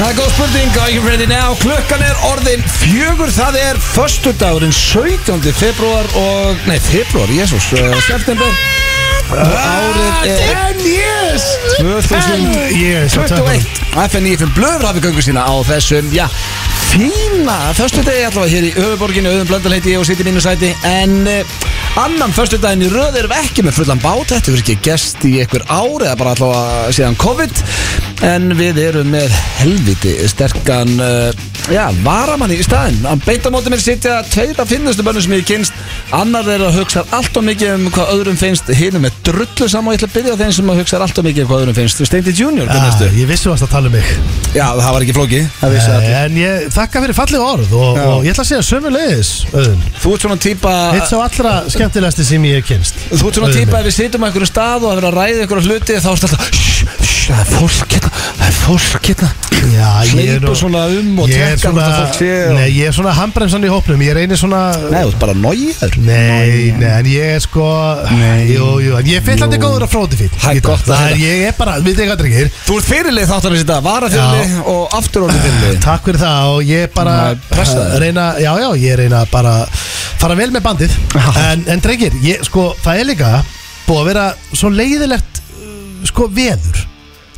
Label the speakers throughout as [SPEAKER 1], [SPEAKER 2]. [SPEAKER 1] Það er góð spurning og ekki ready now Klukkan er orðin fjögur Það er föstudagurinn 17. februar og Nei, februar, jésús September Árið er
[SPEAKER 2] En yes
[SPEAKER 1] 2000
[SPEAKER 2] yes, á
[SPEAKER 1] 21 FNI fyrir blöður hafi göngu sína á þessum, já, fína Föstudegi allavega hér í höfuborginu Öðum blöndal heiti ég og sitt í mínu sæti En eh, annan föstudaginn í röð erum við ekki með fullan bát Þetta verður ekki gest í einhver ár Eða bara allavega síðan COVID En við erum með helviti sterkan eh, Já, varamann í staðinn Hann beita móti mér sitja tveir af finnustu bönnum sem ég kynst Annar er að hugsa alltof mikið um hvað öðrum finnst Hinum er drullu saman og ég ætla að byrja á þeim sem að hugsa alltof mikið um hvað öðrum finnst Steindi Junior, hvernig erstu?
[SPEAKER 2] Ég vissi þú varst að tala um mig
[SPEAKER 1] Já, það var ekki flóki
[SPEAKER 2] Eh, En ég þakka fyrir fallið orð og,
[SPEAKER 1] Já.
[SPEAKER 2] og ég ætla að segja sömu leiðis Öðun
[SPEAKER 1] Þú ert svona típa
[SPEAKER 2] Eitt sá allra skemmtilegasti sem ég hef kynst
[SPEAKER 1] Þú ert svona típa ef við sitjum á einhverju stað og að vera að ræða einhverju hluti þá ertu alltaf "Shh, shh, Það er fólk hérna, það er fólk hérna
[SPEAKER 2] Já, ég er
[SPEAKER 1] Hleypur
[SPEAKER 2] nú
[SPEAKER 1] svona um og
[SPEAKER 2] Ég er
[SPEAKER 1] tekkar
[SPEAKER 2] svona
[SPEAKER 1] hvort að fólk sé og-
[SPEAKER 2] Nei, ég er svona handbremsan í hópnum Ég reynir svona
[SPEAKER 1] Nei, þú ert bara nógiður
[SPEAKER 2] Nei, nei, en ég er sko
[SPEAKER 1] Nei.
[SPEAKER 2] Jú, jú, en ég er fyllandi góður að fróti fýtt
[SPEAKER 1] Það er gott að
[SPEAKER 2] Það er,
[SPEAKER 1] heyra.
[SPEAKER 2] ég er bara, við þig að drengir
[SPEAKER 1] Þú ert fyrirlið þáttanins í dag, vara fyrirlið og aftur orðið fyrirlið
[SPEAKER 2] Takk fyrir það og ég er bara
[SPEAKER 1] Maður pressaður.
[SPEAKER 2] að reyna, já, já, ég reyna bara að fara vel með bandið
[SPEAKER 1] Já.
[SPEAKER 2] en, en drengir, ég, sko, það er líka búið að vera svo leiðilegt uh, sko, veður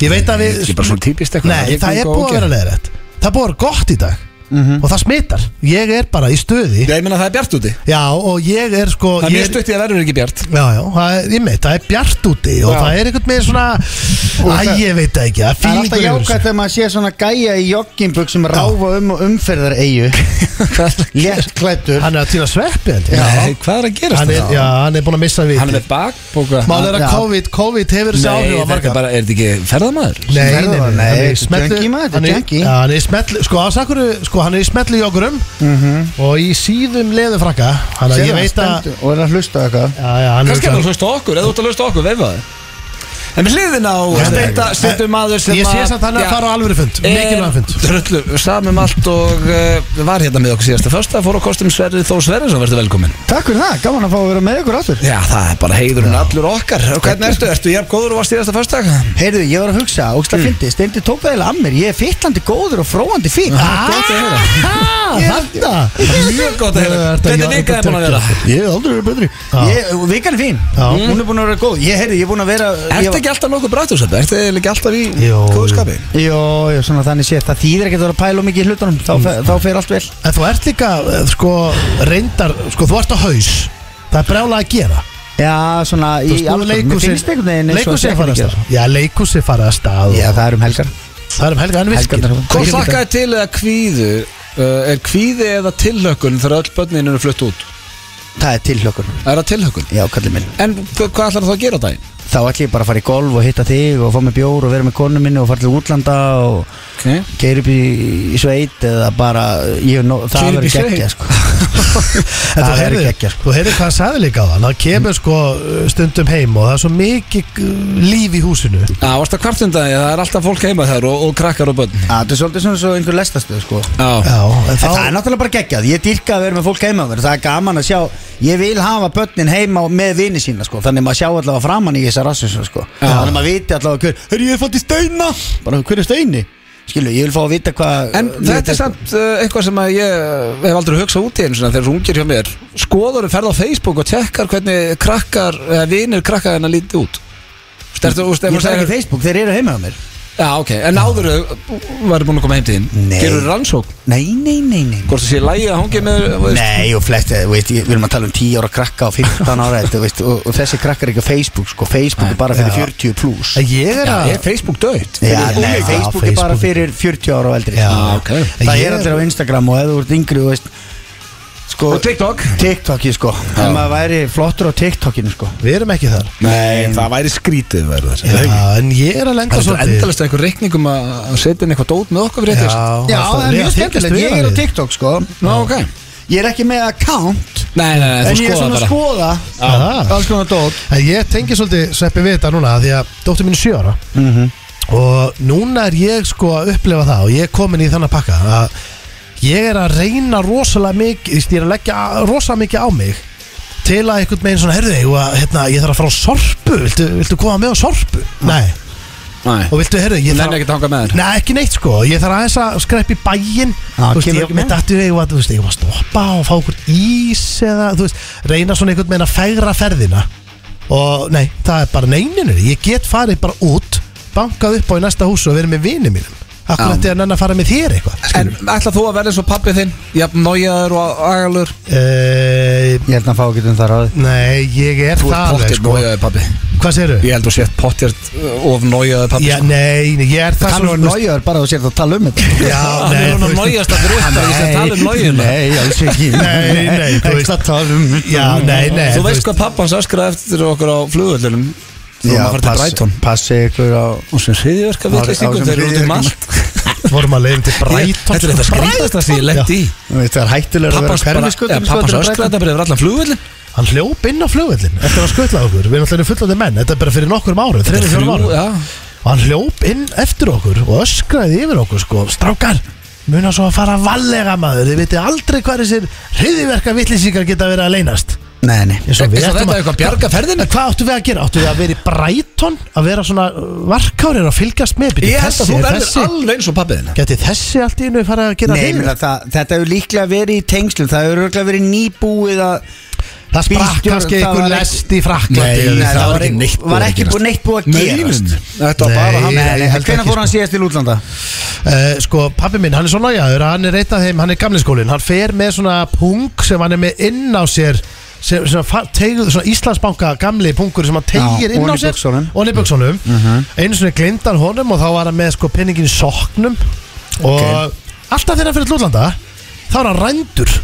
[SPEAKER 2] Ég veit að við
[SPEAKER 1] Ég er bara svona típist eitthvað
[SPEAKER 2] Nei,
[SPEAKER 1] Rigning
[SPEAKER 2] það er
[SPEAKER 1] og
[SPEAKER 2] búið að
[SPEAKER 1] ógeð.
[SPEAKER 2] vera leiðilegt Það er búið að vera gott í dag og það smitar Ég er bara í stöði
[SPEAKER 1] Mhm. Já, ég meina það er bjart úti
[SPEAKER 2] Já, og ég er sko
[SPEAKER 1] Það er
[SPEAKER 2] ég
[SPEAKER 1] mjög
[SPEAKER 2] er-
[SPEAKER 1] stutt í að verður ekki bjart
[SPEAKER 2] Já, já, það er, ég meit, það er bjart úti og
[SPEAKER 3] Já.
[SPEAKER 2] það er einhvern veginn svona Æ,
[SPEAKER 3] það-
[SPEAKER 2] ég veit það ekki, það
[SPEAKER 3] Það er
[SPEAKER 2] fýlingur
[SPEAKER 3] alltaf jákvæmt þegar maður sé svona gæja í joggingbuk sem ráfa um og umferðar eigu Léttklættur
[SPEAKER 2] Hann er að týna sveppi held ég.
[SPEAKER 1] Nei, hvað er að gerast
[SPEAKER 2] Hann er,
[SPEAKER 1] það?
[SPEAKER 2] já, hann er búin að missa við
[SPEAKER 1] Hann er með bakbóka
[SPEAKER 2] Mál er að
[SPEAKER 3] Já.
[SPEAKER 2] COVID, COVID hefur þessi
[SPEAKER 1] Nei,
[SPEAKER 2] áhrif á
[SPEAKER 1] þetta er
[SPEAKER 2] marga
[SPEAKER 1] bara, er þetta ekki ferðamaður?
[SPEAKER 2] Nei, nei,
[SPEAKER 3] Verður
[SPEAKER 2] nei,
[SPEAKER 3] það?
[SPEAKER 2] nei, hann
[SPEAKER 3] Nei,
[SPEAKER 2] er í
[SPEAKER 3] þetta er
[SPEAKER 2] smellu-
[SPEAKER 3] junkie, maður, þetta er
[SPEAKER 2] hann er-
[SPEAKER 3] junkie.
[SPEAKER 2] Já, hann er í smellu, sko, ásakuru, sko, hann er í smellu joggurum Og í síðum leðufrakka Þannig að ég veit að
[SPEAKER 3] Og er að hlusta á eitthvað
[SPEAKER 2] Já, já, hann
[SPEAKER 1] Kannski er það
[SPEAKER 2] örugglega-
[SPEAKER 1] að hlusta á okkur, eða þú ert að hlusta á okkur, veifa það En við hliðin á þetta stundum maður sem
[SPEAKER 2] Ég sé samt hann
[SPEAKER 1] já,
[SPEAKER 2] er
[SPEAKER 1] Eh,
[SPEAKER 2] að fara á alvöru fund,
[SPEAKER 1] er
[SPEAKER 2] mikilvæg fund
[SPEAKER 1] Drullu, samum um allt og uh, var hérna með okkur síðasta Fösta fór á kostum Sverri Þór Sverrinsson, verður velkomin
[SPEAKER 3] Takk fyrir það, gaman að fá að vera með ykkur áttur
[SPEAKER 1] Já, það er bara heiðurinn allur okkar Og Hvernig ertu? Ertu jafn góður og var síðasta Fösta?
[SPEAKER 3] Heyrðu, ég var að hugsa, ógst að fyndi, steindi tók það eða að mér Ég er fyllandi góður og fróandi Ah! fín
[SPEAKER 2] Þetta
[SPEAKER 1] Mjög gott að heyra Hvernig vika er búin að vera?
[SPEAKER 3] Ég er aldrei verið betri Ég, og vikan er fín,
[SPEAKER 2] Já.
[SPEAKER 3] hún er búin að vera góð Ég heyrðu, ég er búin að vera ég
[SPEAKER 1] Ertu
[SPEAKER 3] var-
[SPEAKER 1] ekki alltaf nokkuð brættur þetta? Ertu eiginlega ekki alltaf í
[SPEAKER 2] Jó.
[SPEAKER 1] kóðskapi?
[SPEAKER 3] Jó, jó, svona þannig sé, það þýðir ekki að vera að pæla of mikið í hlutunum Þá, mm. þá fer allt vel
[SPEAKER 2] En þú ert líka, eh, sko, reyndar, sko, þú ert á haus Það er brjálega að gera
[SPEAKER 3] Já, svona
[SPEAKER 2] Þú
[SPEAKER 3] í
[SPEAKER 2] veist, nú er
[SPEAKER 3] alvöru, mér finnst einhvern veginn eins og
[SPEAKER 2] Leikhúsið er farið að stað Já, leikhúsi
[SPEAKER 3] þetta ekki gera.
[SPEAKER 2] farið að stað
[SPEAKER 3] Já,
[SPEAKER 2] og-
[SPEAKER 3] það er um helgar
[SPEAKER 2] Það er um helga en virkir
[SPEAKER 3] Helgarnar-
[SPEAKER 1] Hvað
[SPEAKER 3] Ég-
[SPEAKER 1] slakkaði til eða kvíðu? Uh, er kvíði eða tilhökun þegar öll börnin eru flutt út?
[SPEAKER 3] Það er tilhlökun
[SPEAKER 1] Er það tilhökun?
[SPEAKER 3] Já, kallið minn
[SPEAKER 1] En hva- hvað ætlar það að gera á daginn?
[SPEAKER 3] Þá ætlum ég bara að fara í golf og hitta þig og fá með bjór og vera með konu minni og fara til útlanda og
[SPEAKER 1] Okay.
[SPEAKER 3] keira upp í, í sveit eða bara, ég, no,
[SPEAKER 1] Keyra upp
[SPEAKER 3] það
[SPEAKER 1] í
[SPEAKER 3] verður
[SPEAKER 1] sveit?
[SPEAKER 3] geggja sko.
[SPEAKER 2] En
[SPEAKER 3] Það
[SPEAKER 2] þú
[SPEAKER 3] verður
[SPEAKER 2] heyrðu-
[SPEAKER 3] geggja sko.
[SPEAKER 2] Þú heyrðu hvað hann sagði líka á það Það kemur sko uh, stundum heim og það er svo mikið uh, líf í húsinu
[SPEAKER 1] Já, varst það kvartundagi, það er alltaf fólk heima þær og, og krakkar og börn
[SPEAKER 3] Á, Það er svolítið svona svo einhver lestastuð sko.
[SPEAKER 1] Já,
[SPEAKER 2] Já, en
[SPEAKER 3] En það er
[SPEAKER 2] þá
[SPEAKER 3] náttúrulega bara geggjað, ég dyrka að vera með fólk heima á mér, það er gaman að sjá, ég vil hafa börnin heima með vini sína sko, þannig maður sjá allavega framann í þessar rassins sko, þannig maður viti allavega hver, hörru ég er fætt í steina, bara hver er steini, skilu, ég vil fá að vita hvað
[SPEAKER 1] En þetta er samt uh, eitthvað sem að ég uh, hef aldrei hugsað út í einu svona þegar þú ungir hjá mér Skoður ferð á Facebook og tekkar hvernig krakkar, eða vinir krakkar hennar lítið út Stertu, úst,
[SPEAKER 3] Ég þarf ekki Facebook, þeir eru heima á mér
[SPEAKER 1] Já, ok, en áður varum búin að koma heim til þín
[SPEAKER 3] Nei.
[SPEAKER 1] Gerur rannsók,
[SPEAKER 3] Nei, nei, nei, nei
[SPEAKER 1] hvort það sé lægi að hangi með þú veist.
[SPEAKER 3] Nei, og flest, eh, veist, ég- við erum að tala um 10 ára krakka og 15 ára þetta, veist, og, og þessi krakkar er ekki á Facebook sko, Facebook er bara fyrir
[SPEAKER 2] Já.
[SPEAKER 3] 40 pluss
[SPEAKER 2] en ég er
[SPEAKER 1] Já,
[SPEAKER 2] að
[SPEAKER 1] ah, er Facebook döitt?
[SPEAKER 3] Já, nei,
[SPEAKER 2] Já,
[SPEAKER 3] Facebook er bara
[SPEAKER 2] Facebook.
[SPEAKER 3] fyrir 40 ára og eldri
[SPEAKER 2] Já,
[SPEAKER 3] sko.
[SPEAKER 1] ok.
[SPEAKER 3] Það
[SPEAKER 2] Ég
[SPEAKER 3] er
[SPEAKER 2] er-
[SPEAKER 3] allir á Instagram og ef þú ert yngri þú veist, sko,
[SPEAKER 1] Og TikTok?
[SPEAKER 3] TikToki sko,
[SPEAKER 1] Já.
[SPEAKER 3] en maður væri flottur á TikTokinu sko
[SPEAKER 2] Við erum ekki þar
[SPEAKER 1] Nei, það væri skrítið verður
[SPEAKER 2] Já, en ég er að
[SPEAKER 1] Mm.
[SPEAKER 2] lenda
[SPEAKER 1] Það er
[SPEAKER 2] svolítið
[SPEAKER 1] endalast einhver reikningum að að setja inn eitthvað dót með okkur fyrir þetta
[SPEAKER 2] Já, það er mjög skemmtilegt
[SPEAKER 3] ég er á TikTok sko
[SPEAKER 1] Ná, ok
[SPEAKER 3] Ég er ekki með account,
[SPEAKER 1] Nei, nei, nei,
[SPEAKER 3] en
[SPEAKER 1] þú
[SPEAKER 3] ég er
[SPEAKER 1] skoða
[SPEAKER 3] svona sko- að
[SPEAKER 1] bara
[SPEAKER 3] skoða
[SPEAKER 2] TikTok
[SPEAKER 3] alls konar dót
[SPEAKER 2] En ég tengi svolítið sveppi við þetta núna af Því að dóttir mín er sjö ára Og núna er ég sko að upplefa það Og ég er komin í þannig pakka að Ég er að reyna rosalega mikið þú veist, Ég er að leggja rosalega mikið á mig Til að einhvern veginn svona herði og að, hérna, Ég þarf að fara á sorpu Viltu, viltu koma með á sorpu? Nei
[SPEAKER 1] Nei.
[SPEAKER 2] og viltu, heyrðu, ég
[SPEAKER 1] Nenni ekki að hanga með þér.
[SPEAKER 2] Nei, ekki neitt sko, ég þarf aðeins að skrepp í bæinn Þú
[SPEAKER 3] Já,
[SPEAKER 2] veist,
[SPEAKER 3] kemur
[SPEAKER 2] ég
[SPEAKER 3] ekki
[SPEAKER 2] með
[SPEAKER 3] með.
[SPEAKER 2] dættu ég var, þú veist, ég var að stoppa og fá okkur ís eða, þú veist, reyna svona einhvern meina að fegra ferðina og nei, það er bara neininu, ég get farið bara út, bankað upp á í næsta hús og verið með vinið mínum Akkur þetta er nenn að fara með þér eitthvað
[SPEAKER 1] En ætla þú að verða eins og pappið þinn Jafn nójaður og agalur
[SPEAKER 2] uh,
[SPEAKER 3] Ég held að fá ekki um það ráð
[SPEAKER 2] Nei, ég er
[SPEAKER 1] Þú ert
[SPEAKER 2] það alveg
[SPEAKER 1] pottjart
[SPEAKER 2] sko
[SPEAKER 1] nójaður pappi
[SPEAKER 2] Hvað segirðu?
[SPEAKER 1] Ég held þú sétt pottjart of nójaður pappi
[SPEAKER 2] Já,
[SPEAKER 1] sko.
[SPEAKER 2] nei, nei, ég er það
[SPEAKER 3] Hann
[SPEAKER 2] svo-
[SPEAKER 3] var nájaður um bara að þú sér það að tala um þetta
[SPEAKER 2] Já,
[SPEAKER 1] Hann Ah,
[SPEAKER 2] nei,
[SPEAKER 1] er hún
[SPEAKER 2] þú
[SPEAKER 1] að sko.
[SPEAKER 2] veist-
[SPEAKER 1] nójast að drúta Ég sé að tala um nójuna
[SPEAKER 3] Nei, alls ekki
[SPEAKER 2] Nei, nei, þú veist-
[SPEAKER 3] Ekki að tala um
[SPEAKER 2] Já, nei, nei
[SPEAKER 1] Þú veist hvað pappans öskraði eftir okkur á flugvöllunum Þú erum
[SPEAKER 3] Já,
[SPEAKER 1] að fara til
[SPEAKER 3] pass,
[SPEAKER 1] Brighton
[SPEAKER 3] passi ykkur á
[SPEAKER 1] Og sem hriðjörka
[SPEAKER 3] Á
[SPEAKER 1] villistingum
[SPEAKER 3] sem
[SPEAKER 1] þeir eru út um allt sko.
[SPEAKER 2] Vorum að leiðum til
[SPEAKER 1] Ég-
[SPEAKER 2] Brighton
[SPEAKER 1] Þetta er þetta skrítasta sem ég lett í
[SPEAKER 3] Þú veist, Það er hættilega að vera
[SPEAKER 1] Pappans bara-
[SPEAKER 3] hverfiskötum
[SPEAKER 1] ja, pappans öskraði þetta bara yfir allan flugvöllin
[SPEAKER 2] Hann hljóp inn á flugvöllin Eftir að skutla okkur Við erum alltaf fullandi menn Þetta er bara fyrir nokkrum árum
[SPEAKER 1] er
[SPEAKER 2] Þreinu fjórum
[SPEAKER 1] þrjú,
[SPEAKER 2] árum
[SPEAKER 1] já.
[SPEAKER 2] Og hann hljóp inn eftir okkur Og öskraði yfir okkur sko Strákar Muna svo að fara vallega maður Þið vitið aldrei hvað þessir Hriðiverka vittlýsingar geta verið að leynast
[SPEAKER 3] Nei, nei
[SPEAKER 2] Eins og
[SPEAKER 1] Eins og
[SPEAKER 2] við ættum
[SPEAKER 1] þetta
[SPEAKER 2] að-
[SPEAKER 1] er eitthvað bjarga ferðinni
[SPEAKER 2] En hvað áttu við að gera? Áttu við að vera í Brighton Að vera svona uh, varkárir að fylgjast með Bíddu,
[SPEAKER 1] Ég held að
[SPEAKER 2] þessi-
[SPEAKER 1] þú verður
[SPEAKER 2] þessi-
[SPEAKER 1] alveg eins og pappið þinn
[SPEAKER 2] Gæti þessi allt í innu fara að gera
[SPEAKER 3] Nei,
[SPEAKER 2] hryðjuverk?
[SPEAKER 3] mena, það, þetta hefur líklega verið í tengslum Það hefur örgulega verið nýbúið að
[SPEAKER 2] Það sprakk
[SPEAKER 3] Bílstjóri-
[SPEAKER 2] kannski
[SPEAKER 3] það
[SPEAKER 2] einhver
[SPEAKER 3] var ekki-
[SPEAKER 2] lest í fraklandi
[SPEAKER 1] Nei, nei, það var ekki
[SPEAKER 3] ein-
[SPEAKER 1] neitt búið
[SPEAKER 3] var
[SPEAKER 1] að
[SPEAKER 3] ekki
[SPEAKER 1] gerast.
[SPEAKER 3] búið neitt búið að gerast
[SPEAKER 1] Nei, Þetta var bara
[SPEAKER 2] Nei,
[SPEAKER 1] hann
[SPEAKER 3] Nei, nei,
[SPEAKER 2] ég held
[SPEAKER 3] hvenær
[SPEAKER 2] ekki,
[SPEAKER 3] fór hann
[SPEAKER 1] sko.
[SPEAKER 3] síðast til útlanda?
[SPEAKER 2] Uh, sko, pappi minn, hann er svo nájaður Hann er eitt af þeim, hann er gamlinskólin Hann fer með svona pung sem hann er með inn á sér sem, sem fa- teygðu, svona Íslandsbanka gamli pungur sem hann teygir
[SPEAKER 3] Já,
[SPEAKER 2] inn á
[SPEAKER 3] ofan í
[SPEAKER 2] sér
[SPEAKER 3] buxunum.
[SPEAKER 2] og hann í buxunum einu svona glindan honum og þá var hann með sko penningin í soknum og alltaf þegar hann fyrir til útlanda þá er hann rændur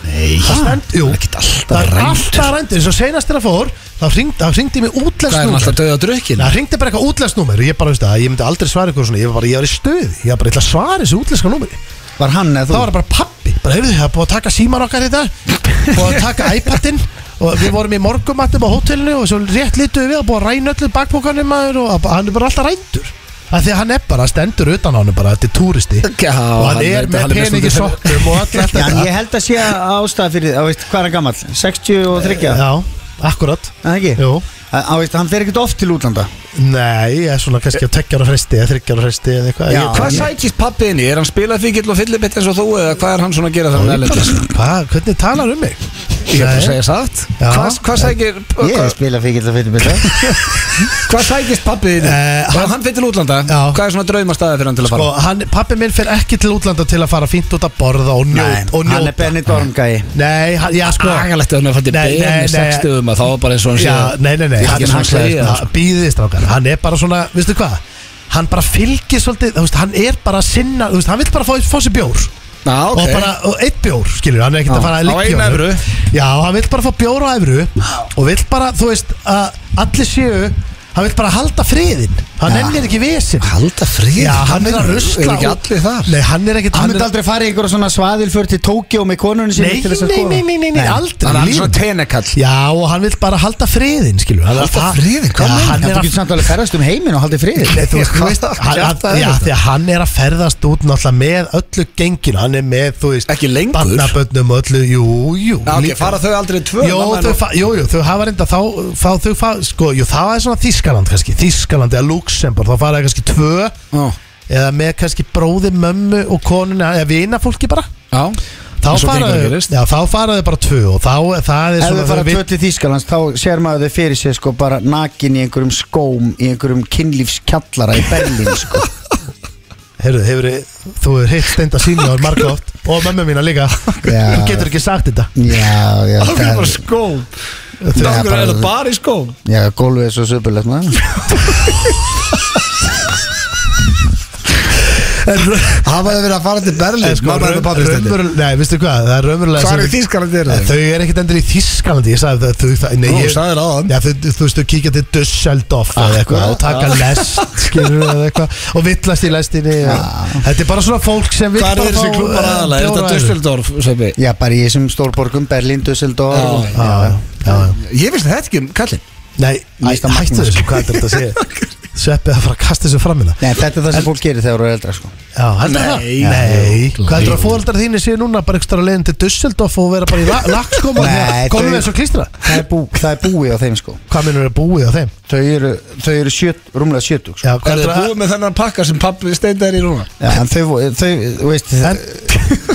[SPEAKER 1] Nei,
[SPEAKER 2] það stend, jú,
[SPEAKER 1] ekkert alltaf
[SPEAKER 2] það er
[SPEAKER 1] rændur.
[SPEAKER 2] alltaf rændur eins og senast þegar hann fór þá hringdi, þá hringdi mig
[SPEAKER 1] Hvað er hann
[SPEAKER 2] útlegsnúmer
[SPEAKER 1] alltaf döð á drukkinu?
[SPEAKER 2] Það ringdi bara eitthvað útlæðsnúmer og ég bara veist það, ég myndi aldrei svara ykkur svona, ég var bara, ég var í stöði, ég var bara, ég ætla að svara þessu útlæðska númeri.
[SPEAKER 3] Var hann eða
[SPEAKER 2] Það
[SPEAKER 3] þú?
[SPEAKER 2] var bara pappi, bara heyrðu það, er búið að taka síman okkar í dag, búið að taka iPadinn og við vorum í morgumattum á hótelinu og svo rétt litum við að búið að ræna öllu bakbókanum maður og að, hann er bara alltaf rændur. Það því að hann er bara, stendur utan á hann bara, þetta er túristi
[SPEAKER 1] Já,
[SPEAKER 2] og hann,
[SPEAKER 1] hann er-
[SPEAKER 2] er
[SPEAKER 1] hann
[SPEAKER 2] með
[SPEAKER 1] er með
[SPEAKER 2] peningi
[SPEAKER 1] svolítið-
[SPEAKER 2] sokkum og allt
[SPEAKER 3] Já, en
[SPEAKER 2] þetta.
[SPEAKER 3] ég held að sé að ástæða fyrir á, veist, Hvað er hann gammal? 63? Já,
[SPEAKER 2] Já, akkurat.
[SPEAKER 3] ekki?
[SPEAKER 2] Jú.
[SPEAKER 3] Að- Á, veist, hann fer ekkert oft til útlanda
[SPEAKER 2] Nei, ég er svona kannski að tekja ára fresti eða þryggja ára fresti eða eitthvað
[SPEAKER 3] Já,
[SPEAKER 2] Ég-
[SPEAKER 1] Hvað sækist pappið þinn? í? Er hann spilað fíkild og fyllibitt eins og þú eða hvað er hann svona að gera þegar hann er lendast?
[SPEAKER 2] Hvað, hvernig talar um mig?
[SPEAKER 1] Ég er bara að
[SPEAKER 2] Nei.
[SPEAKER 1] segja satt
[SPEAKER 2] Já.
[SPEAKER 1] Hvað, hvað sækir
[SPEAKER 3] Ég er að
[SPEAKER 1] hvað,
[SPEAKER 3] spila fyrir geta fyrir mér
[SPEAKER 1] hvað sækist pappið þinn?
[SPEAKER 2] Eh,
[SPEAKER 1] Uh, hann fyrir til útlanda
[SPEAKER 2] Já.
[SPEAKER 1] Hvað er svona draumastæði fyrir hann til að
[SPEAKER 2] Sko,
[SPEAKER 1] fara?
[SPEAKER 2] hann, pappi minn fer ekki til útlanda til að fara fínt út að borða og, njót, og
[SPEAKER 3] Hann er
[SPEAKER 2] njóta
[SPEAKER 3] Benny Dormgæi
[SPEAKER 2] Nei, hann, já sko
[SPEAKER 1] Agalegt að hann er fættið
[SPEAKER 2] Nei, nei,
[SPEAKER 1] bein í
[SPEAKER 2] nei.
[SPEAKER 1] 60 um að þá er bara eins og hann sé
[SPEAKER 2] Já, nei, nei, nei,
[SPEAKER 1] Ég
[SPEAKER 2] hann
[SPEAKER 1] get
[SPEAKER 2] er sko.
[SPEAKER 1] hann segja sko.
[SPEAKER 2] svona Býðið strákar, hann er bara svona, veistu hvað Hann bara fylgir svolítið, þú veist, hann er bara að sinna Þú veist, hann vil bara fá, fá sér bjór
[SPEAKER 1] Já, ok
[SPEAKER 2] Og bara, og eitt bjór, skilur, hann er ekkert
[SPEAKER 1] Já,
[SPEAKER 2] að fara
[SPEAKER 1] á
[SPEAKER 2] að liggja
[SPEAKER 1] eina
[SPEAKER 2] honum.
[SPEAKER 1] evru.
[SPEAKER 2] Já, hann vil bara fá bjór á efru Og vil bara, þú veist, að allir séu Hann vil bara halda friðinn Hann
[SPEAKER 3] Já.
[SPEAKER 2] ennir ekki vesinn
[SPEAKER 1] Halda frið
[SPEAKER 2] Já, hann er að rusla
[SPEAKER 1] Er ekki
[SPEAKER 2] út-
[SPEAKER 1] allir þar?
[SPEAKER 2] Nei, hann er ekkert
[SPEAKER 3] Hann
[SPEAKER 2] er-
[SPEAKER 3] myndi aldrei fara í einhverja svona svaðilför til Tókjó með konunni sinni
[SPEAKER 2] Nei,
[SPEAKER 3] til þess að
[SPEAKER 2] nei,
[SPEAKER 3] skoða.
[SPEAKER 2] nei, nei, nei, nei, aldrei
[SPEAKER 1] Hann er
[SPEAKER 2] í
[SPEAKER 1] allir svona
[SPEAKER 2] lífinu.
[SPEAKER 1] tenekall
[SPEAKER 2] Já, og hann vil bara halda friðin, skilur hann er
[SPEAKER 1] Halda
[SPEAKER 2] að-
[SPEAKER 1] friðinn? Hvað
[SPEAKER 2] Já,
[SPEAKER 1] meinar
[SPEAKER 2] hann
[SPEAKER 3] Hann
[SPEAKER 2] er
[SPEAKER 3] þú
[SPEAKER 2] að
[SPEAKER 3] getur samt alveg ferðast um heiminn og haldið friðið
[SPEAKER 2] Nei, þú veist, þú veist hann,
[SPEAKER 1] Kjaftaði
[SPEAKER 2] hann, Já,
[SPEAKER 1] þetta.
[SPEAKER 2] því að hann er að ferðast út náttúrulega með öllu genginu Hann er með, þú veist
[SPEAKER 1] Ekki lengur?
[SPEAKER 2] Barnaböndum og öllu, jú, jú
[SPEAKER 1] Já, ok,
[SPEAKER 2] líka.
[SPEAKER 1] fara þau aldrei tvö
[SPEAKER 2] Jó,
[SPEAKER 1] mamma,
[SPEAKER 2] þau,
[SPEAKER 1] nú-
[SPEAKER 2] fa- jú, jú, þau hafa reynda þá, þá þau fa, sko, jú, það er svona Þískaland kannski, Þískaland eða Luxemburg, þá fara þau kannski tvö
[SPEAKER 1] Já.
[SPEAKER 2] eða með kannski bróði, mömmu og konuna, eða vina fólki bara
[SPEAKER 1] Já
[SPEAKER 2] þá
[SPEAKER 1] Eins og
[SPEAKER 2] fara
[SPEAKER 1] gengur að
[SPEAKER 2] þau
[SPEAKER 1] gerist.
[SPEAKER 2] já, þá fara þau bara tvö og þá það er
[SPEAKER 3] Ef
[SPEAKER 2] svona
[SPEAKER 3] við fara
[SPEAKER 2] þau
[SPEAKER 3] tvö til Þýskalands þá sér maður þau fyrir sér sko bara nakin í einhverjum skóm í einhverjum kynlífskjallara í Berlín sko
[SPEAKER 2] heyrðu, hefur þú hefur hitt steinda sínjóður margótt og mömmu mína líka
[SPEAKER 3] Já.
[SPEAKER 2] þú getur ekki sagt þetta
[SPEAKER 3] Já, já,
[SPEAKER 1] Það er
[SPEAKER 3] það
[SPEAKER 1] bara skóm
[SPEAKER 3] Já,
[SPEAKER 1] Það er
[SPEAKER 3] bara-
[SPEAKER 1] bara bara í skóm
[SPEAKER 3] Já, gólfið er svo söpulegt maður
[SPEAKER 1] Hafa þið verið að fara til Berlín Mamma þetta pabbi stendur.
[SPEAKER 2] sko, raunverulega, nei, veistu hvað, það er raunverulega
[SPEAKER 1] Hvar
[SPEAKER 2] sem-
[SPEAKER 1] í Þýskalandi eru
[SPEAKER 2] Eh,
[SPEAKER 1] þau?
[SPEAKER 2] þau er ekkert endur í Þískalandi ég sagði það, þau, það nei,
[SPEAKER 1] Ó,
[SPEAKER 2] ég,
[SPEAKER 1] sagðir áðan.
[SPEAKER 2] já, þau, þú veist, þau kíkja til Dusseldorf eða eitthvað
[SPEAKER 1] Akkurat,
[SPEAKER 2] og taka lest, skilur eða eitthvað og villast í lestinni og, þetta er bara svona fólk sem vill
[SPEAKER 1] Hvað
[SPEAKER 2] bara
[SPEAKER 1] er þessi
[SPEAKER 2] fá,
[SPEAKER 1] klúpar
[SPEAKER 2] eh,
[SPEAKER 1] aðalega? Er
[SPEAKER 2] bjór
[SPEAKER 1] þetta
[SPEAKER 2] og æru.
[SPEAKER 1] Dusseldorf, Sveppi?
[SPEAKER 3] Já, bara í þessum stórborgum Berlín, Dusseldorf
[SPEAKER 1] Já.
[SPEAKER 2] Já, já, já, já
[SPEAKER 1] Ég vissi þetta ekki um kallinn
[SPEAKER 2] Nei,
[SPEAKER 3] Æ,
[SPEAKER 2] hættu
[SPEAKER 3] Magnús.
[SPEAKER 2] þessu, hvað er þetta að segja Sveppi að fara að kasta þessu fram hérna
[SPEAKER 3] Nei, þetta er það sem fólk gerir þegar þú eru eldra sko.
[SPEAKER 2] Já, heldur það?
[SPEAKER 1] Nei.
[SPEAKER 2] Nei Hvað heldur að fóreldar þínu séu núna bara ekstra leiðin til Dusseldorf og vera bara í lakskoma
[SPEAKER 3] Nei,
[SPEAKER 2] Komum
[SPEAKER 3] þau-
[SPEAKER 2] við eins og klistra
[SPEAKER 3] það, er bú, það er búið á þeim sko.
[SPEAKER 2] Hvað minnur er búið á þeim?
[SPEAKER 3] Þau eru, þau eru sjött, rúmlega sjötug sko.
[SPEAKER 2] Já, hvað
[SPEAKER 1] Er
[SPEAKER 2] heldur
[SPEAKER 1] þið
[SPEAKER 2] að
[SPEAKER 1] búið með þennan pakka sem pappi steindar í núna?
[SPEAKER 3] Já, en þau, vo- þau, þú veist
[SPEAKER 2] En-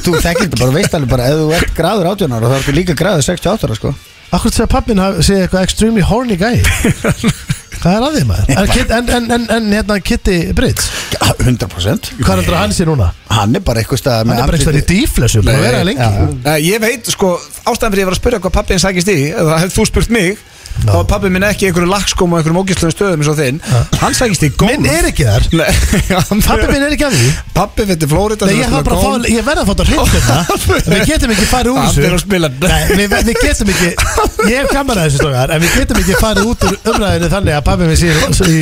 [SPEAKER 3] Þú þekkir þetta bara, veist alveg bara Ef þú ert gráður 18 ára, þá ertu líka gráður 68 ára, sko
[SPEAKER 2] Akkur til að pappin segja eitthvað extremely horny guy Hvað er að því maður? En, Kit- en, en, en, en hérna Kitty Brits
[SPEAKER 3] 100%
[SPEAKER 2] Hvað heldur að hann sé núna?
[SPEAKER 3] Hann er bara eitthvað stað
[SPEAKER 2] Hann er bara eitthvað í dýflessu Búin að vera það lengi
[SPEAKER 3] já.
[SPEAKER 1] Nei, ég veit, sko, ástæðan fyrir ég var að spyrja hvað pappiðin sækist í, ef það hefði þú spurt mig
[SPEAKER 2] Ná.
[SPEAKER 1] þá var pappið minn ekki í einhverju lagskum og einhverjum ógistlum stöðum eins og þinn hann sækist í golf
[SPEAKER 2] Minn er ekki þar Pappi minn er ekki að því
[SPEAKER 1] Pappi fyrir Flórida
[SPEAKER 2] Nei, ég, þarf bara að fá, ég verð að fá þetta hreint þetta En Við getum ekki farið úr
[SPEAKER 1] Hann
[SPEAKER 2] þessu
[SPEAKER 1] fer að spila.
[SPEAKER 2] Nei, við, við getum ekki Ég hef gaman að þessu stókar En við getum ekki farið út úr umræðinu þannig að pabbi minn sér í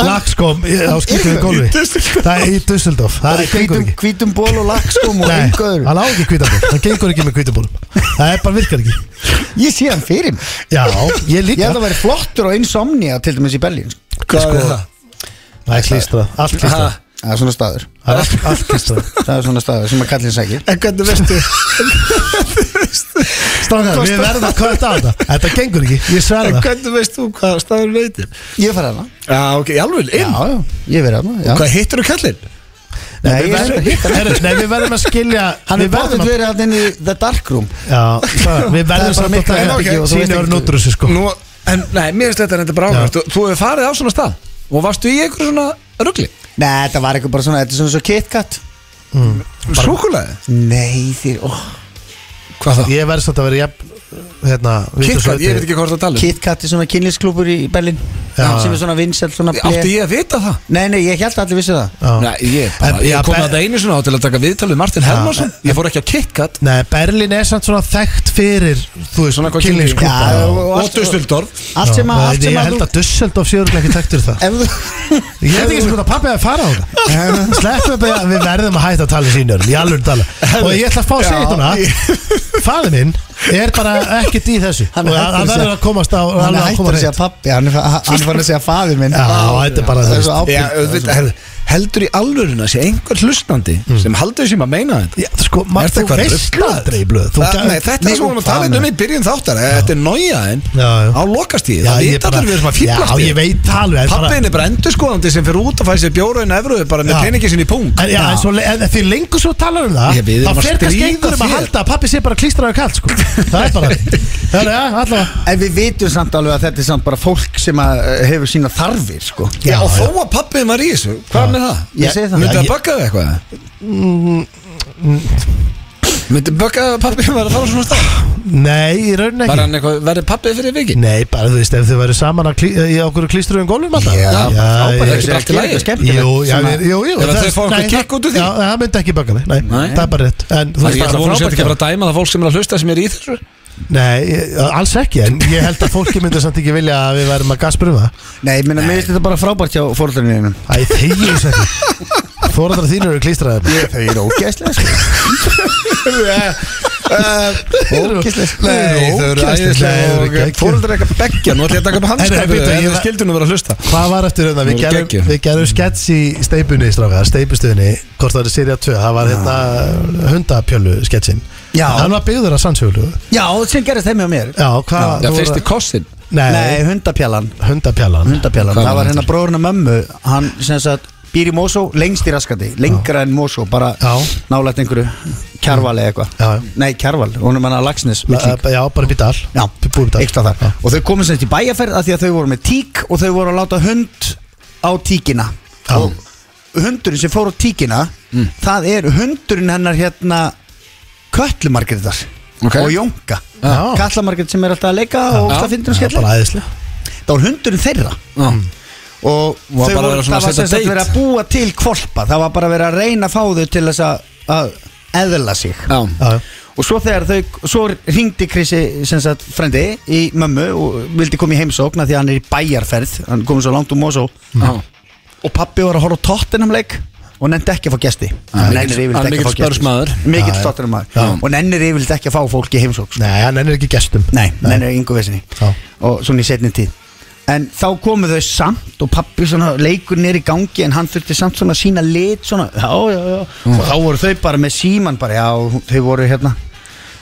[SPEAKER 2] lagskom í- á skýtum í gólfi
[SPEAKER 1] Í Düsseldorf.
[SPEAKER 2] Það er í Dusseldorf Það
[SPEAKER 3] Bara
[SPEAKER 2] er gengur
[SPEAKER 3] hvítum,
[SPEAKER 2] ekki
[SPEAKER 3] hvítum ból og lakkskóm og
[SPEAKER 2] Nei,
[SPEAKER 3] einhver
[SPEAKER 2] hann á ekki kvítaból Hann gengur ekki með kvítabólum Það er bara virkar ekki
[SPEAKER 3] Ég sé hann fyrir mér
[SPEAKER 2] Já, ég
[SPEAKER 3] Ég
[SPEAKER 2] líka
[SPEAKER 3] held að vera flottur og insomnia til dæmis í Berlín sko.
[SPEAKER 1] Hvað er það?
[SPEAKER 2] Það er klístrað, allt klístrað
[SPEAKER 3] Það er svona staður
[SPEAKER 2] Það er allt- allt klístrað
[SPEAKER 3] Það er svona staður sem að kallin sækir
[SPEAKER 1] En hvernig veistu?
[SPEAKER 2] Strákar, við verðum að kvöta á þetta Þetta gengur ekki, ég
[SPEAKER 1] En
[SPEAKER 2] sverða
[SPEAKER 1] hvernig veist þú hvað staður veitir?
[SPEAKER 3] Ég fara hana
[SPEAKER 1] Já, ok, í alveg,
[SPEAKER 3] Já,
[SPEAKER 1] inn
[SPEAKER 3] já, ég verið hana já.
[SPEAKER 1] Hvað hittir þú kallinn?
[SPEAKER 3] Nei,
[SPEAKER 2] Nei,
[SPEAKER 3] ég
[SPEAKER 2] við
[SPEAKER 3] verið hitt
[SPEAKER 2] verðum- Nei, við verðum að skilja
[SPEAKER 3] Hann er
[SPEAKER 2] við verðum
[SPEAKER 3] báttið
[SPEAKER 2] að-
[SPEAKER 3] verið hann inn í The Dark Room
[SPEAKER 2] Já, það- við verðum
[SPEAKER 3] bara
[SPEAKER 2] samt að
[SPEAKER 3] mikla
[SPEAKER 2] taka
[SPEAKER 3] herbergi og þú veist
[SPEAKER 2] Sýni
[SPEAKER 3] ekki-
[SPEAKER 2] orðin út úr þessu sko
[SPEAKER 1] Nú, en, nei, mér finnst þetta þetta bara ákvæmst Þú, þú hefur farið á svona stað og varstu í einhverju svona ruggli
[SPEAKER 3] Nei, þetta var eitthvað bara svona Þetta er svona svo KitKat
[SPEAKER 1] Súkulæði
[SPEAKER 3] Nei, þér, ó
[SPEAKER 1] Hvað það?
[SPEAKER 2] Ég verð samt að vera jafn hérna,
[SPEAKER 1] Kitkat, ég veit ekki hvað það tala um
[SPEAKER 3] KitKat er svona kynlífsklúpur í Berlín
[SPEAKER 2] Já.
[SPEAKER 3] sem er svona vinsel svona ble-
[SPEAKER 1] Átti ég að vita það?
[SPEAKER 3] Nei, nei, ég held að allir vissi það
[SPEAKER 1] Nei, ég, bara,
[SPEAKER 2] En-
[SPEAKER 1] ég
[SPEAKER 2] já,
[SPEAKER 1] kom
[SPEAKER 2] Ber-
[SPEAKER 1] að þetta einu svona á til að taka viðtal við Martin Hermansson Ég fór ekki á KitKat
[SPEAKER 2] Nei, Berlín er samt svona þekkt fyrir Þú
[SPEAKER 1] Svona
[SPEAKER 2] veist, svona
[SPEAKER 1] hvað
[SPEAKER 2] kynlífsklúpa
[SPEAKER 3] Já,
[SPEAKER 2] Já,
[SPEAKER 1] Og
[SPEAKER 3] allt-
[SPEAKER 1] Dusseldorf
[SPEAKER 3] Allt sem að,
[SPEAKER 2] Já,
[SPEAKER 3] allt
[SPEAKER 2] Ég
[SPEAKER 3] sem að
[SPEAKER 2] held að Dusseldorf séur ekki þekkt fyrir það
[SPEAKER 3] Ef þú
[SPEAKER 2] Ég veit ekki sem hvort að pappi að fara á það Sleppum við að við verðum að hætta að tala í sínu orðin Í alveg tala Og ég ætla að fá að segja
[SPEAKER 3] Já,
[SPEAKER 2] þetta Fæði minn er bara ekkert í þessu
[SPEAKER 3] Hann er
[SPEAKER 2] Og
[SPEAKER 3] hættur
[SPEAKER 2] hann
[SPEAKER 3] að
[SPEAKER 2] verður
[SPEAKER 3] segja-
[SPEAKER 2] að komast á
[SPEAKER 3] Hann
[SPEAKER 2] alveg
[SPEAKER 3] er hættur
[SPEAKER 2] koma
[SPEAKER 3] að segja
[SPEAKER 2] hreint.
[SPEAKER 3] pappi Hann er fa- hann er fann að segja faði minn
[SPEAKER 2] Já, þetta er bara
[SPEAKER 3] Það
[SPEAKER 2] þú
[SPEAKER 3] er svo
[SPEAKER 2] veist.
[SPEAKER 1] Já,
[SPEAKER 3] ábyrg
[SPEAKER 1] auðvitað, herðu, heldur í alvöruna sé einhver hlustandi sem haldur sem að meina þetta
[SPEAKER 2] Já, Sko,
[SPEAKER 1] Er
[SPEAKER 2] maður,
[SPEAKER 1] þetta
[SPEAKER 2] þú
[SPEAKER 1] hvað
[SPEAKER 2] veist
[SPEAKER 1] ruglað?
[SPEAKER 2] aldrei í blöð Þú
[SPEAKER 1] Þa,
[SPEAKER 2] gaf-
[SPEAKER 1] nei, Þetta er sem
[SPEAKER 2] Nei,
[SPEAKER 1] við erum að
[SPEAKER 2] hvað
[SPEAKER 1] tala um í byrjun þáttar Þetta er nájaðin
[SPEAKER 2] Já, já.
[SPEAKER 1] á lokastíð Það
[SPEAKER 2] ég
[SPEAKER 1] vita allir við erum að fýblast
[SPEAKER 2] Já, ég veit það alveg en bara-
[SPEAKER 1] Pappin er bara endurskoðandi sem fyrir út að fæða sér bjóraðin Evruðu bara með
[SPEAKER 2] Já.
[SPEAKER 1] peningi sinni í pung
[SPEAKER 2] En, já, en, svo, le- en því lengur svo talar um það
[SPEAKER 1] Ég- við erum
[SPEAKER 2] Þá
[SPEAKER 1] að
[SPEAKER 2] fer kannski
[SPEAKER 1] stríða
[SPEAKER 2] einhverjum að
[SPEAKER 1] þér.
[SPEAKER 2] halda að pappi sé bara klístraður kall sko. Það er bara Það er ja, allavega
[SPEAKER 3] En við vitum samt alveg að þetta er samt bara fólk sem að eh, hefur sína þarfir sko.
[SPEAKER 1] Já,
[SPEAKER 2] Já,
[SPEAKER 1] og
[SPEAKER 2] já.
[SPEAKER 1] þó að pappin var í þessu Hvað með það?
[SPEAKER 3] Ég segi það.
[SPEAKER 1] Myndi
[SPEAKER 3] Já,
[SPEAKER 1] það
[SPEAKER 3] ég-
[SPEAKER 1] bögga þig eitthvað?
[SPEAKER 2] Mm-hmm.
[SPEAKER 1] Myndi bögga að pappin var að fara svona stað?
[SPEAKER 2] Nei, í rauninni
[SPEAKER 1] Var
[SPEAKER 2] ekki
[SPEAKER 1] hann eitthvað, verði pappið fyrir vikið?
[SPEAKER 2] Nei, bara þú veist, ef þið væri saman að klí, í okkur klístruðum gólfum alltaf
[SPEAKER 3] Já,
[SPEAKER 2] já,
[SPEAKER 1] frábært,
[SPEAKER 2] ég-
[SPEAKER 1] ekki allt í lagi.
[SPEAKER 3] Eitthvað skemmtilegt
[SPEAKER 2] Jú, já,
[SPEAKER 3] sem að-
[SPEAKER 2] við- jú, jú
[SPEAKER 1] Ef að
[SPEAKER 2] það-
[SPEAKER 1] þau fá eitthvað
[SPEAKER 2] nei,
[SPEAKER 1] kikk út úr því?
[SPEAKER 2] Já, það myndi ekki baka mig, nei,
[SPEAKER 1] Nei.
[SPEAKER 2] það er bara rétt En þú
[SPEAKER 1] Það
[SPEAKER 2] veist,
[SPEAKER 1] er
[SPEAKER 2] það
[SPEAKER 1] alltaf
[SPEAKER 2] er
[SPEAKER 1] vonast ekki
[SPEAKER 2] frábært
[SPEAKER 1] að fara
[SPEAKER 2] gæði.
[SPEAKER 1] að dæma það fólk sem er að hlusta sem er í þessu
[SPEAKER 2] Nei, ég- alls ekki, en ég held að fólki myndi samt ekki vilja að við værum að gaspruma
[SPEAKER 3] Nei, ég meina, mér finnst þetta bara frábært hjá fórhaldarinninu
[SPEAKER 2] Æ, þegið þessu ekki Fóraðar þínur eru klístraðir
[SPEAKER 3] Þau eru ógæslega sko.
[SPEAKER 2] Ógeðslega
[SPEAKER 1] Nei, þau eru æðislega og fóröldar eitthvað beggja Nú ætlum ég að taka upp
[SPEAKER 2] Herra,
[SPEAKER 1] hanskapu
[SPEAKER 2] bíddu, ég
[SPEAKER 1] en
[SPEAKER 2] var-
[SPEAKER 1] skildu nú vera að hlusta
[SPEAKER 2] Hvað var eftir þetta? Við
[SPEAKER 1] Nú eru
[SPEAKER 2] gerum,
[SPEAKER 1] geggjur.
[SPEAKER 2] við gerum skets í steipinni, stráka, steipistöðinni Hvort það er Sirja 2, það var hérna hundapjölu sketsin
[SPEAKER 3] Já.
[SPEAKER 2] Hann var byggður að sannsjölu
[SPEAKER 3] Já, sem gerist þeim hjá mér
[SPEAKER 2] Já, hvað?
[SPEAKER 1] Já,
[SPEAKER 2] þú
[SPEAKER 1] fyrsti
[SPEAKER 2] voru-
[SPEAKER 1] kossin
[SPEAKER 2] Nei,
[SPEAKER 3] Nei, hundapjallan
[SPEAKER 2] hundapjalan
[SPEAKER 3] Hundapjallan,
[SPEAKER 1] Hvað
[SPEAKER 3] það
[SPEAKER 1] var
[SPEAKER 3] var hérna bróðurinn að mömmu Hann sem sagt býr í Mosó lengst í raskandi Lengra en Mosó, bara
[SPEAKER 2] Já.
[SPEAKER 3] nálægt einhverju Kjarval eða
[SPEAKER 2] Já, já.
[SPEAKER 3] eitthvað Nei, Kjarval, hún er manna Lagsnes
[SPEAKER 2] Já, bara upp í dal
[SPEAKER 3] Já,
[SPEAKER 2] Búið upp í dal
[SPEAKER 3] eitthvað þar
[SPEAKER 2] Já.
[SPEAKER 3] Og þau komum sem sagt í bæjarferð af því að þau voru með tík Og þau voru að láta hund á tíkina
[SPEAKER 2] Já. Mm.
[SPEAKER 3] Og hundurinn sem fór á tíkina Það er hundurinn hennar hérna Köllumargriðar
[SPEAKER 1] Ok.
[SPEAKER 3] Og Jónka
[SPEAKER 2] Já.
[SPEAKER 3] Kallamargrið sem er alltaf að leika og
[SPEAKER 1] Já.
[SPEAKER 3] það finnir hún
[SPEAKER 2] Já,
[SPEAKER 3] skellir
[SPEAKER 2] Bara æðislega
[SPEAKER 3] Það var hundurinn þeirra og
[SPEAKER 1] Var
[SPEAKER 3] þau
[SPEAKER 1] bara
[SPEAKER 3] voru,
[SPEAKER 1] verið svona
[SPEAKER 3] það
[SPEAKER 1] að
[SPEAKER 3] var
[SPEAKER 1] setja
[SPEAKER 3] sem sagt
[SPEAKER 1] date?
[SPEAKER 3] verið að búa til kvolpa það var bara verið að reyna að fá þau til þess að- að eðla sig
[SPEAKER 1] Já,
[SPEAKER 2] Já, já.
[SPEAKER 3] og svo þegar þau, svo ringdi Krissi sem sagt frendi í mömmu og vildi koma í heimsókna því að hann er í bæjarferð hann komið svo langt um Mosó
[SPEAKER 1] já
[SPEAKER 3] og pappi var að horfa á Tottenham leik og nefndi ekki að fá gesti hann
[SPEAKER 1] mikill-
[SPEAKER 3] nennir
[SPEAKER 1] hann
[SPEAKER 3] yfirleitt ekki að
[SPEAKER 1] mikill
[SPEAKER 3] fá gesti
[SPEAKER 1] Spurs-maður.
[SPEAKER 3] mikill
[SPEAKER 2] Já, já.
[SPEAKER 3] Tottenham
[SPEAKER 2] Já.
[SPEAKER 3] maður og nennir yfirleitt ekki að fá fólk í heimsókn
[SPEAKER 2] Nei, hann er ekki gestum
[SPEAKER 3] Nei, nei, nei, yngu vesinni
[SPEAKER 2] Já.
[SPEAKER 3] Og svona í setni tíð en þá komu þau samt og pappi svona leikurinn er í gangi en hann þurfti samt svona sína lit svona, já, já, já og þá voru þau bara með síman bara, já, og þau voru hérna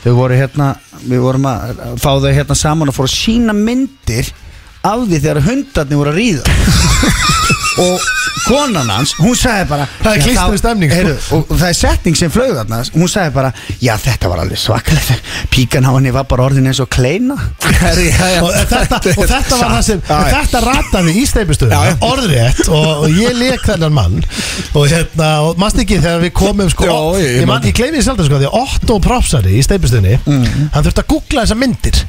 [SPEAKER 3] þau voru hérna, við vorum að fá þau hérna saman og fóru að sína myndir af því þegar hundarnir voru að ríða og konan hans, hún sagði bara
[SPEAKER 2] Það er
[SPEAKER 3] já,
[SPEAKER 2] klístruð
[SPEAKER 3] þá-
[SPEAKER 2] stemning, sko.
[SPEAKER 3] heyrðu, og, og það er setning sem flög þarna hún sagði bara, já þetta var alveg svakalegt píkan á henni var bara orðin eins og kleina Herri, já, já.
[SPEAKER 2] og þetta, og þetta var það sem
[SPEAKER 3] Já, já.
[SPEAKER 2] þetta rataði í
[SPEAKER 3] Já, já.
[SPEAKER 2] steipustöðum orðrétt og, og ég leik þennan mann og hérna, og maður ekki þegar við komum sko,
[SPEAKER 1] Já, ég-
[SPEAKER 2] ég, man, ég gleymi því sjaldan sko því að Otto Propsari í steipustöðinni
[SPEAKER 3] Mm.
[SPEAKER 2] hann þurfti að googla þessar myndir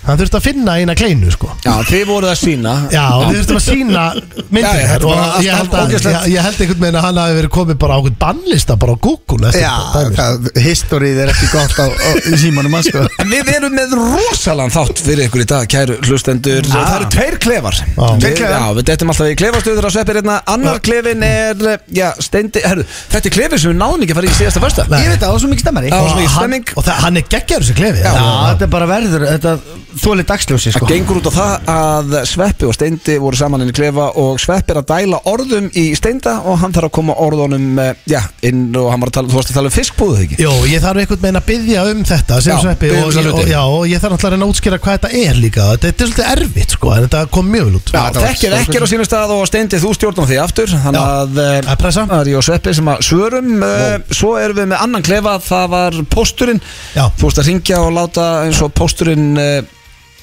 [SPEAKER 2] hann þurfti að finna eina kleinu sko
[SPEAKER 1] Já, þið voruð að sína
[SPEAKER 2] Já, og við þurftum að sína
[SPEAKER 1] Já, já,
[SPEAKER 2] myndir
[SPEAKER 1] þetta er bara
[SPEAKER 2] og ég
[SPEAKER 1] allt
[SPEAKER 2] held, að,
[SPEAKER 1] ógeðslegt.
[SPEAKER 2] ég, ég held einhvern veginn að hann hafi verið komið bara á einhvern bannlista bara á Google eftir
[SPEAKER 3] já,
[SPEAKER 2] þetta dæmi, sko.
[SPEAKER 3] það, histórið er ekki gott á, á símanum hans sko
[SPEAKER 1] En við erum með rosalan þátt fyrir ykkur í dag, kæru hlustendur
[SPEAKER 3] Ah.
[SPEAKER 1] Það eru tveir klefar
[SPEAKER 2] Tveir
[SPEAKER 1] Við, já, við dettum alltaf í klefastöður að sveppir hérna Annar klefin er, eh, já, steindi herru, Þetta er klefin sem við náðum ekki að fara í síðasta fyrsta
[SPEAKER 2] Nei.
[SPEAKER 3] ég veit að það var svo mikið stemmari
[SPEAKER 1] Já,
[SPEAKER 2] Og
[SPEAKER 1] svo mikið
[SPEAKER 2] hann-
[SPEAKER 1] stemming.
[SPEAKER 2] Og það, hann er geggjaður sem klefi
[SPEAKER 3] já, þetta er bara verður þetta þóli dagsljósi
[SPEAKER 1] Það
[SPEAKER 3] sko
[SPEAKER 1] gengur út á það að Sveppi og Steindi voru saman inn í klefa og Sveppi er að dæla orðum í Steinda og hann þarf að koma orðunum eh, já, inn og hann var að tala, þú varst að tala um fiskbúðu ekki?
[SPEAKER 2] Jó, ég þarf einhvern veginn að byggja um þetta sem
[SPEAKER 1] Já,
[SPEAKER 2] sveppi
[SPEAKER 1] biðja um
[SPEAKER 2] og,
[SPEAKER 1] þessa
[SPEAKER 2] og,
[SPEAKER 1] hluti.
[SPEAKER 2] já, og ég þarf náttúrulega að reyna að útskýra hvað þetta er líka Þetta, þetta er svolítið erfitt sko, en þetta kom mjög vel út
[SPEAKER 1] Já,
[SPEAKER 3] þetta var
[SPEAKER 1] þekkir
[SPEAKER 3] stór
[SPEAKER 1] ekki er á sínum stað og Steindi þú stjórnum því aftur þannig
[SPEAKER 2] Já,
[SPEAKER 1] að eh,
[SPEAKER 2] að pressa.
[SPEAKER 1] það er ég og Sveppi sem að svörum eh, svo erum við með annan klefa það var pósturinn
[SPEAKER 2] Já.
[SPEAKER 1] þú veist að ringja og láta eins og pósturinn eh,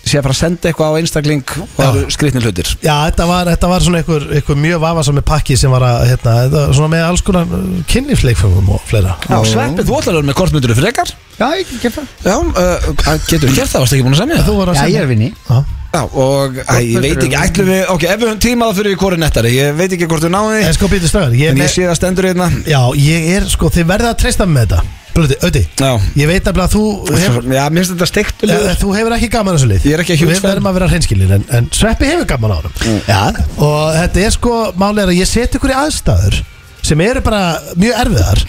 [SPEAKER 1] sé að fara að senda eitthvað á einstakling og
[SPEAKER 2] Já.
[SPEAKER 1] það eru skrifni hlutir
[SPEAKER 2] Já, þetta var, þetta var svona einhver, einhver mjög vafasami pakki sem var að, hérna, þetta var svona með alls konar kynlífsleikfum og fleira
[SPEAKER 1] Já, Sveppi, þú ætlar að vera með kortmynduru frekar
[SPEAKER 3] já, ég get það
[SPEAKER 1] Já, uh, getur gert það, varst ekki búin að semja það?
[SPEAKER 2] Þú voru að
[SPEAKER 3] já, ég
[SPEAKER 2] segja
[SPEAKER 3] er vinni
[SPEAKER 2] Já.
[SPEAKER 1] Já, og æ, ég veit ekki, ætlum við, ok, ef við höfum tíma þá fyrir við hvori nettari, ég veit ekki hvort við náum því,
[SPEAKER 2] En sko býtið stöðar,
[SPEAKER 1] en
[SPEAKER 2] ég, er
[SPEAKER 1] ég
[SPEAKER 2] með-
[SPEAKER 1] sé það stendur hérna,
[SPEAKER 2] já, ég er sko, þið verða að treysta með þetta Blöti, auði,
[SPEAKER 1] já,
[SPEAKER 2] ég veit nefnilega að þú hef,
[SPEAKER 1] já, mér finnst þetta steikt
[SPEAKER 2] Eh, Þú hefur ekki gaman að þessu lið
[SPEAKER 1] Ég er ekki huge
[SPEAKER 2] Við
[SPEAKER 1] fan. Mm.
[SPEAKER 2] verðum að vera hreinskilin en, en Sveppi hefur gaman á honum
[SPEAKER 3] já,
[SPEAKER 2] Og þetta er sko Málið er að ég seti ykkur í aðstæður Sem eru bara mjög erfiðar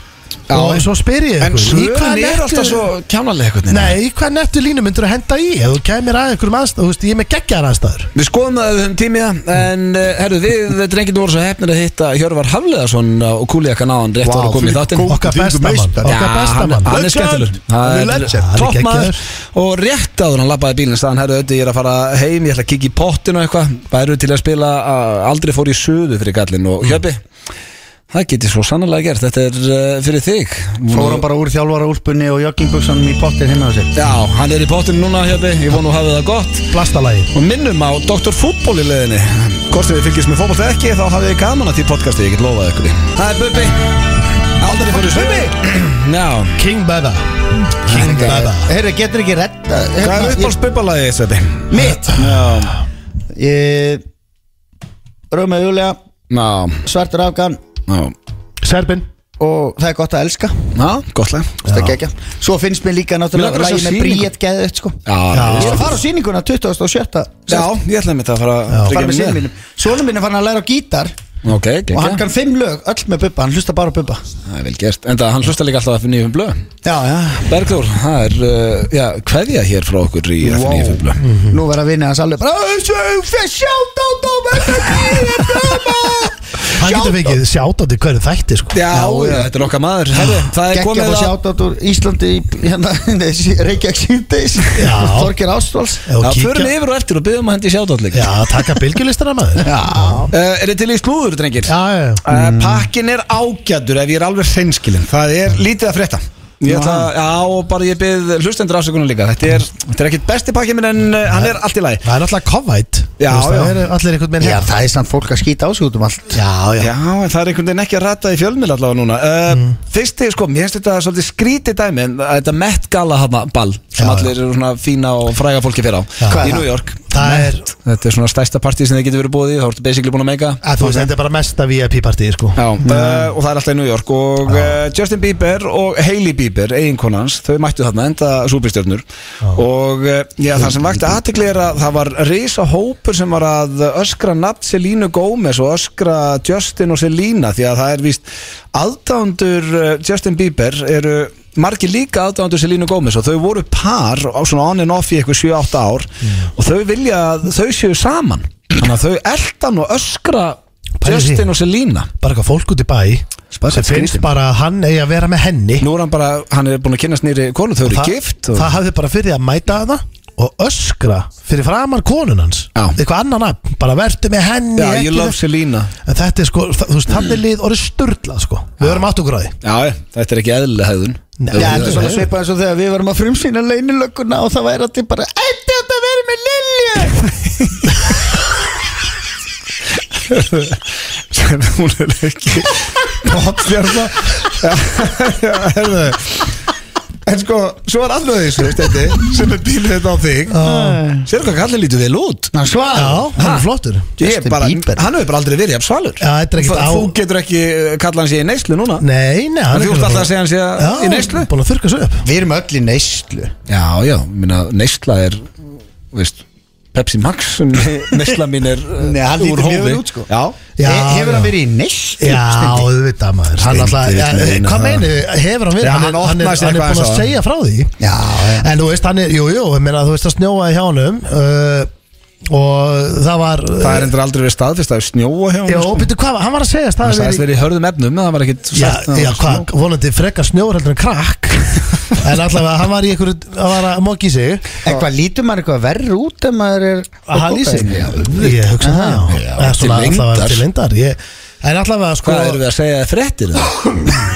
[SPEAKER 1] Já,
[SPEAKER 2] Og
[SPEAKER 1] en-
[SPEAKER 2] svo spyr ég
[SPEAKER 1] En
[SPEAKER 2] ykkur í hvaða
[SPEAKER 1] svörin er
[SPEAKER 2] nettu-
[SPEAKER 1] alltaf svo kjánalega eitthvað
[SPEAKER 2] Nei, í hvað nettu línu myndur að henda í Ef þú kemur að ykkur um aðstæður Þú veist, ég er með geggjar aðstæður
[SPEAKER 1] Við skoðum það ef við höfum tíma í það, en uh, herru, við drengir voru svo hefnir að hitta Hjörvar Hafleðarsson og Kúliakan á hann rétt
[SPEAKER 3] Vá,
[SPEAKER 1] ára komið í
[SPEAKER 3] þvílík
[SPEAKER 1] þáttinn.
[SPEAKER 3] góð-
[SPEAKER 2] Okkar
[SPEAKER 3] Þvílíkur
[SPEAKER 2] besta mann
[SPEAKER 3] meistari.
[SPEAKER 2] Okkar besta
[SPEAKER 1] hann,
[SPEAKER 2] mann
[SPEAKER 1] hann er skemmtilegur
[SPEAKER 3] Hann er
[SPEAKER 1] Það
[SPEAKER 3] legend.
[SPEAKER 2] Hann er
[SPEAKER 1] Toppmaður
[SPEAKER 2] geggjaður.
[SPEAKER 1] Og rétt áður en hann lappaði bílinn Staðan herru öddi, ég er að fara heim Ég ætla að kikki í pottin og eitthvað Væru til að spila að Aldrei fór í söðu fyrir gallin Og hjöpi Það geti svo sannlega gert Þetta er uh, fyrir þig
[SPEAKER 3] fór hann bara úr þjálfara úlpunni og joggingbuxanum í pottin heima á sér
[SPEAKER 1] Já, hann er í pottin núna hjöpi Ég vonu að hafa það gott
[SPEAKER 2] Blastalagi
[SPEAKER 1] Og minnum á Dr. Fútból í leðinni Hvort sem við fylgjast með fótból ekki Þá hafið þið gaman að því podcasti Ég get lofað ykkur því. Það er Bubbi Aldrei fór í söðu Já
[SPEAKER 2] King Bada King Bada
[SPEAKER 3] Heyrðu, getur ekki hérna, redda
[SPEAKER 1] Hvað er uppáls Bubbalagið, Sveppi?
[SPEAKER 3] Mitt Ég Rúma Júlia,
[SPEAKER 1] Ná,
[SPEAKER 3] svartur afgan
[SPEAKER 1] ná
[SPEAKER 2] Serbin
[SPEAKER 3] Og það er gott að elska
[SPEAKER 1] Já, gott lag
[SPEAKER 3] Það er ekki Svo finnst mér líka
[SPEAKER 1] Mig
[SPEAKER 3] náttúrulega
[SPEAKER 1] langar að sjá
[SPEAKER 3] Lægi með
[SPEAKER 1] sýningu.
[SPEAKER 3] Bríett geðið sko
[SPEAKER 1] Já,
[SPEAKER 3] Ég er að fara á sýninguna 27.
[SPEAKER 1] já ég ætlaði mitt að fara að
[SPEAKER 3] Fara með
[SPEAKER 1] tryggja
[SPEAKER 3] sinni
[SPEAKER 1] mig.
[SPEAKER 3] mínum Sónu mín er farin að læra á gítar
[SPEAKER 1] Ok,
[SPEAKER 3] Og hann
[SPEAKER 1] ekki
[SPEAKER 3] kann fimm lög Öll með bubba Hann hlusta bara á bubba
[SPEAKER 1] Það er vel gert Enda, hann hlusta líka alltaf að finna í blöð
[SPEAKER 3] Já, já
[SPEAKER 1] Berglór, það er, uh, já, kveðja hér frá okkur í wow.
[SPEAKER 3] Wow.
[SPEAKER 1] FNF blöð
[SPEAKER 3] Nú verða vinni hans alveg bara Sjátt á dóm
[SPEAKER 2] Hann getur fengið sjátátt í hverju þætti sko
[SPEAKER 1] Já, já, þetta er okkar maður Herri, það er
[SPEAKER 3] Gekkja
[SPEAKER 1] komið
[SPEAKER 3] og
[SPEAKER 1] að
[SPEAKER 3] sjátt át úr Íslandi í- hérna, Reykjavík síðdeis
[SPEAKER 2] Já.
[SPEAKER 3] Þorgir Ástváls
[SPEAKER 2] Ef þú
[SPEAKER 1] Já,
[SPEAKER 2] kíkja-
[SPEAKER 1] förum við yfir og eftir og byggum að hendi sjátt allir
[SPEAKER 2] Já, taka bylgjulistana maður Já,
[SPEAKER 1] uh, Er þið til í slúður, drengir?
[SPEAKER 2] já, já.
[SPEAKER 1] Uh, pakkin er ágætur ef ég er alveg hreinskilinn Það er lítið að frétta Ég ætla, já, og bara ég bygg hlustendur afsökunar líka Þetta er, þetta er ekkit besti pakkin minn en uh, hann er allt í lagi
[SPEAKER 2] Það er alltaf COVID
[SPEAKER 1] Já, já.
[SPEAKER 2] Það er allir einhvern veginn
[SPEAKER 3] Já,
[SPEAKER 2] hérna.
[SPEAKER 3] það er samt fólk að skýta á sig út um allt
[SPEAKER 2] já, já,
[SPEAKER 1] Já, en það er einhvern veginn ekki að rata í fjölmil allavega núna uh, Fyrsti, sko, mér finnst þetta svolítið skrítið dæmi en Þetta Met Gala hana, ball sem
[SPEAKER 2] Já,
[SPEAKER 1] allir eru svona fína og fræga fólki fyrir á
[SPEAKER 2] Hvað
[SPEAKER 1] í
[SPEAKER 3] er
[SPEAKER 1] New
[SPEAKER 3] það?
[SPEAKER 1] York
[SPEAKER 2] Það er,
[SPEAKER 1] Þetta er svona stærsta partí sem þið getur verið búið í þá ertu basically búin að meika
[SPEAKER 2] að þú veist, þetta er bara mesta VIP-partíð, sko
[SPEAKER 1] Já, uh, og það er alltaf í New York og uh, Justin Bieber og Hailey Bieber eiginkonans, þau mættu þarna enda súbistjörnur og uh, já, það sem vakti aðtikli er að það var risa hópur sem var að öskra nafn Selínu Gómez og öskra Justin og Selína því að það er víst aðdándur uh, Justin Bieber eru margir líka aðdándur Selínu Gómez og þau voru par á svona on and off í eitthvað 7-8 ár og þau vilja að þau séu saman Þannig að þau eldan og öskra
[SPEAKER 2] Pælið í því.
[SPEAKER 1] Justin og Selena
[SPEAKER 2] bara eitthvað fólk út í bæ
[SPEAKER 1] Spara
[SPEAKER 2] sem finnst
[SPEAKER 1] skrýtin.
[SPEAKER 2] bara að hann eigi að vera með henni
[SPEAKER 1] Nú er hann bara, hann er búin að kynast nýri konu Þau eru
[SPEAKER 2] það,
[SPEAKER 1] gift og
[SPEAKER 2] það hafði bara fyrir því að mæta það og öskra fyrir framan konun hans
[SPEAKER 1] Já.
[SPEAKER 2] eitthvað annan nafn, bara vertu með henni
[SPEAKER 1] Já,
[SPEAKER 2] ekki
[SPEAKER 1] ég love
[SPEAKER 2] þess-
[SPEAKER 1] Selena
[SPEAKER 2] en þetta er sko, þa- þú veist, þannig lið orðið sturdlað sko, við verum átt okkur á því
[SPEAKER 1] Já, þetta er ekki eðlilega hefðun
[SPEAKER 2] Nei.
[SPEAKER 3] Já, þetta er svona
[SPEAKER 2] Nei.
[SPEAKER 3] svipað eins og þegar við varum að frumsýna leynilögguna og það væri allir bara Ætti átt að vera með Lilju
[SPEAKER 1] sem hún er ekki popstjárna Já, já, herðu En sko, svo er allveg þessu, veist þetta sem er bílið þetta á þig
[SPEAKER 3] Ah.
[SPEAKER 1] Sér hvað kallið lítur vel út
[SPEAKER 3] Ná, svar
[SPEAKER 2] Já, hann
[SPEAKER 1] Ha?
[SPEAKER 2] er flottur
[SPEAKER 1] Ég er
[SPEAKER 3] Justin
[SPEAKER 1] bara,
[SPEAKER 3] Bieber.
[SPEAKER 1] Hann hefur bara aldrei verið jafn svalur
[SPEAKER 2] Já, þetta er ekkert
[SPEAKER 1] Þú-
[SPEAKER 2] á-
[SPEAKER 1] Þú getur ekki eh, kallað hann sé í neyslu núna
[SPEAKER 2] Nei, nei, hann
[SPEAKER 1] En þú ert
[SPEAKER 2] bara-
[SPEAKER 1] alltaf að segja hann sé að- í neyslu?
[SPEAKER 2] Já, búin að þurka svo upp
[SPEAKER 3] Við erum öll í neyslu
[SPEAKER 1] Já, já, minna, neysla er veist, Pepsi Max sem neysla mín er uh,
[SPEAKER 3] Nei, hann
[SPEAKER 1] úr
[SPEAKER 3] lítur mjög
[SPEAKER 1] hófi.
[SPEAKER 3] vel út, sko.
[SPEAKER 1] Já,
[SPEAKER 2] Já,
[SPEAKER 3] He- Hefur hann
[SPEAKER 2] já.
[SPEAKER 3] verið í neyslu?
[SPEAKER 2] Já,
[SPEAKER 3] Steindi?
[SPEAKER 2] auðvitað maður Hann alltaf,
[SPEAKER 1] Steindi
[SPEAKER 2] ja,
[SPEAKER 1] vill meina
[SPEAKER 2] hvað
[SPEAKER 1] það.
[SPEAKER 2] meinu, hefur hann verið
[SPEAKER 1] Já,
[SPEAKER 2] Hann
[SPEAKER 1] hann
[SPEAKER 2] er, hann er,
[SPEAKER 1] opnaði sig
[SPEAKER 2] hann er
[SPEAKER 1] eitthvað
[SPEAKER 2] búin að
[SPEAKER 1] aðeins á
[SPEAKER 2] segja frá því
[SPEAKER 3] Já, já.
[SPEAKER 2] En þú veist, hann er, jú, jú, ég meina, þú veist að snjóaði hjá honum uh, Og það var
[SPEAKER 1] það er endur aldrei verið staðfist að snjóa hjá
[SPEAKER 2] Já,
[SPEAKER 1] hann
[SPEAKER 2] býttu, hvað, hann var að segja
[SPEAKER 1] Það sagðist verið í hörðum efnum, en það var ekkit
[SPEAKER 2] Já,
[SPEAKER 1] sagt að
[SPEAKER 2] já,
[SPEAKER 1] það var
[SPEAKER 2] hvað, vonandi frekar snjór heldur en krakk En allavega, hann var í einhverju, hann var að móki sig
[SPEAKER 3] Eitthvað lítur maður eitthvað verri út en maður er
[SPEAKER 2] að hann í sig
[SPEAKER 3] Já,
[SPEAKER 2] Ég hugsa það, já
[SPEAKER 1] já,
[SPEAKER 2] Eða
[SPEAKER 1] til
[SPEAKER 2] svona allavega
[SPEAKER 1] lengdar.
[SPEAKER 2] til lindar En allavega, sko
[SPEAKER 1] Hvað erum við að segja þér fréttir það?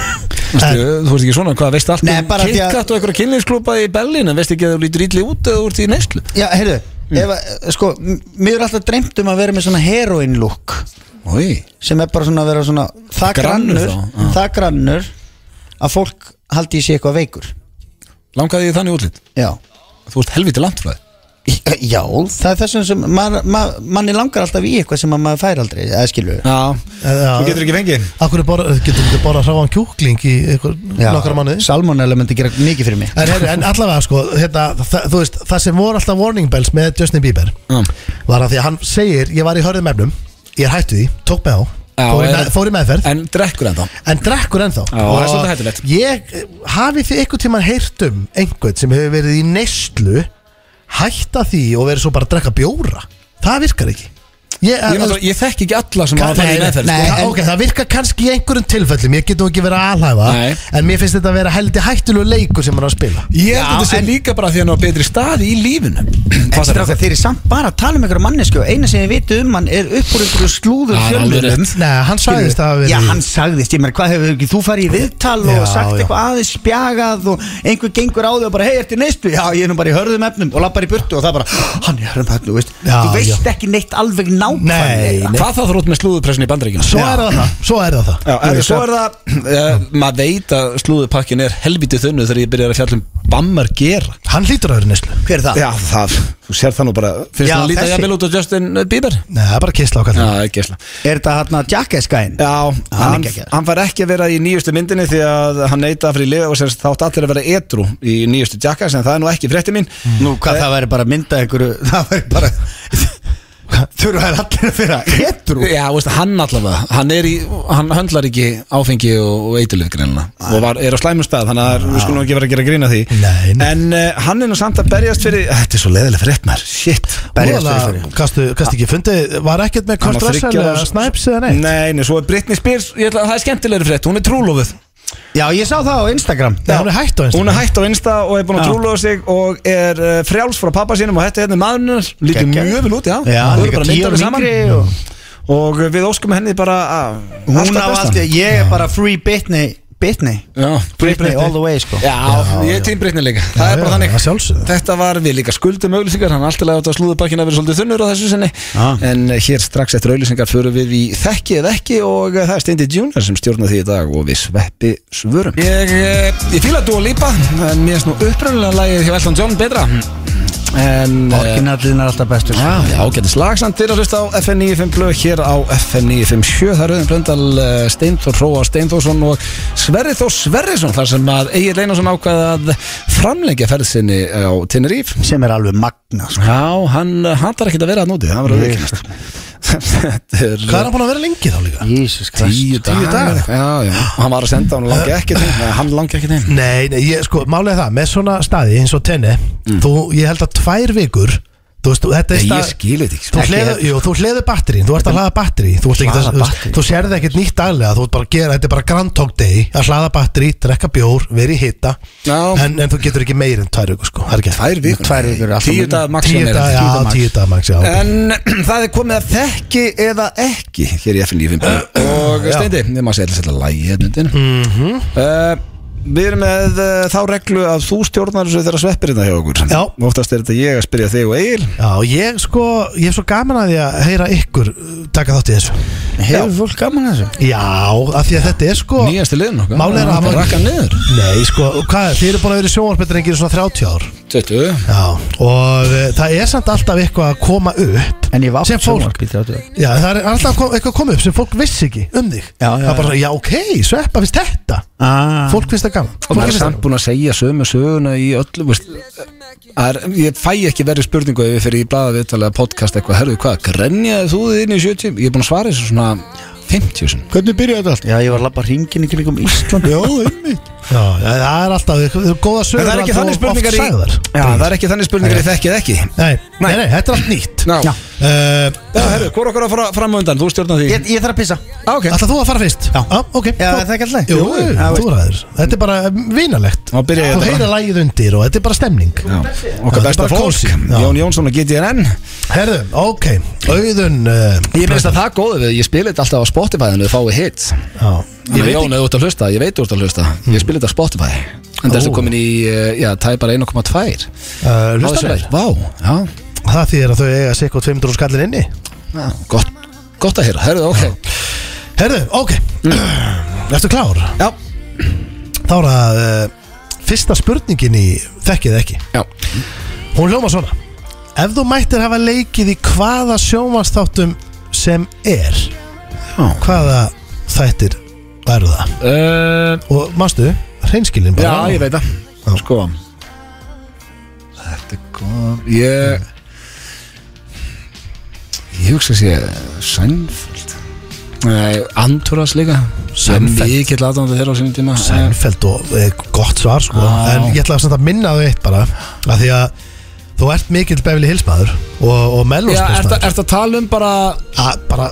[SPEAKER 1] Vistu,
[SPEAKER 2] En-
[SPEAKER 1] þú veist ekki svona, hvað veist allt
[SPEAKER 3] Nei,
[SPEAKER 1] um
[SPEAKER 3] bara því að-
[SPEAKER 1] KitKat og einhverja kynlífsklúpa í Berlín en veist ekki að þú lítur illi út eða þú ert í neyslu
[SPEAKER 3] já heyrðu
[SPEAKER 1] Mm.
[SPEAKER 3] ef, að- Sko, m- mér er alltaf dreymt um að vera með svona heroin look
[SPEAKER 1] Í,
[SPEAKER 3] sem er bara svona að vera svona það
[SPEAKER 1] Grannur
[SPEAKER 3] grannur,
[SPEAKER 1] þá, já.
[SPEAKER 3] það grannur að fólk haldi í sig eitthvað veikur
[SPEAKER 1] langaði ég þannig útlit
[SPEAKER 3] Já
[SPEAKER 1] Þú ert helviti langt frá þér
[SPEAKER 3] Já, það er þessum sem maður- ma- manni langar alltaf í eitthvað sem að maður fær aldrei eða skilur við.
[SPEAKER 1] Já,
[SPEAKER 2] Já.
[SPEAKER 1] þú getur ekki fengið
[SPEAKER 2] Akkur getur þú bara hráan kjúkling í ykkur,
[SPEAKER 3] Já,
[SPEAKER 2] nokkra mánuði
[SPEAKER 3] Salmonella myndi gera mikið fyrir mig
[SPEAKER 2] en, heyrðu, en allavega sko hérna, það, þú veist, það sem voru alltaf warning bells með Justin Bieber
[SPEAKER 1] Já.
[SPEAKER 2] var að því að hann segir ég var í hörðum efnum, ég er hættu því tók með á,
[SPEAKER 1] Já,
[SPEAKER 2] fór, í
[SPEAKER 1] er-
[SPEAKER 2] með, fór í meðferð en,
[SPEAKER 1] En drekkur ennþá
[SPEAKER 2] drekkur ennþá
[SPEAKER 1] Já, það er svolítið hættulegt.
[SPEAKER 2] ég, eh, hafið þið einhvern tímann heyrt um einhvern sem hefur verið í neyslu hætta því og verið svo bara að drekka bjóra það virkar ekki Ég, eh,
[SPEAKER 1] Ég, náttúrulega- ég þekki ekki alla sem hafa farið í meðferð
[SPEAKER 2] nei,
[SPEAKER 1] sko.
[SPEAKER 2] það, ok, það virkar kannski í einhverjum tilfellum Ég getum ekki verið að alhæfa
[SPEAKER 1] Nei.
[SPEAKER 2] En mér finnst þetta að vera heldig hættulegu leikur sem hann er að spila
[SPEAKER 1] Ég held að
[SPEAKER 3] Já,
[SPEAKER 1] þetta sé
[SPEAKER 3] en-
[SPEAKER 1] líka bara því að hann var betri staði í lífinu
[SPEAKER 3] En
[SPEAKER 1] Hvað sagði
[SPEAKER 3] stráka,
[SPEAKER 1] það?
[SPEAKER 3] þeir eru samt bara að tala um einhverja mannesku og eina sem ég viti um hann er upp úr einhverju slúður
[SPEAKER 1] Já, alveg
[SPEAKER 3] fjölmjölum
[SPEAKER 1] rétt.
[SPEAKER 2] Nei, hann sagðist að hafa verið
[SPEAKER 3] Já,
[SPEAKER 2] í-
[SPEAKER 3] hann sagðist, ég meina, hvað hefur ekki, þú farið í viðtal og
[SPEAKER 2] Já,
[SPEAKER 3] sagt
[SPEAKER 2] já.
[SPEAKER 3] eitthvað aðeins spjagað og einhver gengur á þig og bara, hei, ertu í neyslu? Já, ég er nú bara í hörðum efnum og lappar í burtu og það bara, hann er í hörðum efnum, þú veist,
[SPEAKER 2] Já,
[SPEAKER 3] þú veist ekki neitt alveg nákvæmlega
[SPEAKER 2] Nei.
[SPEAKER 1] Hvað þá þrótt með slúðupressin í bandaríkinu?
[SPEAKER 2] Svo er það það, svo er það það
[SPEAKER 1] Já,
[SPEAKER 2] Þú
[SPEAKER 1] en
[SPEAKER 2] veist
[SPEAKER 1] svo
[SPEAKER 2] að-
[SPEAKER 1] er það uh, maður veit að slúðupakkin er helvítið þunnu þegar ég byrjar að fjalla um bammar gera
[SPEAKER 2] Hann hlýtur að vera í neyslu
[SPEAKER 3] Hver er það?
[SPEAKER 1] Já, það, þú sér það nú bara Finnst
[SPEAKER 3] Já,
[SPEAKER 1] það að líta
[SPEAKER 3] þessi.
[SPEAKER 1] jafnvel út á Justin Bieber?
[SPEAKER 2] Nei, það er bara kistla á
[SPEAKER 1] Já,
[SPEAKER 2] kallum
[SPEAKER 1] ekki esla
[SPEAKER 3] Er þetta hann að jackeskæn?
[SPEAKER 1] Já, hann,
[SPEAKER 3] geggjaður.
[SPEAKER 1] hann fær ekki að vera í nýjustu myndinni því að hann neita fyrir liða og sem sagt þátt allir að vera etru í nýjustu jakka sem það er nú ekki frétti mín
[SPEAKER 3] Nú, hvað
[SPEAKER 2] Eh.
[SPEAKER 3] það væri bara að mynda einhverju Það væri bara Þurfa þær allir að vera Edru
[SPEAKER 1] Já, veist, hann allavega, hann er í hann höndlar ekki áfengi og, og eitilöf greinlega og var, er á slæmum stað þannig að við skulum ekki vera að gera grína því
[SPEAKER 2] Nei, nei.
[SPEAKER 1] En uh, hann er nú samt að berjast fyrir Þetta er svo leiðilega frétt maður, shit
[SPEAKER 3] Berjast fyrir
[SPEAKER 2] Voðalega, Kastu, kastu ekki fundið, var ekkert með
[SPEAKER 1] Hann
[SPEAKER 2] Kurt
[SPEAKER 1] var
[SPEAKER 2] Russell
[SPEAKER 1] þriggja
[SPEAKER 2] eða
[SPEAKER 1] ára-
[SPEAKER 2] Snipes eða neitt
[SPEAKER 1] Nei, nei, svo er Britney Spears ég ætla, Það er skemmtilegri frétt, hún er trúlofuð
[SPEAKER 3] Já, ég sá það á Instagram
[SPEAKER 2] Nei, hún er hætt á
[SPEAKER 1] Hún
[SPEAKER 2] Instagram
[SPEAKER 1] er hætt á Insta og er búin að
[SPEAKER 3] Já.
[SPEAKER 1] trúlofa sig og er uh, frjáls frá pappa sínum og þetta er hérna maðurinnar Lítið
[SPEAKER 3] Geggjað.
[SPEAKER 1] mjög vel út, já
[SPEAKER 3] Já,
[SPEAKER 1] Þau eru
[SPEAKER 3] líka
[SPEAKER 1] bara
[SPEAKER 3] tíu árum
[SPEAKER 1] myndarlega saman
[SPEAKER 3] yngri og-
[SPEAKER 1] Og við óskum henni bara að
[SPEAKER 3] Hún á allt Ég er bara free Britney Britney
[SPEAKER 1] Já,
[SPEAKER 3] Britney all the way, sko
[SPEAKER 1] Já, ég er tím Britney líka Það
[SPEAKER 2] Já,
[SPEAKER 1] er bara
[SPEAKER 2] já,
[SPEAKER 1] þannig
[SPEAKER 2] að sjálfsögðu.
[SPEAKER 1] Þetta var við líka skuldum auglýsingar Hann alltaf láta slúðubakkin að vera svolítið þunnur á þessu sinni
[SPEAKER 3] Já.
[SPEAKER 1] En eh, hér strax eftir auglýsingar förum við í Þekki eða ekki Og eh, það er Steindi Junior sem stjórnar því í dag Og við sveppi svörum Ég, eh, ég fíla Dua Lipa En mér er nú uppröðulega lagið hjá Elton John betra En eh,
[SPEAKER 3] Orginallin er alltaf bestur
[SPEAKER 1] Já, já, ágæti slagsand til að hlusta á FM 95 blöð hér á FM 957 það er auðvitað blöndal eh, Steinþór Róa Steinþórsson og Sverri Þór Sverrisson þar sem að Egil Einarsson ákvað að framlengja ferðsynni á Tenerife
[SPEAKER 3] Sem er alveg magna, sko
[SPEAKER 1] Já, hann eh, hatar ekkert að vera að núti það var að veikast Þetta er eh,
[SPEAKER 2] Hvað er hann búin að vera lengi þá líka?
[SPEAKER 3] Jesus
[SPEAKER 1] tíu
[SPEAKER 3] Christ
[SPEAKER 1] dagar,
[SPEAKER 2] dagar?
[SPEAKER 1] Já, já, hann var að senda hann langi ekki til hann langi ekki til
[SPEAKER 2] Nei, nei, ég, sko, málega það, með svona staði eins og tenni Þú, ég held að tvær vikur Þú veist, þú- þetta er
[SPEAKER 1] Mm. Nei, ég
[SPEAKER 2] stað-
[SPEAKER 1] skil þetta ekki, sko.
[SPEAKER 2] Þú
[SPEAKER 1] Ekki
[SPEAKER 2] hleðu,
[SPEAKER 1] þetta.
[SPEAKER 2] jú, þú hleðu batterín, þú ert að hlaða batterín Þú, ert ekki
[SPEAKER 1] Hlaða
[SPEAKER 2] þess- þú,
[SPEAKER 1] batterín.
[SPEAKER 2] veist, þú sérði ekkert nýtt daglega Þú ert bara að gera, þetta er bara Grand Talk Day Að hlaða batteri, drekka bjór, veri í hita
[SPEAKER 1] Já.
[SPEAKER 2] en, en þú getur ekki meir en tvær vikur sko það er ekki hægt.
[SPEAKER 1] Tvær vikur
[SPEAKER 3] Tvær vikur er alltaf
[SPEAKER 1] Tíu
[SPEAKER 3] minna.
[SPEAKER 1] dag max Eh,
[SPEAKER 2] Tíu dag, já, tíu dag max, já
[SPEAKER 1] En það er komið að þekki eða ekki Hér í FN95 Og
[SPEAKER 2] Já.
[SPEAKER 1] Steindi, við maður segja þetta lægi hérna undir uh, Við erum með uh, þá reglu að þú stjórnar þessu þegar sveppir þetta hjá okkur
[SPEAKER 2] Já.
[SPEAKER 1] Oftast er þetta ég að spyrja þig og Egil
[SPEAKER 2] Já, og ég sko, ég er svo gaman að því að heyra ykkur uh, taka þátt í þessu
[SPEAKER 3] Hefur fólk gaman að þessu?
[SPEAKER 2] Já, af því að þetta er sko
[SPEAKER 1] Nýjasti liðin okkar
[SPEAKER 2] Málið er að
[SPEAKER 1] Það rakka niður
[SPEAKER 2] Nei, sko, og hvað, þið eru búin að vera í sjónvarpetringir í svona 30 ár
[SPEAKER 1] 20
[SPEAKER 2] Já, og uh, það er samt alltaf eitthvað að koma upp
[SPEAKER 3] En ég var
[SPEAKER 2] Sem fólk. Já, það er alltaf kom, eitthvað að koma upp sem fólk vissi ekki um þig
[SPEAKER 3] Já, já,
[SPEAKER 2] Það er bara, já, ok, sveppa finnst þetta
[SPEAKER 3] ah.
[SPEAKER 2] Fólk finnst það gaman
[SPEAKER 1] Og
[SPEAKER 2] Fólki
[SPEAKER 1] maður er
[SPEAKER 2] finnst
[SPEAKER 1] samt búin að segja sömu söguna í öllu veist, það er, Ég fæ ekki verið spurningu ef ég fyrir í blaða viðtalega podcast eitthvað Herðu, hvað, grenjaði þú þið inn í 70? Ég er búin að svara þessu svona 50 sinni
[SPEAKER 3] Hvernig byrjaði þetta allt? Já, ég var að labba hringin ekki líka um Ísland Já, einmitt
[SPEAKER 2] það. Já, já, það er alltaf, það eru góða
[SPEAKER 1] En
[SPEAKER 2] sögur
[SPEAKER 1] það er ekki
[SPEAKER 2] alltaf
[SPEAKER 1] þannig
[SPEAKER 2] og oft
[SPEAKER 1] spurningar í
[SPEAKER 2] sagðar.
[SPEAKER 1] Já, það er ekki þannig spurningar í þekkið ekki
[SPEAKER 2] Nei, nei, nei, þetta er allt nýtt
[SPEAKER 1] Ná,
[SPEAKER 3] Já.
[SPEAKER 1] já,
[SPEAKER 2] uh,
[SPEAKER 1] herru, hvor er okkur að fara fram á undan? Þú stjórnar því
[SPEAKER 3] Ég, ég þarf að pissa
[SPEAKER 1] Á, ok
[SPEAKER 2] Ætla þú að fara fyrst?
[SPEAKER 3] Já.
[SPEAKER 2] ok
[SPEAKER 3] Já, er það ekki alltaf?
[SPEAKER 2] Jú,
[SPEAKER 3] Jú, já,
[SPEAKER 2] þú ræður Þetta er bara eh, vinalegt
[SPEAKER 1] Þá byrja ég
[SPEAKER 2] Þú
[SPEAKER 1] þetta
[SPEAKER 2] heyrir lægið undir og þetta er bara stemning
[SPEAKER 1] Já,
[SPEAKER 2] Já,
[SPEAKER 1] Okkar
[SPEAKER 2] þetta er
[SPEAKER 1] besta
[SPEAKER 2] bara
[SPEAKER 1] fólk
[SPEAKER 2] kósí. Já.
[SPEAKER 1] Jón Jónsson og GTRN
[SPEAKER 2] Herðu, ok Auðun uh,
[SPEAKER 1] Ég minnst að það er góðu við, ég spila þetta alltaf á Spotify en þau fáið hits
[SPEAKER 2] Já,
[SPEAKER 1] Ég veit Jón, ef þú ert að hlusta, ég veit þú ert að hlusta Ég spila þetta á Spotify En þessu
[SPEAKER 2] Ó.
[SPEAKER 1] komin í, eh, já, tæpar 1,2
[SPEAKER 2] uh, Hlusta
[SPEAKER 1] Á þessu
[SPEAKER 2] mér
[SPEAKER 1] leið. Vá, já,
[SPEAKER 2] Það þýðir að þau eiga sikkot 500 skallin inni
[SPEAKER 1] já gott, gott að heyra, herðu, ok
[SPEAKER 2] Herðu, ok
[SPEAKER 1] Mm.
[SPEAKER 2] Ertu klár?
[SPEAKER 1] Já,
[SPEAKER 2] Þá er það uh, Fyrsta spurningin í Þekkið þið ekki
[SPEAKER 1] já,
[SPEAKER 2] Hún hljóma svona Ef þú mættir hafa leikið í hvaða sjónvarsþáttum sem er
[SPEAKER 1] Já.
[SPEAKER 2] Hvaða þættir væru það?
[SPEAKER 1] uh,
[SPEAKER 2] Og mástu, hreinskilin
[SPEAKER 1] já,
[SPEAKER 2] bara
[SPEAKER 1] ég veit það Sko Þetta er góð Ég Ég hugsa að sé Sænfeld Nei, Andurras líka
[SPEAKER 2] Seinfeld.
[SPEAKER 1] Ég get lata hann þeirra á sinni tíma
[SPEAKER 2] Sænfeld og eh, gott svar sko
[SPEAKER 1] Já.
[SPEAKER 2] En ég ætla samt að minna þau eitt bara að Því að þú ert mikill befli hilsmaður Og, og
[SPEAKER 1] Já, ertu
[SPEAKER 2] melvósmaður
[SPEAKER 1] ertu að tala um bara
[SPEAKER 2] Bara,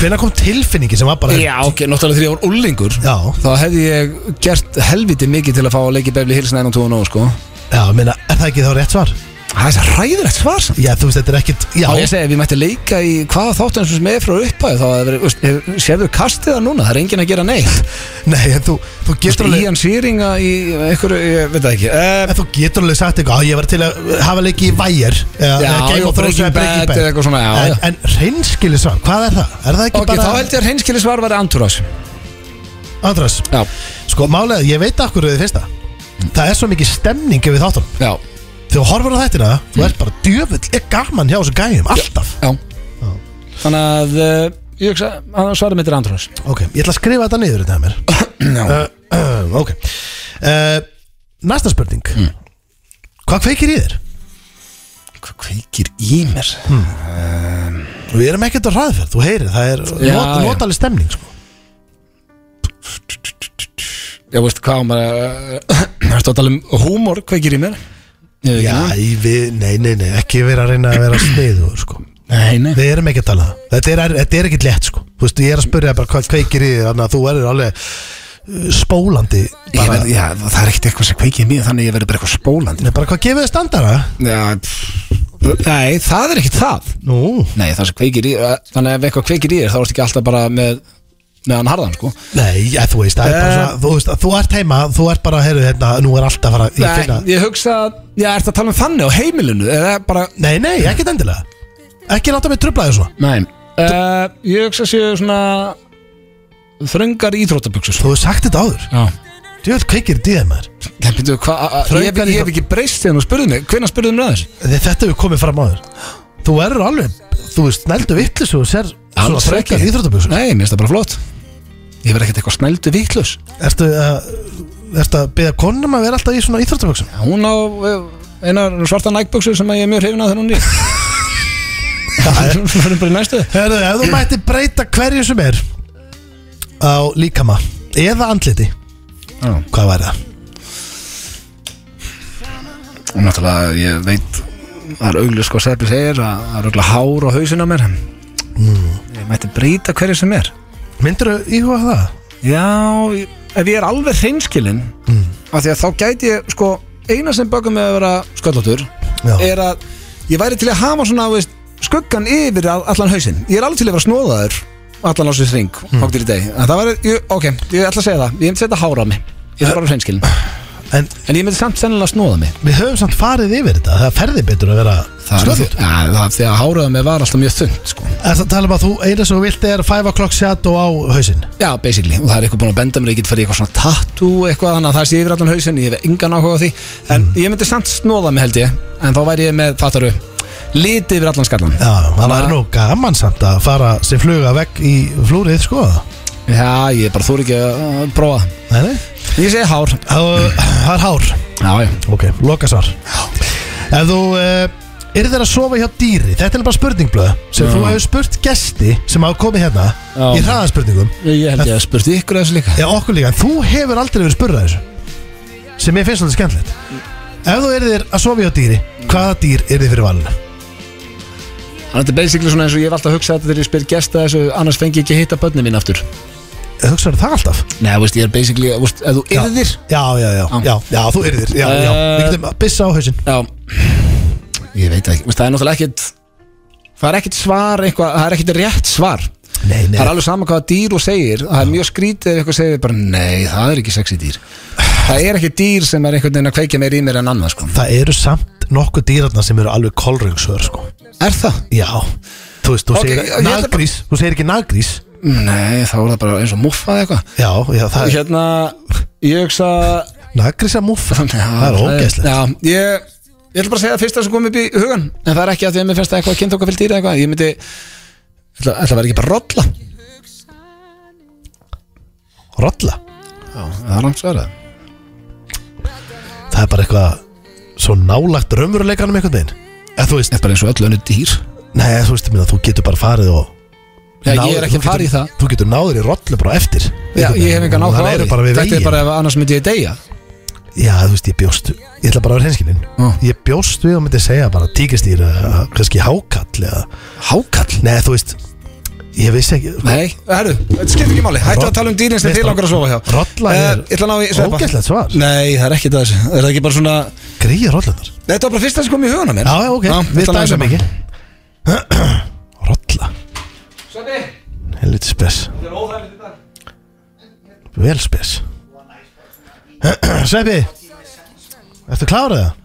[SPEAKER 2] hvenær kom tilfinningi sem var bara
[SPEAKER 1] Já, ok, náttúrulega þegar ég var úlingur
[SPEAKER 2] Já,
[SPEAKER 1] Þá hefði ég gert helviti mikið til að fá að leiki Beverly Hills 902 sko
[SPEAKER 2] já, ég meina, er það ekki þá rétt svar?
[SPEAKER 1] Það er þess að ræður eitt svar samt
[SPEAKER 2] Já, þú veist, þetta er ekkit Já,
[SPEAKER 1] Já, ég segi, ef ég mætti leika í hvaða þáttan sem er frá upphæðu, þá hefur, veist, hefur- sérðu kastið það núna, það er enginn að gera neitt
[SPEAKER 2] nei, en þú, þú
[SPEAKER 1] Veist,
[SPEAKER 2] getur alveg
[SPEAKER 1] Ían Sýringa í einhverju, ég veit það ekki uh,
[SPEAKER 2] En þú getur alveg sagt eitthvað, "Á, ég var til að hafa leiki í Væjar eða-
[SPEAKER 1] Já,
[SPEAKER 2] eða Game
[SPEAKER 1] já,
[SPEAKER 2] of Thrones eða
[SPEAKER 1] Breaking Bad eða eitthvað svona, já,
[SPEAKER 2] En,
[SPEAKER 1] já.
[SPEAKER 2] en reynskili svar, hvað er það? Er það ekki
[SPEAKER 1] Ok,
[SPEAKER 2] bara
[SPEAKER 1] þá held ég að hreinskili svar væri Antúrás
[SPEAKER 2] Andras,
[SPEAKER 1] Já,
[SPEAKER 2] sko málega, ég veit af hverju þið finnst það Það er svo mikið stemning yfir þáttum
[SPEAKER 1] já,
[SPEAKER 2] Þegar þú horfur á þættina, þú ert bara djöfull er gaman hjá þessu gæjum, alltaf
[SPEAKER 1] já Þannig að, uh, ég hugsa, að svarið mitt er Antúrás
[SPEAKER 2] Ok, ég ætla að skrifa þetta niður þetta að mér
[SPEAKER 1] Já,
[SPEAKER 2] uh, uh, Ok uh, Næsta spurning
[SPEAKER 1] Mm.
[SPEAKER 2] Hvað kveikir í þér?
[SPEAKER 1] hvað kveikir í mér?
[SPEAKER 2] Við erum ekkert á hraðferð, þú heyrir, það er
[SPEAKER 1] Já,
[SPEAKER 2] not,
[SPEAKER 1] já.
[SPEAKER 2] notaleg stemning sko.
[SPEAKER 1] Já, veist, hvað á maður, uh, ertu að tala um húmor kveikir í mér? Ég veit
[SPEAKER 2] Já,
[SPEAKER 1] ekki.
[SPEAKER 2] í við, nei, nei, nei, ekki vera að reyna að vera sniður, sko
[SPEAKER 1] Nei, nei
[SPEAKER 2] Við erum ekki að tala um það, þetta er, þetta er ekki létt, sko Þú veist, ég er að spyrja bara hvað kveikir í þér, þannig að þú erir alveg uh, spólandi
[SPEAKER 1] Ég
[SPEAKER 2] bara,
[SPEAKER 1] verð- já, það er ekkert eitthvað sem kveikir í mér, þannig að ég verði bara eitthvað spólandi
[SPEAKER 2] Nei, bara hvað gefið þið standara?
[SPEAKER 1] Já, pff, nei, það er ekkert það
[SPEAKER 2] Nú,
[SPEAKER 1] Nei, það sem kveikir í eh, Þannig að ef eitthvað kveikir í þér þá ertu ekki alltaf bara með með hann harðan, sko
[SPEAKER 2] nei, ja, þú veist, það er bara svona, þú veist, þú ert heima, þú ert bara, heyrðu, hérna, nú er allt að fara, ég
[SPEAKER 1] Nei,
[SPEAKER 2] finna
[SPEAKER 1] ég hugsa að, já, ertu að tala um þannig á heimilinu eða bara,
[SPEAKER 2] Nei, nei, ekkert endilega, ekki láta mig trubla þér svona
[SPEAKER 1] nei uh, Ég hugsa að séu svona þröngar íþróttabuxur sko.
[SPEAKER 2] Þú hefur sagt þetta áður,
[SPEAKER 1] Já
[SPEAKER 2] djöfull kveikir í þér maður
[SPEAKER 1] Það byrju, hvað, a- a- ég, hef- ég hef ekki breyst þegar þú spurði mig Hvenær spurði mig um aðeins?
[SPEAKER 2] Þegar þetta hefur komið fram áður Þú erur alveg, þú veist, snældu vittlis og sér svona frekar íþróttabjöksum
[SPEAKER 1] Nei, mér finnst það bara flott Ég verð ekkert eitthvað snældu vitlaus
[SPEAKER 2] Ertu að, ertu að beða konum að vera alltaf í svona íþróttabjöksum?
[SPEAKER 1] Hún á eh, eina svarta nækbuxur sem að ég er mjög hrifin að þegar hún er í Við fyrir bara í næstu
[SPEAKER 2] Herðu, ef þú mætti breyta hverju sem er á líkama eða andliti,
[SPEAKER 1] Já.
[SPEAKER 2] hvað væri það?
[SPEAKER 1] og náttúrulega ég veit það er augljus sko Seppi segir að það er augljus hár á hausinu á mér ég mætti brýta hverju sem er
[SPEAKER 2] Myndur þú íhuga það?
[SPEAKER 1] Já, ég- ef ég er alveg hreinskilinn af því að þá gæti ég sko eina sem bökum með að vera sköllóttur
[SPEAKER 2] Já.
[SPEAKER 1] er að ég væri til að hafa svona veist, skuggan yfir all- allan hausinn ég er alveg til að vera snóðaður allan ásins ring mm. hóttir í dag en það væri, ég, ok, ég ætla að segja það ég myndi setja hára á mig, ég er bara hreinskilinn
[SPEAKER 2] En
[SPEAKER 1] en ég myndi samt sennilega snóða mig
[SPEAKER 2] við höfum samt farið yfir þetta Það ferði betur að vera
[SPEAKER 1] því,
[SPEAKER 2] sköldlóttur
[SPEAKER 1] ja, það er því að háraða mig var alltaf mjög þund sko.
[SPEAKER 2] Það tala um að þú eina sem þú vilt er 5 o'clock shadow á hausinn
[SPEAKER 1] Já, basically, og það er eitthvað búin að benda mér ég get farið í eitthvað svona tattoo eitthvað þannig að það sé yfir allan hausinn, ég hef engan áhuga á því en ég myndi samt snóða mig held ég en þá væri ég með, fattaru, liti yfir allan skallan
[SPEAKER 2] Já, það var nú gaman samt að fara sem fluga vekk í flúrið sko
[SPEAKER 1] Já, ég bara þúr ekki að uh, prófa
[SPEAKER 2] Nei, nei
[SPEAKER 1] Ég segi hár
[SPEAKER 2] Það það er hár
[SPEAKER 1] Já, já,
[SPEAKER 2] Ok, lokasvar Ef þú uh, er þeir að sofa hjá dýri Þetta er bara spurningblöð sem
[SPEAKER 1] Já.
[SPEAKER 2] þú hefur spurt gesti sem hafa komið hérna
[SPEAKER 1] Já.
[SPEAKER 2] í hraðaspurningum
[SPEAKER 1] ég held ég að spurt ykkur að þessu líka
[SPEAKER 2] Já, okkur líka, en þú hefur aldrei verið spurrað þessu sem ég finnst svolítið skemmtilegt Ef þú er þeir að sofa hjá dýri hvaða dýr er þið fyrir valinu?
[SPEAKER 1] Þannig að þetta er basically svona eins og ég hef alltaf hugsað þetta þegar ég spyr gesta þessu annars fengi ég ekki að hitta börnin mín aftur
[SPEAKER 2] Eh, Hugsaðu það alltaf?
[SPEAKER 1] Nei, þú veist, ég er basically, þú veist, ef þú
[SPEAKER 2] Já.
[SPEAKER 1] yrðir
[SPEAKER 2] Já, já, já, já, já, þú er þér já, já.
[SPEAKER 1] Eh.
[SPEAKER 2] Við getum að byssa á hausinn
[SPEAKER 1] Já Ég veit ekki, Þú veist, það er náttúrulega ekkit Það er ekkit svar, eitthvað, það er ekkit rétt svar
[SPEAKER 2] Nei, nei,
[SPEAKER 1] Það er alveg sama hvaða dýr og segir Það er mjög skrítið ef eitthvað segir bara Nei, það er ekki sexy dýr Það er ekki dýr sem er einhvern veginn að kveikja meir í mér en annað sko.
[SPEAKER 2] það eru samt nokkuð dýrarna sem eru alveg kolröngsör sko.
[SPEAKER 1] Er það?
[SPEAKER 2] Já, þú veist, þú
[SPEAKER 1] Ok, ég
[SPEAKER 2] segir
[SPEAKER 1] ætla bara-
[SPEAKER 2] naggrís Þú segir ekki naggrís
[SPEAKER 1] Nei, þá er það bara eins og muffa eða eitthvað
[SPEAKER 2] Já, já, það er
[SPEAKER 1] Hérna, ég hugsa
[SPEAKER 2] naggrís að múffa Það er ógeðslegt
[SPEAKER 1] Já, ég, ég ætla bara að segja að fyrsta sem kom upp í hugan En það er ekki að því að mér finnst það eitthvað kynnt okkar fyrir dýr eða eitthvað Ég myndi, ætla, ætla var ekki bara rolla
[SPEAKER 2] Rolla,
[SPEAKER 1] Já, það er langt svarað
[SPEAKER 2] það er bara eitthvað Svo nálagt raunveruleikanum einhvern veginn Eða þú veist,
[SPEAKER 1] Það er bara eins og öll önnu dýr
[SPEAKER 2] nei, eða þú veist, ég meina, þú getur bara farið og
[SPEAKER 1] Já, ég
[SPEAKER 2] náð-
[SPEAKER 1] er ekki
[SPEAKER 2] þú
[SPEAKER 1] að fara í
[SPEAKER 2] getur-
[SPEAKER 1] það
[SPEAKER 2] Þú getur náður í rollu bara eftir
[SPEAKER 1] Já, ég hef engan áhuga á
[SPEAKER 2] Það eru
[SPEAKER 1] því
[SPEAKER 2] bara við
[SPEAKER 1] Þetta er
[SPEAKER 2] veginn.
[SPEAKER 1] bara ef annars myndi ég deyja
[SPEAKER 2] Já, þú veist, ég bjóst Ég ætla bara að vera henskilinn
[SPEAKER 1] Já.
[SPEAKER 2] Ég bjóst við og myndi segja bara tíkastýr eða kannski hákall eða
[SPEAKER 1] Hákall?
[SPEAKER 2] Nei, þú veist Ég vissi ekki
[SPEAKER 1] Nei, herru, þetta skiptir ekki máli Hættu að tala um dýrin sem
[SPEAKER 2] Veist
[SPEAKER 1] þið
[SPEAKER 2] það-
[SPEAKER 1] langar að sofa hjá
[SPEAKER 2] Rolla
[SPEAKER 1] Eh,
[SPEAKER 2] er
[SPEAKER 1] Ég ætla að ná í sveppa
[SPEAKER 2] ógeðslegt svar.
[SPEAKER 1] Nei, það er ekki það þessu Er það ekki bara svona
[SPEAKER 2] Gríja rollunar
[SPEAKER 1] Þetta var bara fyrsta sem kom í hugana mér
[SPEAKER 2] Já, já, ok, við
[SPEAKER 1] ætla að ná í
[SPEAKER 2] dæmum
[SPEAKER 1] sveppa.
[SPEAKER 2] ekki Rolla
[SPEAKER 1] Sveppi,
[SPEAKER 2] Helviti spes
[SPEAKER 1] þetta er óþægilegt í dag
[SPEAKER 2] Vel spes Sveppi Ertu klárið það?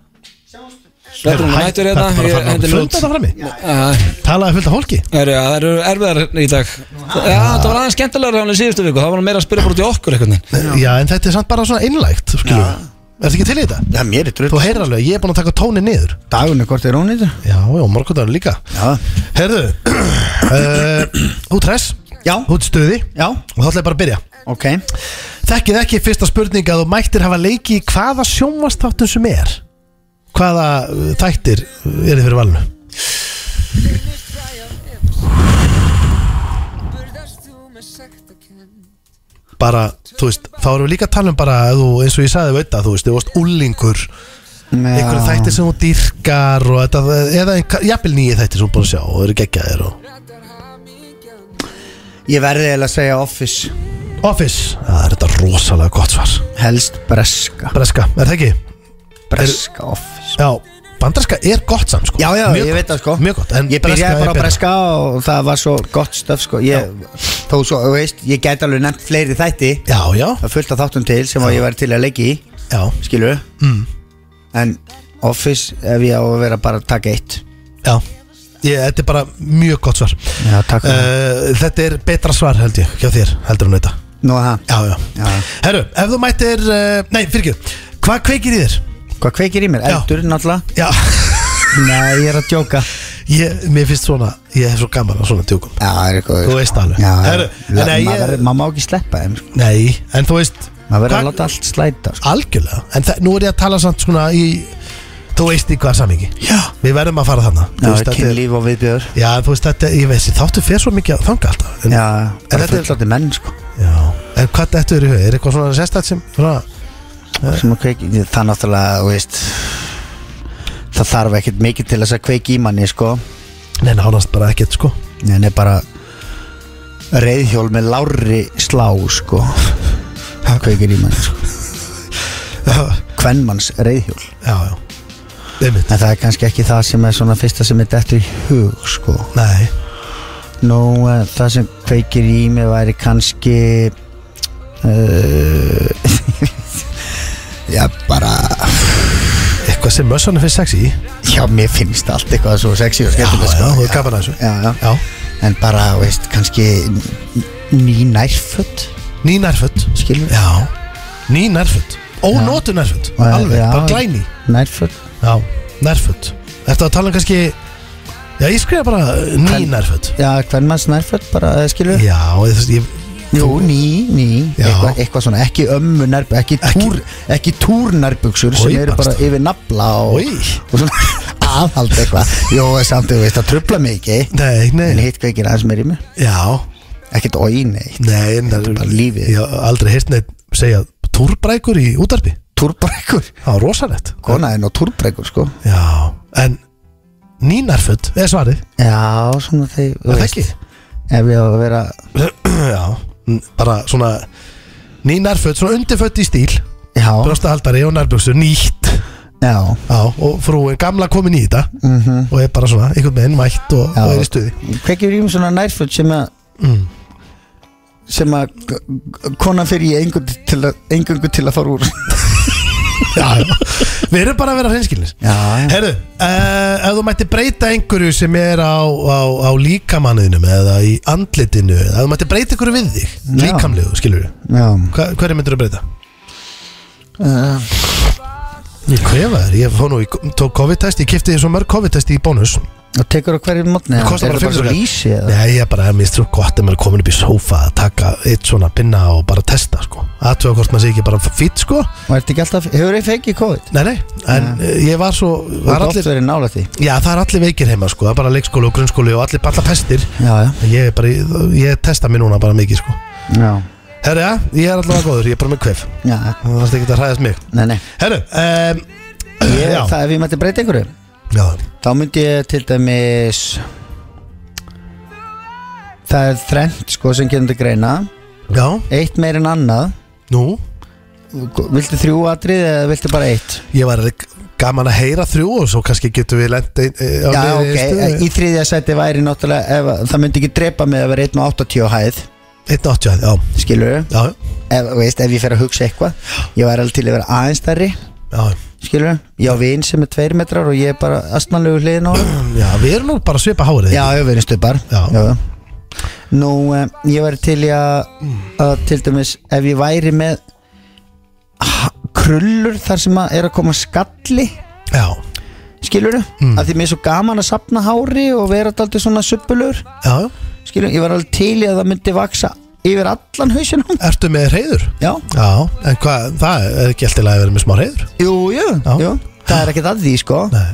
[SPEAKER 1] Sveppi, hún mætur hérna Ég hendi henni út
[SPEAKER 2] Funda það frammi
[SPEAKER 1] Eh,
[SPEAKER 2] Talaði fullt af fólki
[SPEAKER 1] herru, já, Það eru erfiðar í dag Já, það var aðeins skemmtilegur hann í síðustu viku Það var meira að spyrja bara út í okkur einhvern veginn
[SPEAKER 2] Já, en þetta er samt bara svona einlægt skilur við. Ertu ekki til í þetta?
[SPEAKER 3] Já, mér er drull
[SPEAKER 2] Þú heyrir alveg, ég er búin að taka tónin niður
[SPEAKER 3] Dagunni, hvort er hún eitthvað?
[SPEAKER 2] Já, já, morgundagur líka
[SPEAKER 3] Já,
[SPEAKER 2] Herðu, uh, þú tress
[SPEAKER 3] Já.
[SPEAKER 2] Þú ert í stuði
[SPEAKER 3] já,
[SPEAKER 2] Og þá ætla ég bara að byrja
[SPEAKER 3] ok
[SPEAKER 2] Þekkið ekki fyrsta spurning að þú mættir hafa leiki í hvaða sjónvastáttum sem er Hvaða uh, þættir er þið fyrir valinu? Bara, þú veist, þá erum við líka að tala um bara að þú, eins og ég sagði veit að þú veist, þú varst úlingur einhverju þættir sem þú dýrkar og þetta, eða einhver- jafnvel nýju þættir sem þú búin að sjá og eru geggjaðir og
[SPEAKER 3] Ég verði eiginlega að segja Office
[SPEAKER 2] Office Það er þetta rosalega gott svar
[SPEAKER 3] Helst breska
[SPEAKER 2] Breska, er það ekki?
[SPEAKER 3] Breska Office
[SPEAKER 2] Já, bandarska er gott samt sko
[SPEAKER 3] Já, já,
[SPEAKER 2] Mjög
[SPEAKER 3] ég
[SPEAKER 2] gott.
[SPEAKER 3] veit það sko
[SPEAKER 2] Mjög gott, en
[SPEAKER 3] Ég
[SPEAKER 2] breska er
[SPEAKER 3] byrjaði bara að
[SPEAKER 2] betra.
[SPEAKER 3] breska og það var svo gott stöf sko Ég, þó svo, þú veist, ég gæti alveg nefnt fleiri þætti
[SPEAKER 2] Já, já,
[SPEAKER 3] Það er fullt af þáttum til sem að ég væri til að leggja í
[SPEAKER 2] já
[SPEAKER 3] Skilur
[SPEAKER 2] Mm.
[SPEAKER 3] En Office, ef ég á að vera bara að taka eitt
[SPEAKER 2] Já, ég, þetta er bara mjög gott svar
[SPEAKER 3] Já, takk fyrir
[SPEAKER 2] uh, Þetta er betra svar held ég Hjá þér, heldur hún þetta
[SPEAKER 3] Nú er það
[SPEAKER 2] Já, já,
[SPEAKER 3] Já.
[SPEAKER 2] Herru, ef þú mættir uh, Nei, fyrir ekki, hvað kveikir í þér?
[SPEAKER 3] Hvað kveikir í mér?
[SPEAKER 2] Já.
[SPEAKER 3] Eldur náttúrulega
[SPEAKER 2] Já,
[SPEAKER 3] Nei, ég er að djóka
[SPEAKER 2] ég, mér finnst svona Ég hef svo gaman að svona tjókum
[SPEAKER 3] Já, það er eitthvað
[SPEAKER 2] Þú veist alveg.
[SPEAKER 3] Já,
[SPEAKER 2] Herru,
[SPEAKER 3] la-
[SPEAKER 2] nei, ég-
[SPEAKER 3] maður verður- maður má ekki sleppa þeim sko.
[SPEAKER 2] Nei, en þú veist
[SPEAKER 3] Maður verður að
[SPEAKER 2] hvað-
[SPEAKER 3] láta allt slæta sko.
[SPEAKER 2] Algjörlega, en það- nú er ég að tala samt svona í Þú veist í hvað samingi
[SPEAKER 3] Já
[SPEAKER 2] Við verðum að fara þannig
[SPEAKER 3] Já, kynlíf og viðbjör
[SPEAKER 2] Já, þú veist þetta, ég veist, þáttu fyrir svo mikið að þanga alltaf en,
[SPEAKER 3] Já, bara
[SPEAKER 2] þetta er-
[SPEAKER 3] fullandi menn sko
[SPEAKER 2] já En hvað þetta er í hug? Er eitthvað svona sérstætt sem svona,
[SPEAKER 3] sem að kveiki, það náttúrulega, þú veist það það þarf ekkert mikið til þess að kveiki í manni sko
[SPEAKER 2] Nei, nánast bara ekkert sko
[SPEAKER 3] en er bara reyðhjól með lári slá sko það kveikir í manni sko
[SPEAKER 2] Já,
[SPEAKER 3] kvennmanns reyðhjól
[SPEAKER 2] já, já Einmitt.
[SPEAKER 3] en það er kannski ekki það sem er svona fyrsta sem er dettur í hug sko
[SPEAKER 2] Nei,
[SPEAKER 3] Nú, eh, það sem kveikir í mig væri kannski uh, Já, bara
[SPEAKER 2] eitthvað sem mössanum finnst sexy í
[SPEAKER 3] Já, mér finnst allt eitthvað svo sexy og
[SPEAKER 2] Já,
[SPEAKER 3] skemmtilegt
[SPEAKER 2] já,
[SPEAKER 3] sko.
[SPEAKER 2] þú er gaman að þessu
[SPEAKER 3] já, já.
[SPEAKER 2] Já,
[SPEAKER 3] En bara, veist, kannski n- ný nærföt
[SPEAKER 2] ný nærföld
[SPEAKER 3] Skilur
[SPEAKER 2] Já, ný nærföld Ónótu nærföld,
[SPEAKER 3] Já,
[SPEAKER 2] alveg,
[SPEAKER 3] já.
[SPEAKER 2] bara glæni
[SPEAKER 3] Nærföt
[SPEAKER 2] Já, nærföld Ertu að tala um kannski Já, ég skrifa bara uh, ný
[SPEAKER 3] Hvern-
[SPEAKER 2] nærföld
[SPEAKER 3] Já, hvernmanns nærföt bara, eh, skilur
[SPEAKER 2] Já, ég, þú veist, ég,
[SPEAKER 3] Jú, ný, ný
[SPEAKER 2] Já.
[SPEAKER 3] Eitthvað eitthvað svona, ekki ömmu nærbuk Ekki,
[SPEAKER 2] Ekki-
[SPEAKER 3] túr, ekki túrnærbuksur
[SPEAKER 2] Oj,
[SPEAKER 3] sem eru bara
[SPEAKER 2] manstu.
[SPEAKER 3] yfir nafla og,
[SPEAKER 2] Oj.
[SPEAKER 3] og svona aðhald eitthvað Jó, samt þú veist, það trubla mig ekki
[SPEAKER 2] nei,
[SPEAKER 3] En
[SPEAKER 2] nei
[SPEAKER 3] hitt hvað ekki aðeins meir í mig
[SPEAKER 2] Já,
[SPEAKER 3] Ekkert oi, nei
[SPEAKER 2] nei, nei
[SPEAKER 3] bara lífið.
[SPEAKER 2] Ég hef aldrei heyrt neitt segja túrbrækur í útarpi
[SPEAKER 3] Túrbrekkur
[SPEAKER 2] Það var rosalegt
[SPEAKER 3] Kona er nú túrbrekkur, sko
[SPEAKER 2] Já, en ný nærföld er svarið
[SPEAKER 3] Já, svona þeir þú
[SPEAKER 2] Er það
[SPEAKER 3] veist,
[SPEAKER 2] ekki?
[SPEAKER 3] Ef ég á að vera
[SPEAKER 2] Já, n- bara svona ný nærföld, svona undirföld í stíl
[SPEAKER 3] Já,
[SPEAKER 2] brjóstahaldari og nærbjöksu, nýtt
[SPEAKER 3] já,
[SPEAKER 2] Já, og frúin gamla komin í þetta
[SPEAKER 3] mhm
[SPEAKER 2] og er bara svona, einhvern veginn mætt og,
[SPEAKER 3] Já.
[SPEAKER 2] og er í stuði
[SPEAKER 3] Kveikir í mig svona nærföt sem að
[SPEAKER 2] mm.
[SPEAKER 3] sem að g- g- konan fyrir ég engungu til, að- eingöngu til að fara úr
[SPEAKER 2] Já, já, við erum bara að vera hreinskilnis
[SPEAKER 3] Já, já
[SPEAKER 2] Herru, uh, ef þú mætti breyta einhverju sem er á, á, á líkamanninum eða í andlitinu, ef þú mætti breyta einhverju við þig,
[SPEAKER 3] Já.
[SPEAKER 2] líkamlegu, skilur við
[SPEAKER 3] Já,
[SPEAKER 2] Hva, hverju myndir þú breyta?
[SPEAKER 3] uh,
[SPEAKER 2] Ég kvefa þér, ég fór nú, í, tók COVID-test, ég kipti svo mörg COVID-test í bónus
[SPEAKER 3] og tekur á hverju mótni
[SPEAKER 2] Það kostar bara 500 kall.
[SPEAKER 3] lýsi eða
[SPEAKER 2] Nei, ég bara, mér strúk gott ef maður er komin upp í sófa að taka eitt svona pinna og bara testa, sko Aðtöga hvort maður sé ekki bara fýtt, sko
[SPEAKER 3] og ert ekki alltaf, hefur þið fengið COVID
[SPEAKER 2] Nei, nei, en
[SPEAKER 3] Nei.
[SPEAKER 2] eh, ég var svo
[SPEAKER 3] og
[SPEAKER 2] var
[SPEAKER 3] allir... oft
[SPEAKER 2] allir,
[SPEAKER 3] verið nála því
[SPEAKER 2] Já, það er allir veikir heima, sko Það er bara leikskóli og grunnskóli og allir bara pestir
[SPEAKER 3] já, já,
[SPEAKER 2] En Ég er bara, í- ég testa mér núna bara mikið, sko
[SPEAKER 3] já,
[SPEAKER 2] Herru, já, ég er allavega góður, ég er bara með kvef
[SPEAKER 3] já
[SPEAKER 2] Það þarfst ekki að hræðast mig
[SPEAKER 3] nei, nei,
[SPEAKER 2] Herru, um,
[SPEAKER 3] ég,
[SPEAKER 2] já,
[SPEAKER 3] það ef ég mætti breyta einhverju
[SPEAKER 2] já,
[SPEAKER 3] þá myndi ég til dæmis það er þrennt sko sem kemur til greina
[SPEAKER 2] já,
[SPEAKER 3] eitt meir en annað
[SPEAKER 2] nú
[SPEAKER 3] viltu þrjú atrið eða viltu bara eitt
[SPEAKER 2] Ég var gaman að heyra þrjú og svo kannski getum við lent ein, eh, á
[SPEAKER 3] já,
[SPEAKER 2] leiðinni í
[SPEAKER 3] ok, eh,
[SPEAKER 2] stuði.
[SPEAKER 3] í þriðja seti væri náttúrulega, ef, það myndi ekki drepa mig að vera 1.80 á hæð,
[SPEAKER 2] 1.80, já,
[SPEAKER 3] skilur
[SPEAKER 2] já,
[SPEAKER 3] ef, veist, ef ég fer að hugsa eitthvað ég væri alveg til að vera aðeins stærri
[SPEAKER 2] já
[SPEAKER 3] skilur, ég á vin sem er tveir metrar og ég er bara astmanlegu hliðin á honum.
[SPEAKER 2] Já, við erum nú bara að svipa hárið
[SPEAKER 3] já, ég verið stupar
[SPEAKER 2] Já.
[SPEAKER 3] nú, eh, ég væri til í að, að til dæmis, ef ég væri með ah, krullur þar sem að er að koma skalli
[SPEAKER 2] já,
[SPEAKER 3] skilur,
[SPEAKER 2] Mm.
[SPEAKER 3] að því mér er svo gaman að sapna hári og vera daldið svona suppulur
[SPEAKER 2] já,
[SPEAKER 3] skilur, ég var alveg til í að það myndi vaksa yfir allan hausinum
[SPEAKER 2] ertu með reyður?
[SPEAKER 3] já,
[SPEAKER 2] Já, en hvað, það er ekki alltaf að vera með smá reyður
[SPEAKER 3] jú, jú,
[SPEAKER 2] Já.
[SPEAKER 3] jú það er ekkert að því sko
[SPEAKER 2] Nei,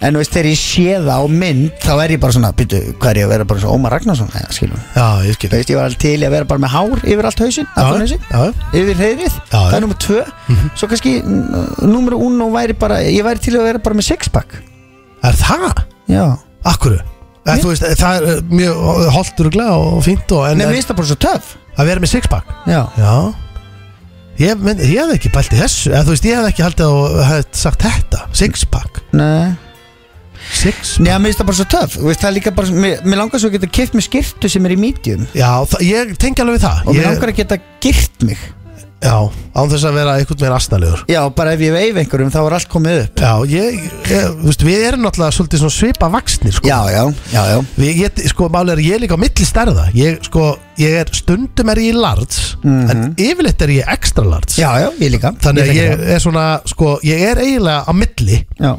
[SPEAKER 3] En þú veist, þegar ég sé það á mynd Þá er ég bara svona, býtu, hvað er ég að vera bara svona Ómar Ragnarsson, eða skilum
[SPEAKER 2] já, ég skil
[SPEAKER 3] Þú veist, ég var alveg til í að vera bara með hár yfir allt hausinn Allan
[SPEAKER 2] já,
[SPEAKER 3] hausinn,
[SPEAKER 2] já,
[SPEAKER 3] yfir reyðrið
[SPEAKER 2] Já,
[SPEAKER 3] Það
[SPEAKER 2] já.
[SPEAKER 3] er nummer tvö Svo kannski, nummer uno væri bara Ég væri til í að vera bara með sixpack
[SPEAKER 2] er það?
[SPEAKER 3] Já
[SPEAKER 2] Akkuru? Eð, þú veist, það er eh, mjög holtur og glæð og fínt og en
[SPEAKER 3] Nei, mér
[SPEAKER 2] en
[SPEAKER 3] finnst það bara svo töf
[SPEAKER 2] að vera með sixpack
[SPEAKER 3] Já
[SPEAKER 2] Já Ég, mynd, ég hefði ekki bælt í þessu eða, Þú veist, ég hefði ekki haldið að hefði sagt þetta Sixpack
[SPEAKER 3] Nei,
[SPEAKER 2] Sixpack
[SPEAKER 3] Nei mér finnst það bara svo töf Þú veist, það er líka bara Mér, mér langar svo að geta kipt með skirtu sem er í medium
[SPEAKER 2] Já, það, ég tengi alveg við það
[SPEAKER 3] Og mér
[SPEAKER 2] ég,
[SPEAKER 3] langar að geta girt mig
[SPEAKER 2] Já, án þess að vera einhvern veginn astnalegur
[SPEAKER 3] Já, bara ef ég veif einhverjum þá er allt komið upp
[SPEAKER 2] Já, ég, ég, þú veist, við erum náttúrulega svolítið svona svipa vaksnir, sko.
[SPEAKER 3] Já, já, já, já
[SPEAKER 2] Við, ég, sko, máli er að ég er líka á milli stærða. Ég, sko, ég er, stundum er ég í lards, en yfirleitt er ég ekstra lards.
[SPEAKER 3] Mhm. Já, já, ég líka
[SPEAKER 2] Þannig að
[SPEAKER 3] þekki
[SPEAKER 2] ég er svona, sko, ég er eiginlega á milli.
[SPEAKER 3] það. Já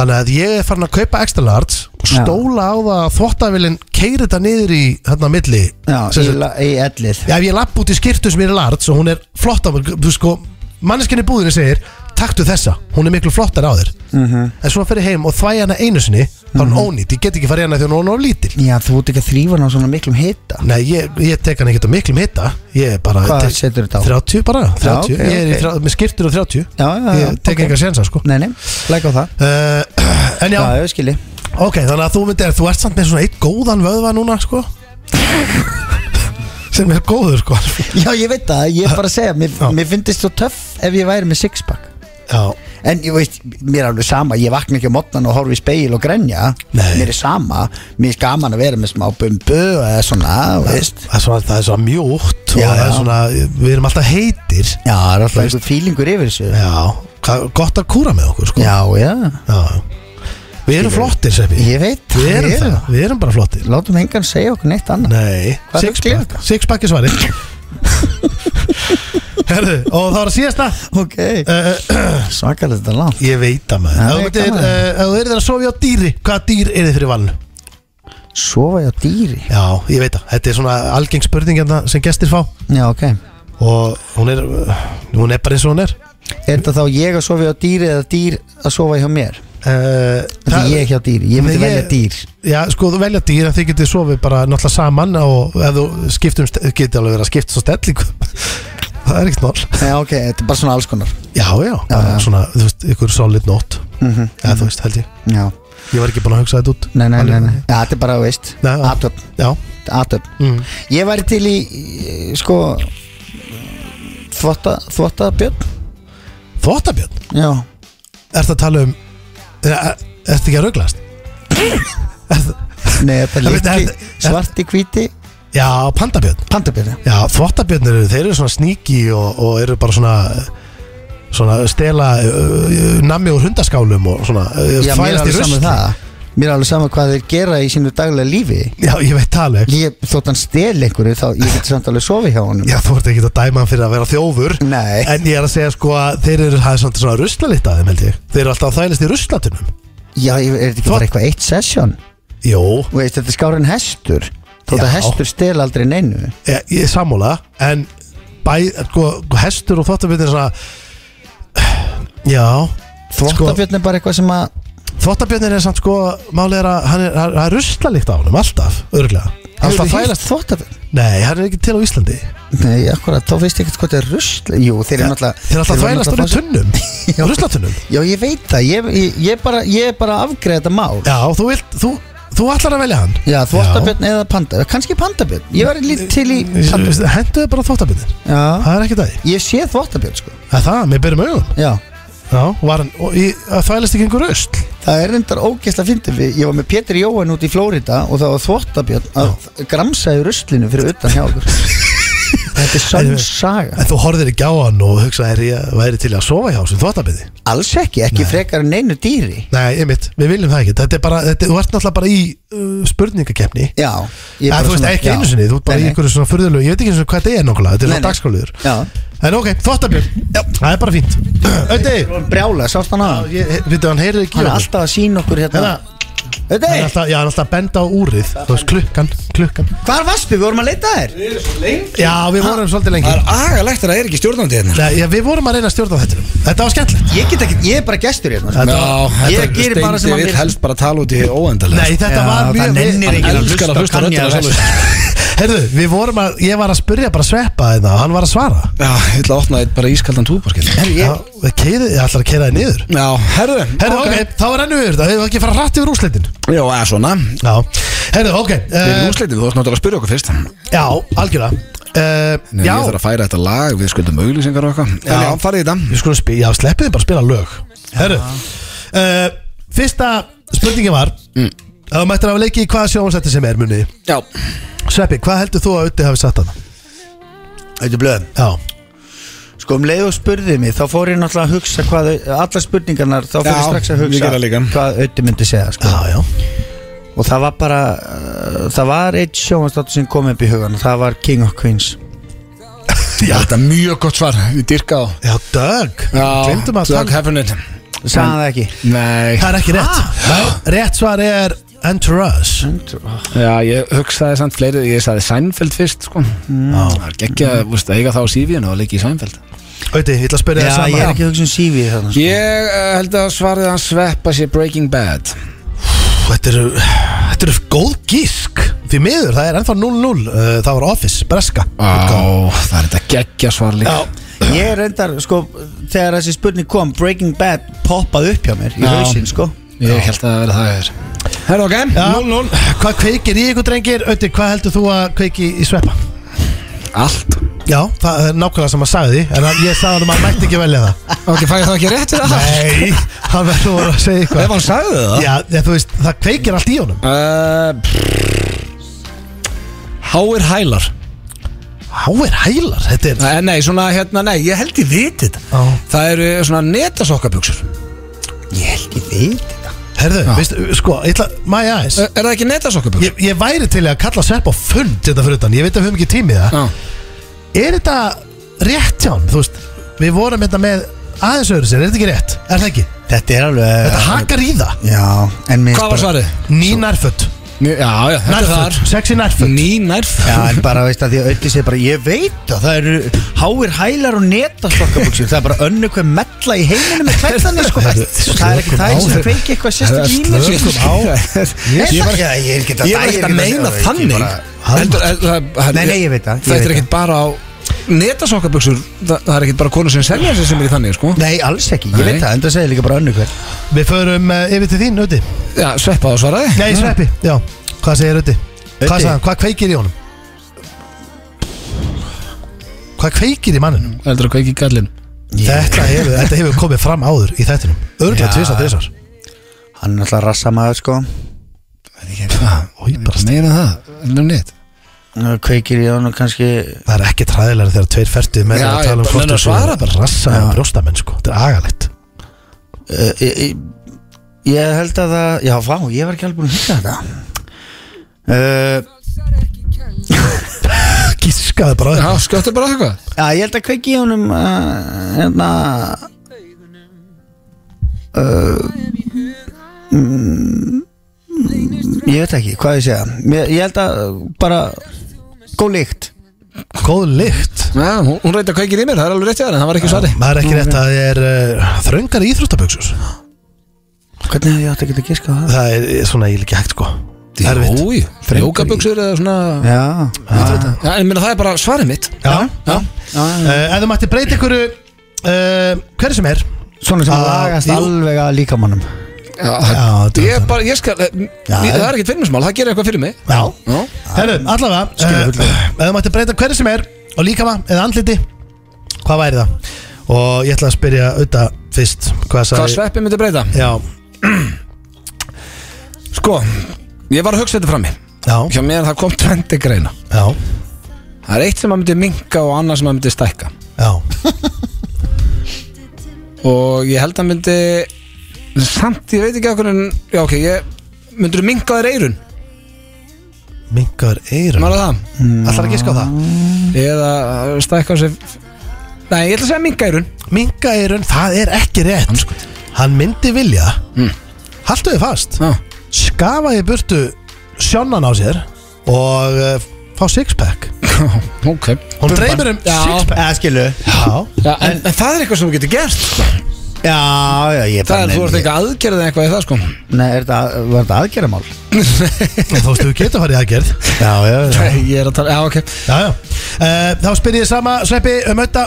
[SPEAKER 2] Þannig að ég er farin að kaupa ekstra lards og
[SPEAKER 3] Já.
[SPEAKER 2] stóla á það að þvóttavillin keiri þetta niður í hérna á milli.
[SPEAKER 3] Já,
[SPEAKER 2] Sem
[SPEAKER 3] í,
[SPEAKER 2] sagt,
[SPEAKER 3] la- í ellið
[SPEAKER 2] Já, ef ég lapp út í skýrtu sem er í lards og hún er flott á mér, þú sko, manneskinni búðinni segir, taktu þessa, hún er miklu flottar á þér.
[SPEAKER 3] Mhm.
[SPEAKER 2] En svo fer ég heim og þvæ hana einu sinni, þá er hún ónýtt, ég get ekki farið hana því hún er of lítil.
[SPEAKER 3] Já, þú ert ekki að þrýfa hann á svona miklum hita
[SPEAKER 2] Nei, ég, ég tek hana ekkert á miklum hitta, ég er bara...
[SPEAKER 3] Hvað
[SPEAKER 2] tek-
[SPEAKER 3] setur þetta á?
[SPEAKER 2] 30 bara, 30,
[SPEAKER 3] ok,
[SPEAKER 2] ég er
[SPEAKER 3] ok.
[SPEAKER 2] okay. með skýrtur og 30,
[SPEAKER 3] Já, já, já,
[SPEAKER 2] ég tek
[SPEAKER 3] ok.
[SPEAKER 2] okay. engar sénsa, sko.
[SPEAKER 3] Nei, nei, læk á það
[SPEAKER 2] Uh, En já,
[SPEAKER 3] Já, ég skilji
[SPEAKER 2] ok, þannig að þú myndir Þú ert samt með svona eitt góðan vöðva núna, sko Sem er góður, sko
[SPEAKER 3] Já, ég veit það, ég er bara að segja Mér,
[SPEAKER 2] Já.
[SPEAKER 3] mér finnst þú töff ef ég væri með sixpack
[SPEAKER 2] Já,
[SPEAKER 3] En ég veist, mér er alveg sama Ég vakna ekki á mótnan og horfi í speil og grenja
[SPEAKER 2] Nei.
[SPEAKER 3] Mér er sama, mér er gaman að vera með smá bumbu eða svona, þú veist
[SPEAKER 2] það er svona, það er svona mjúkt og
[SPEAKER 3] Já,
[SPEAKER 2] það er
[SPEAKER 3] já.
[SPEAKER 2] svona, við erum alltaf heitir
[SPEAKER 3] Já, það er alltaf einhver fílingur yfir þessu
[SPEAKER 2] Já, hvað, gott að kúra með okkur sko.
[SPEAKER 3] Já, já,
[SPEAKER 2] já Við erum flottir, Seppi
[SPEAKER 3] ég veit
[SPEAKER 2] Við erum
[SPEAKER 3] ég
[SPEAKER 2] það, við erum bara flottir
[SPEAKER 3] Látum engan segja okkur neitt annað
[SPEAKER 2] Nei,
[SPEAKER 3] Hvað er rugl er
[SPEAKER 2] sixpack
[SPEAKER 3] þetta?
[SPEAKER 2] Sixpack er svarið Herðu, og það var síðasta
[SPEAKER 3] Ok,
[SPEAKER 2] uh,
[SPEAKER 3] svakalegt þetta langt
[SPEAKER 2] Ég veit að maður
[SPEAKER 3] Já,
[SPEAKER 2] Ef þú
[SPEAKER 3] ég
[SPEAKER 2] myndir,
[SPEAKER 3] gaman.
[SPEAKER 2] eh, ef þú eru að sofa á dýri Hvaða dýr er þið fyrir valinu?
[SPEAKER 3] Sofa ég á dýri
[SPEAKER 2] Já, ég veit að Þetta er svona algeng spurning hérna sem gestir fá
[SPEAKER 3] Já, ok
[SPEAKER 2] Og hún er, eh, hún er bara eins og hún er
[SPEAKER 3] Er þetta þá ég að sofa hjá dýri eða dýr að sofa hjá mér?
[SPEAKER 2] uh,
[SPEAKER 3] Þetta er ég hjá dýri, ég myndi
[SPEAKER 2] Nei,
[SPEAKER 3] velja
[SPEAKER 2] ég-
[SPEAKER 3] dýr
[SPEAKER 2] Já, sko, þú velja dýr en þið getið sofið bara náttúrulega saman og ef þú skiptum, st- getið alveg verið að skipta svo stellingu það er ekkert mál
[SPEAKER 3] Já, ok, þetta er bara svona alls konar
[SPEAKER 2] Já, já, bara
[SPEAKER 3] já.
[SPEAKER 2] svona, þú veist, ykkur solid note
[SPEAKER 3] mm -hmm.
[SPEAKER 2] eða þú veist, held ég,
[SPEAKER 3] Já,
[SPEAKER 2] ég var ekki búin að hugsa þetta út
[SPEAKER 3] nei, nei, nei,
[SPEAKER 2] Alveg.
[SPEAKER 3] nei. Já, þetta er bara, þú veist,
[SPEAKER 2] Nei, já.
[SPEAKER 3] aðtöp
[SPEAKER 2] Já,
[SPEAKER 3] aðtöp
[SPEAKER 2] mm.
[SPEAKER 3] Ég væri til í, eh, sko þvotta, þvotta björn
[SPEAKER 2] Þvottabjörn,
[SPEAKER 3] Já,
[SPEAKER 2] ertu að tala um er, er, ertu ekki að rauglast?
[SPEAKER 3] nei, þetta er
[SPEAKER 2] Það veit-
[SPEAKER 3] litli,
[SPEAKER 2] þetta-
[SPEAKER 3] svarti, hvíti
[SPEAKER 2] Já, pandabjörn
[SPEAKER 3] Pandabjörn, já
[SPEAKER 2] Já, þvottabjörn eru, þeir eru svona sníki og, og eru bara svona svona stela uh, nammi úr hundaskálum og svona uh,
[SPEAKER 3] Já, mér
[SPEAKER 2] fælast í
[SPEAKER 3] er alveg
[SPEAKER 2] rusli.
[SPEAKER 3] saman það Mér er alveg saman hvað þeir gera í sínu daglega lífi
[SPEAKER 2] Já, ég veit það alveg
[SPEAKER 3] Ég, þótt hann stel einhverju þá ég get samt alveg sofið hjá honum
[SPEAKER 2] Já, þú ert ekki að dæma hann fyrir að vera þjófur
[SPEAKER 3] Nei,
[SPEAKER 2] En ég er að segja sko að þeir eru Það er svona, svona ruslalitt að þeim held ég Þeir eru alltaf að þælist í ruslatunum
[SPEAKER 3] já, ég- er þetta ekki bara
[SPEAKER 2] Þvott-
[SPEAKER 3] eitthvað eitt sesjón
[SPEAKER 2] Jó,
[SPEAKER 3] Þú veist, þetta er skárið en hestur Þótt
[SPEAKER 2] Já.
[SPEAKER 3] að hestur stel aldrei neinu
[SPEAKER 2] ég, ég er sammála En bæ, sko, hestur og þvottabjörn er svona Já
[SPEAKER 3] Þvottabjörn er bara eitthvað sem að
[SPEAKER 2] sko, Þvottabjörn er samt sko Málið er að hann er, hann er ruslalitt á honum Alltaf, örglega Alltaf
[SPEAKER 3] Hefurðu
[SPEAKER 2] þælast
[SPEAKER 3] hýrt Þvottabjörn
[SPEAKER 2] Nei, hann er ekki til á Íslandi
[SPEAKER 3] Nei, akkurat, þá veist ég ekkert hvað þetta er rusl Jú, þeir eru náttúrulega
[SPEAKER 2] Þeir er alltaf
[SPEAKER 3] eru
[SPEAKER 2] þælast honum
[SPEAKER 3] náttúrulega-
[SPEAKER 2] tunnum Ruslatunnum
[SPEAKER 3] Já, ég veit það, ég, ég, ég, er bara, ég er bara að afgreða þetta mál
[SPEAKER 2] Já, þú, vilt, þú, þú ætlar að velja hann
[SPEAKER 3] Já, þvottabjörn eða panda Kanski pandabjörn, ég var lítið til í
[SPEAKER 2] Henduðu bara þvottabjörnir
[SPEAKER 3] Já,
[SPEAKER 2] Það er ekki dæg
[SPEAKER 3] ég sé þvottabjörn sko
[SPEAKER 2] Það, það, með berum augum
[SPEAKER 3] Já,
[SPEAKER 2] Já, var hann, og í, að þælast ekki einhver ösl
[SPEAKER 3] það er reyndar ógeðslega fyndið við Ég var með Pétur Jóhann út í Flórida og það var þvottabjörn að gramsaði ruslinu fyrir utan hjá okkur Þetta er sann saga
[SPEAKER 2] En þú horfðir ekki á hann og hugsaðir ég væri til að sofa hjá sem þvottabindi
[SPEAKER 3] Alls ekki, ekki frekar en einu dýri
[SPEAKER 2] Nei, einmitt, við viljum það ekki Þetta er bara, þetta, þú ert náttúrulega bara í uh, spurningakefni
[SPEAKER 3] Já, ég er
[SPEAKER 2] En
[SPEAKER 3] bara
[SPEAKER 2] þú veist
[SPEAKER 3] svona-
[SPEAKER 2] ekki
[SPEAKER 3] já.
[SPEAKER 2] einu sinni, þú ert bara
[SPEAKER 3] Nei,
[SPEAKER 2] í
[SPEAKER 3] nei.
[SPEAKER 2] einhverju svona furðulegu Ég veit ekki eins og hvað þetta er nákvæmlega, þetta er
[SPEAKER 3] Nei,
[SPEAKER 2] svona
[SPEAKER 3] nei.
[SPEAKER 2] dagskráliður
[SPEAKER 3] Já,
[SPEAKER 2] En ok, þvottabjörn, það er bara fínt Ötti,
[SPEAKER 3] brjála, sást hann að
[SPEAKER 2] við hann heyrir ekki
[SPEAKER 3] Hann er
[SPEAKER 2] í honum.
[SPEAKER 3] alltaf að sína okkur hérna
[SPEAKER 2] Hérna,
[SPEAKER 3] Þetta
[SPEAKER 2] hann er alltaf, já, hann er alltaf að benda á úrið Þú veist, klukkan, klukkan
[SPEAKER 3] hvar varstu? Við vorum að leita að þér
[SPEAKER 2] Já, við vorum svolítið lengi
[SPEAKER 1] Það er agalegt að það er ekki stjórnandi hérna
[SPEAKER 2] Nei, já, Við vorum að reyna að stjórna þetta Þetta var skemmtilegt
[SPEAKER 3] Ég get ekki, ég er bara gestur hérna
[SPEAKER 2] Þetta-
[SPEAKER 1] Já,
[SPEAKER 3] Ég geri bara sem hann
[SPEAKER 1] Steindi
[SPEAKER 3] vill.
[SPEAKER 1] vill helst bara tala út í óendalega
[SPEAKER 2] Nei, þetta
[SPEAKER 3] Já,
[SPEAKER 2] var mjög
[SPEAKER 3] það nennir
[SPEAKER 1] Hann
[SPEAKER 3] enginn að
[SPEAKER 1] elskar að hlusta
[SPEAKER 3] hlusta á Kanye
[SPEAKER 1] röddina
[SPEAKER 3] West.
[SPEAKER 1] sjálfur.
[SPEAKER 2] Herðu, við vorum að, ég var að spyrja bara sveppa þetta og hann var að svara
[SPEAKER 1] Já, ég ætla að opna eitt bara ískaldan túborskinn
[SPEAKER 3] Herri,
[SPEAKER 2] Já,
[SPEAKER 3] ég-
[SPEAKER 2] við keiði, ég ætlar að keira það niður
[SPEAKER 1] Já, herðu
[SPEAKER 2] Herðu, ok, þá er ennum yfir þetta, við ekki að fara hratt yfir úslitin
[SPEAKER 1] Já, eða svona
[SPEAKER 2] Já, herðu, ok
[SPEAKER 1] Við erum
[SPEAKER 2] uh,
[SPEAKER 1] úrslitin, þú varst náttúrulega að spyrja okkur fyrst Nei,
[SPEAKER 2] Já, algjörlega uh,
[SPEAKER 1] Ég
[SPEAKER 2] Já,
[SPEAKER 1] þarf að færa þetta lag, við skuldum auglýsingar og eitthvað En
[SPEAKER 2] Já.
[SPEAKER 1] já, farið í þetta
[SPEAKER 2] við skulum spila, já, sleppið þið bara að spila lög Herðu, uh, fyrsta spurningin var mm. Það mættir að leiki í hvaða sjónsætti sem er muni
[SPEAKER 1] Já,
[SPEAKER 2] Sveppi, hvað heldur þú að auðvitað hafi sagt það?
[SPEAKER 3] Þetta er blöðum
[SPEAKER 2] Já,
[SPEAKER 3] Sko um leið og spurðið mig þá fór ég náttúrulega að hugsa hvað allar spurningarnar þá fór ég
[SPEAKER 1] Já,
[SPEAKER 3] strax að
[SPEAKER 1] ég gerði það líka.
[SPEAKER 3] hugsa hvað auðvitað myndi segja sko.
[SPEAKER 2] já, já
[SPEAKER 3] og það var bara uh, það var eitt sjóhansdóttur sem kom upp í hugan og það var King of Queens
[SPEAKER 1] þetta er mjög gott svar, við dyrka á
[SPEAKER 2] Já, Doug, glemdum að
[SPEAKER 1] Doug
[SPEAKER 2] tala
[SPEAKER 1] Heffernan
[SPEAKER 3] sagði hann það ekki
[SPEAKER 1] Nei
[SPEAKER 2] Það er ekki rétt Nei, Rétt svar er Entourage
[SPEAKER 1] Já, ég hugsaði samt fleiri, ég sagði Seinfeld fyrst, sko Það er geggja, þú veist, að eiga þá sífíðinu og leikja í Seinfeld
[SPEAKER 2] Öti, ég ætla að spyrja
[SPEAKER 3] Já,
[SPEAKER 2] það sama
[SPEAKER 3] ég er ekki að hugsa um CV þannig sko.
[SPEAKER 1] Ég uh, held að svarið hans sveppa sér Breaking Bad
[SPEAKER 2] Pú, Þetta eru Þetta eru góð gísk Því miður, það er ennþá 0-0 uh, Það var Office, Breska
[SPEAKER 1] Ah. Á, það er þetta geggja svar líka
[SPEAKER 2] Já,
[SPEAKER 3] Ég er reyndar, sko, þegar þessi spurning kom Breaking Bad poppaði upp hjá mér í
[SPEAKER 1] Já.
[SPEAKER 3] hausinn, sko
[SPEAKER 1] Ég held að vera það er Herra ok,
[SPEAKER 2] Já.
[SPEAKER 1] 0-0
[SPEAKER 2] Hvað kveikir í ykkur drengir? Ötti, hvað heldur þú að kveiki í sveppa?
[SPEAKER 1] Allt
[SPEAKER 2] Já, það er nákvæmlega sem að sagði því En að- ég sagði hann að maður mætti ekki velja það
[SPEAKER 1] Ok, fæ ég það ekki rétt fyrir það?
[SPEAKER 2] Nei, hann verður voru að segja
[SPEAKER 1] Ef
[SPEAKER 2] eitthvað
[SPEAKER 1] hann sagði það?
[SPEAKER 2] Já, ég, þú veist, það kveikir allt í honum
[SPEAKER 1] Uh, Háir hælar
[SPEAKER 2] Háir hælar, þetta er
[SPEAKER 1] Eh, Nei, svona hérna, nei, ég held ég viti þetta
[SPEAKER 2] Já.
[SPEAKER 1] Það eru svona netasokkabuxur
[SPEAKER 3] Ég held ekki veit
[SPEAKER 2] Herðu, veistu, sko, ég ætla, my eyes
[SPEAKER 1] Eh, Er það ekki netasokkabuxur?
[SPEAKER 2] ég, ég væri til í að kalla svepp á fund Þetta fyrir utan, ég veit að við höfum ekki tími í það
[SPEAKER 1] Já,
[SPEAKER 2] Er þetta rétt hjá hann? Þú veist, við vorum þetta með aðeins öðru sér, er þetta ekki rétt? Er það ekki?
[SPEAKER 3] Þetta er alveg
[SPEAKER 2] Þetta hakar í það
[SPEAKER 3] Já, en mér
[SPEAKER 1] Hvað var
[SPEAKER 3] bara-
[SPEAKER 1] svarið?
[SPEAKER 2] Ný nærföt,
[SPEAKER 1] Ný- Já, já, þetta er
[SPEAKER 2] nærföt,
[SPEAKER 1] þar
[SPEAKER 2] sexy nærföt
[SPEAKER 1] Ný nærföt
[SPEAKER 3] Já, en bara veist að því að Ötti segir bara Ég veit að það eru háir hælar og netastokkabúksir Það er bara önnu hver mella í heiminu með klættanir sko
[SPEAKER 2] Herðu,
[SPEAKER 3] Og það er ekki
[SPEAKER 2] slökum
[SPEAKER 3] það
[SPEAKER 2] á
[SPEAKER 3] sem
[SPEAKER 2] þér.
[SPEAKER 3] fengi eitthvað sérstök í mér
[SPEAKER 1] Slökum á.
[SPEAKER 3] Ég
[SPEAKER 1] Ég var
[SPEAKER 3] var ekki
[SPEAKER 1] Ég var ekkert að meina þannig Heldur- held- það- það-
[SPEAKER 3] Nei, nei, ég veit það, ég
[SPEAKER 1] Þetta er
[SPEAKER 3] veit
[SPEAKER 1] ekkert bara á netasokkabuxur Það það er ekkert bara konur sem selja sér sem er í þannig, sko
[SPEAKER 3] Nei, alls ekki, ég
[SPEAKER 1] Nei.
[SPEAKER 3] veit það, en það segir líka bara önnu hver
[SPEAKER 2] Við förum uh, yfir til þín, Ötti
[SPEAKER 1] Já, sveppa á svaraði
[SPEAKER 2] Nei, sveppi, já, hvað segir Ötti? Hvað
[SPEAKER 3] Öddi?
[SPEAKER 2] sagði hann, hvað kveikir í honum? Hvað kveikir í manninum?
[SPEAKER 1] Heldur að kveiki í gallin
[SPEAKER 2] Þetta hefur, þetta hefur komið fram áður í þættinum Örgulega
[SPEAKER 3] Já.
[SPEAKER 2] tvisar, tvisar
[SPEAKER 3] Hann er alltaf rassamaður sko
[SPEAKER 2] Í, bara,
[SPEAKER 1] Meina það, heldur um net
[SPEAKER 3] Nú Kveikir í hann og kannski
[SPEAKER 2] Það er ekki træðilega þegar tveir fertu
[SPEAKER 1] Já,
[SPEAKER 2] menn eru að tala um
[SPEAKER 1] ég bara-
[SPEAKER 2] hvort
[SPEAKER 1] menn að
[SPEAKER 2] þessu
[SPEAKER 1] svara bara.
[SPEAKER 2] Rassa um brjóstamenn sko, þetta er agalegt
[SPEAKER 3] Uh, ég- ég- Ég held að það Já, vá, ég var ekki alveg búin að hugsa þetta Uh,
[SPEAKER 2] Gískaði bara á
[SPEAKER 1] Já,
[SPEAKER 2] þetta
[SPEAKER 1] skjóttu bara á eitthvað
[SPEAKER 3] Já, ég held að kveiki í honum uh, Hérna eh, uh, mm, Ég veit ekki, hvað ég segja Ég, ég held að bara Góð líkt
[SPEAKER 2] Góð lykt
[SPEAKER 1] Já, hún, hún reyndi að kveiki í mér, það er alveg rétt í það En það var ekki svari
[SPEAKER 2] Það er ekki rétt að það er uh, þröngar íþróttaböksur
[SPEAKER 3] Hvernig hefði ég átt að geta giska á það?
[SPEAKER 2] Það er eh, svona ég líka hægt sko Erfitt
[SPEAKER 1] Jói, jókabuxur eða svona
[SPEAKER 3] Já, já,
[SPEAKER 1] Já, en minna það er bara svarið mitt
[SPEAKER 2] Já, já.
[SPEAKER 3] já, já.
[SPEAKER 2] Uh, Ef þú mætti breyta ykkur uh, Hver sem er
[SPEAKER 3] Svona sem
[SPEAKER 2] Ah,
[SPEAKER 3] lagast
[SPEAKER 2] jú.
[SPEAKER 3] alveg að líkamannum
[SPEAKER 1] Já,
[SPEAKER 2] þetta er
[SPEAKER 1] ég bara, ég skal já, Það er ekkert fyrir mig smál, það gerir eitthvað fyrir mig
[SPEAKER 2] Já
[SPEAKER 1] Já,
[SPEAKER 2] Herru, allavega uh, Ef þú mætti breyta hverju sem er Og líkama eða andliti Hvað væri það? Og ég ætla að spyrja auðvitað fyrst Hvað
[SPEAKER 1] hvað
[SPEAKER 2] sagði
[SPEAKER 1] sveppi myndi breyta
[SPEAKER 2] Já,
[SPEAKER 1] Sko, ég var að hugsa þetta frammi
[SPEAKER 2] já,
[SPEAKER 1] Hjá mér það kom 20 greina
[SPEAKER 2] já,
[SPEAKER 1] Það er eitt sem maður myndi minka og annað sem maður myndi stækka
[SPEAKER 2] já.
[SPEAKER 1] Og ég held að myndi Samt, ég veit ekki okkur en Já, ok, ég Myndur minka þér eirun,
[SPEAKER 2] Mingar eirun
[SPEAKER 1] maður það
[SPEAKER 2] Ætlar að giska á það?
[SPEAKER 1] Eða uh, stækka sér Nei, ég ætla að segja minka eirun
[SPEAKER 2] Minga eirun, það er ekki rétt Hann myndi vilja mm. Haltu þið fast
[SPEAKER 1] Já,
[SPEAKER 2] Skafa í burtu sjónan á sér Og uh, fá sixpack
[SPEAKER 1] ok
[SPEAKER 2] Hún dreymir um
[SPEAKER 1] Já.
[SPEAKER 2] sixpack
[SPEAKER 3] Já, skilu
[SPEAKER 2] Já,
[SPEAKER 1] Já, en, en það er eitthvað sem þú getur gert sko.
[SPEAKER 3] Já, já,
[SPEAKER 1] Það er,
[SPEAKER 3] ég bara
[SPEAKER 1] þú ert eitthvað aðgerðið eitthvað í það sko
[SPEAKER 3] Nei, er þetta, var þetta aðgerðamál?
[SPEAKER 2] En þú veist, þú getur farið í aðgerð
[SPEAKER 3] Já, já, já
[SPEAKER 1] Ég er að tala, já ok
[SPEAKER 2] Já, já. Uh, þá spyr ég sama Sveppi um auðta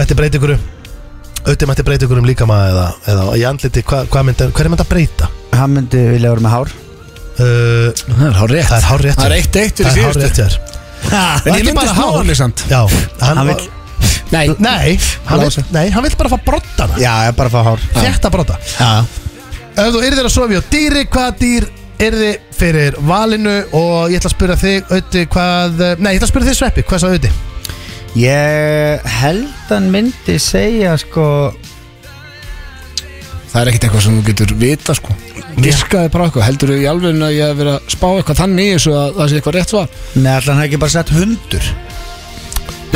[SPEAKER 2] Mætti breyta ykkur Auðvitað mætti breyta ykkur um líkama eða, eða í andliti, hva, hva myndi, hver er myndi að breyta?
[SPEAKER 3] Hann myndi vilja vera með hár
[SPEAKER 2] Uh,
[SPEAKER 1] Það er hár rétt
[SPEAKER 2] það er hár rétt
[SPEAKER 1] Það er eitt eitt
[SPEAKER 2] Það
[SPEAKER 1] fyrir
[SPEAKER 2] er hár rétt
[SPEAKER 1] síðustu
[SPEAKER 2] hér
[SPEAKER 1] En ég myndi snúa mig samt.
[SPEAKER 2] Já, hann,
[SPEAKER 3] Hann
[SPEAKER 2] hann
[SPEAKER 3] vill-
[SPEAKER 1] Nei,
[SPEAKER 2] Nei, hann
[SPEAKER 1] Lása.
[SPEAKER 2] vill, nei, hann vill bara fá brottana
[SPEAKER 3] Já, ég bara fá hár
[SPEAKER 2] Þetta brotta
[SPEAKER 3] Já
[SPEAKER 2] Ef þú yrðir að sofi á dýri, hvaða dýr yrði fyrir valinu og ég ætla að spyrja þig auðvitað hvað, eh, nei, ég ætla að spyrja þig Sveppi, hvað sagði auðvitað?
[SPEAKER 3] Ég held hann myndi segja sko
[SPEAKER 1] það er ekkert eitthvað sem þú getur vita sko Giskaði bara eitthvað, heldur þú í alveg að ég hef verið að spá eitthvað þannig í þessu að það sé eitthvað rétt svar
[SPEAKER 3] Nei, ætla hann hafi ekki bara sett hundur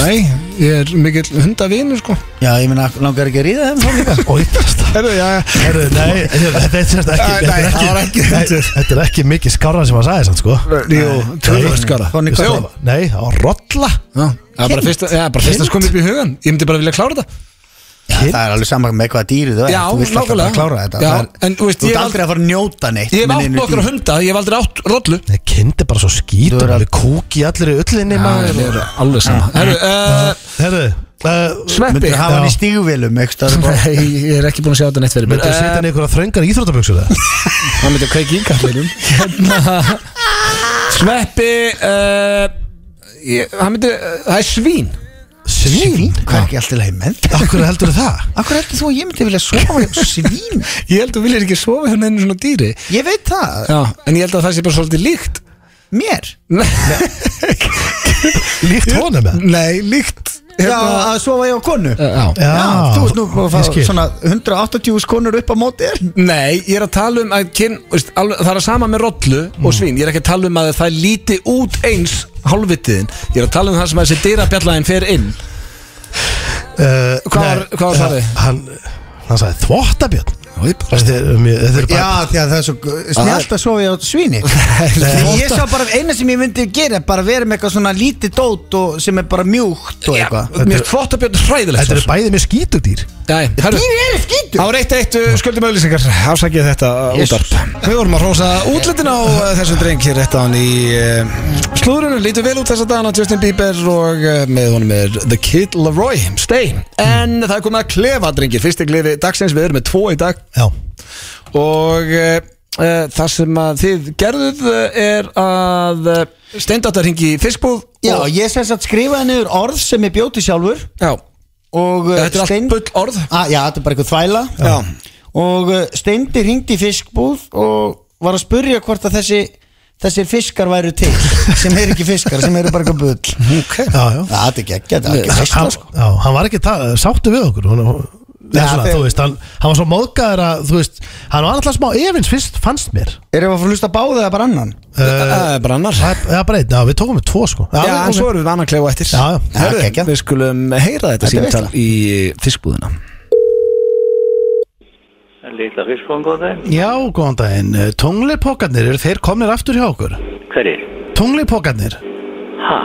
[SPEAKER 1] Nei, ég er mikill hundavinur sko
[SPEAKER 3] Já, ég meina, langar ekki að ríða þeim þá líka
[SPEAKER 2] Oj, það
[SPEAKER 1] Herru, já, já
[SPEAKER 2] Herru, nei, þetta er sérst ekki
[SPEAKER 1] Nei,
[SPEAKER 2] þetta er
[SPEAKER 1] nei, það var ekki
[SPEAKER 2] nei,
[SPEAKER 1] hundur.
[SPEAKER 2] Þetta er ekki mikið skárra sem hann sagði sann, sko
[SPEAKER 1] Jú, tölvöld skara
[SPEAKER 3] Þannig
[SPEAKER 2] Sko,
[SPEAKER 3] hvað
[SPEAKER 2] Nei, það var rolla
[SPEAKER 1] Já, það er bara fyrst að, já, bara fyrst að
[SPEAKER 2] Kind.
[SPEAKER 1] koma upp í hugan Ég myndi bara vilja klára þetta
[SPEAKER 3] Það er alveg saman með hvaða dýri þú er
[SPEAKER 1] Já,
[SPEAKER 3] Þú vilt alltaf bara
[SPEAKER 1] nákvæmlega.
[SPEAKER 3] klára þetta
[SPEAKER 1] Já,
[SPEAKER 3] Það er,
[SPEAKER 1] en þú veist,
[SPEAKER 3] Þú
[SPEAKER 1] ég
[SPEAKER 3] ert
[SPEAKER 1] hef
[SPEAKER 3] aldrei að fara að njóta neitt
[SPEAKER 1] Ég hef
[SPEAKER 3] með
[SPEAKER 1] átt
[SPEAKER 3] neinu
[SPEAKER 1] nokkra
[SPEAKER 3] dýri.
[SPEAKER 1] hunda, ég hef aldrei átt rollu
[SPEAKER 2] Nei, kind er bara svo skítur
[SPEAKER 3] Þú er
[SPEAKER 2] Það er kúk í allir ullinni maður
[SPEAKER 1] Það er alveg sama Herru, uh,
[SPEAKER 2] Herðu uh,
[SPEAKER 1] Sveppi
[SPEAKER 3] Myndirðu hafa hann í stígvélum einhvers staðar bara-
[SPEAKER 1] Nei, ég er ekki búin að sjá þetta neitt fyrir mér
[SPEAKER 2] Myndu að setja hann í einhverja þröngar íþrótaböksur það?
[SPEAKER 1] Það myndi að kveiki í kallinum Hérna Sveppi uh, ég, hann myndi, uh, Það er svín
[SPEAKER 2] Svín?
[SPEAKER 3] Hvað er ekki allt til heim með?
[SPEAKER 2] Akkur heldur það?
[SPEAKER 3] Akkur er ekki þú að ég myndi vilja sofa hjá svín?
[SPEAKER 1] Ég held að þú viljir ekki sofa hjá neinu svona dýri
[SPEAKER 3] Ég veit það,
[SPEAKER 1] Já, en ég held að það sé bara svolítið líkt
[SPEAKER 3] mér
[SPEAKER 1] Nei,
[SPEAKER 2] Líkt honum með?
[SPEAKER 1] Nei líkt Hérna,
[SPEAKER 3] Já, að sofa hjá konu
[SPEAKER 1] Eh, já.
[SPEAKER 2] Já,
[SPEAKER 3] Já, þú ert nú búin að
[SPEAKER 2] ég skil.
[SPEAKER 3] fá svona 180 konur upp á móti þér
[SPEAKER 1] Nei, ég er að tala um að kyn, veist, alveg, það er að sama með rollu og svín Ég er ekki að tala um að það líti út eins hálfvitiðin Ég er að tala um það sem að þessi dyrabjallæðin fer inn
[SPEAKER 2] Eh,
[SPEAKER 1] Hvað
[SPEAKER 2] nei,
[SPEAKER 1] var- hvað var
[SPEAKER 2] eh,
[SPEAKER 1] svarið?
[SPEAKER 2] Hann, hann sagði þvottabjörn Þetta er um, þetta er bara
[SPEAKER 3] Já, því að það er svo snjált að sofa hjá svíni Því Ég sá bara eina sem ég myndi gera er bara vera með eitthvað svona lítið dót og, sem er bara mjúkt og eitthvað
[SPEAKER 1] Mér finnst þvottabjörn hræðilegt sko.
[SPEAKER 2] Þetta eru bæði með skítugdýr
[SPEAKER 1] Nei, hörru
[SPEAKER 3] Dýr eru skítur
[SPEAKER 1] Það var eitt eitt uh, skuldum auðlýsingar Afsakið þetta uh,
[SPEAKER 3] Jesus.
[SPEAKER 1] útarp Við vorum að hrósa útlutin á uh, þessum dreng hér rétt á hann í uh, slúðrunum Lítur vel út þessa dagana Justin Bieber og uh, með honum er The Kid Laroi Stay En það er komið að klefa drengir Fyrsti klefi dagsins við erum með tvo í dag
[SPEAKER 2] Já
[SPEAKER 1] Og uh, uh, það sem að þið gerðuð uh, er að uh, Steindátar hingi í fiskbúð
[SPEAKER 3] Já,
[SPEAKER 1] og,
[SPEAKER 3] ég sem sagt skrifaði niður orð sem ég bjóti sjálfur
[SPEAKER 1] já
[SPEAKER 3] og uh,
[SPEAKER 1] Þetta er allt bull orð
[SPEAKER 3] Ah, já, þetta er bara eitthvað þvæla
[SPEAKER 1] Já.
[SPEAKER 3] Og uh, Steindi ringdi í fiskbúð og var að spurja hvort að þessi þessir fiskar væru til sem eru ekki fiskar, sem eru bara eitthvað bull
[SPEAKER 1] okay.
[SPEAKER 2] Já, já
[SPEAKER 3] Já, þetta er ekki ekki, þetta er ekki
[SPEAKER 2] Hann,
[SPEAKER 3] veistla, sko.
[SPEAKER 2] já, hann var ekki ta- sáttu við okkur hún, hún,
[SPEAKER 3] Já,
[SPEAKER 2] ja, svona,
[SPEAKER 3] þeir-
[SPEAKER 2] þú veist, hann, hann var svo móðgæður að þú veist, hann var alltaf smá efins fyrst fannst mér Eh,
[SPEAKER 3] Erum við að fara að hlusta á báða eða bara annan?
[SPEAKER 1] Það er bara annar
[SPEAKER 2] Það er- það er bara einn, já við tókum við tvo sko Já,
[SPEAKER 1] Já, en
[SPEAKER 2] ok.
[SPEAKER 1] svo erum við annan klefa eftir
[SPEAKER 2] Já, já.
[SPEAKER 1] Herðu,
[SPEAKER 3] Já, geggjað.
[SPEAKER 1] Við skulum heyra þetta
[SPEAKER 3] Þetta er
[SPEAKER 1] símtal í fiskbúðina
[SPEAKER 4] Lilla fiskbúðan góð þeim?
[SPEAKER 2] já góðan daginn, Eh, tunglipokkarnir eru þeir komnir aftur hjá okkur
[SPEAKER 4] Hverjir?
[SPEAKER 2] Tunglipokkarnir,
[SPEAKER 4] Ha?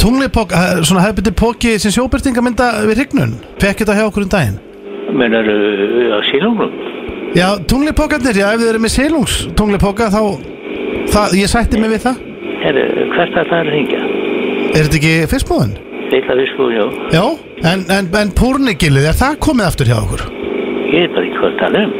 [SPEAKER 2] tunglipok eh, svona hefðbyrti poki sem sjóbyrtinga mynda við hrygnun, fekk þetta hjá okkur um daginn
[SPEAKER 4] Menar uh, á sílunum?
[SPEAKER 2] Já, tunglipokkarnir, já ef þið eru með selungs tunglipokka þá, það, ég sætti mig við það
[SPEAKER 4] Herru, uh, hvert að það er að hringja?
[SPEAKER 2] Er þetta ekki fyrstbúðin?
[SPEAKER 4] Lilla fiskbúðan, já.
[SPEAKER 2] Já, en, en, en púrnigilið, er það komið aftur hjá okkur?
[SPEAKER 4] Ég er bara ekki hvað að tala um.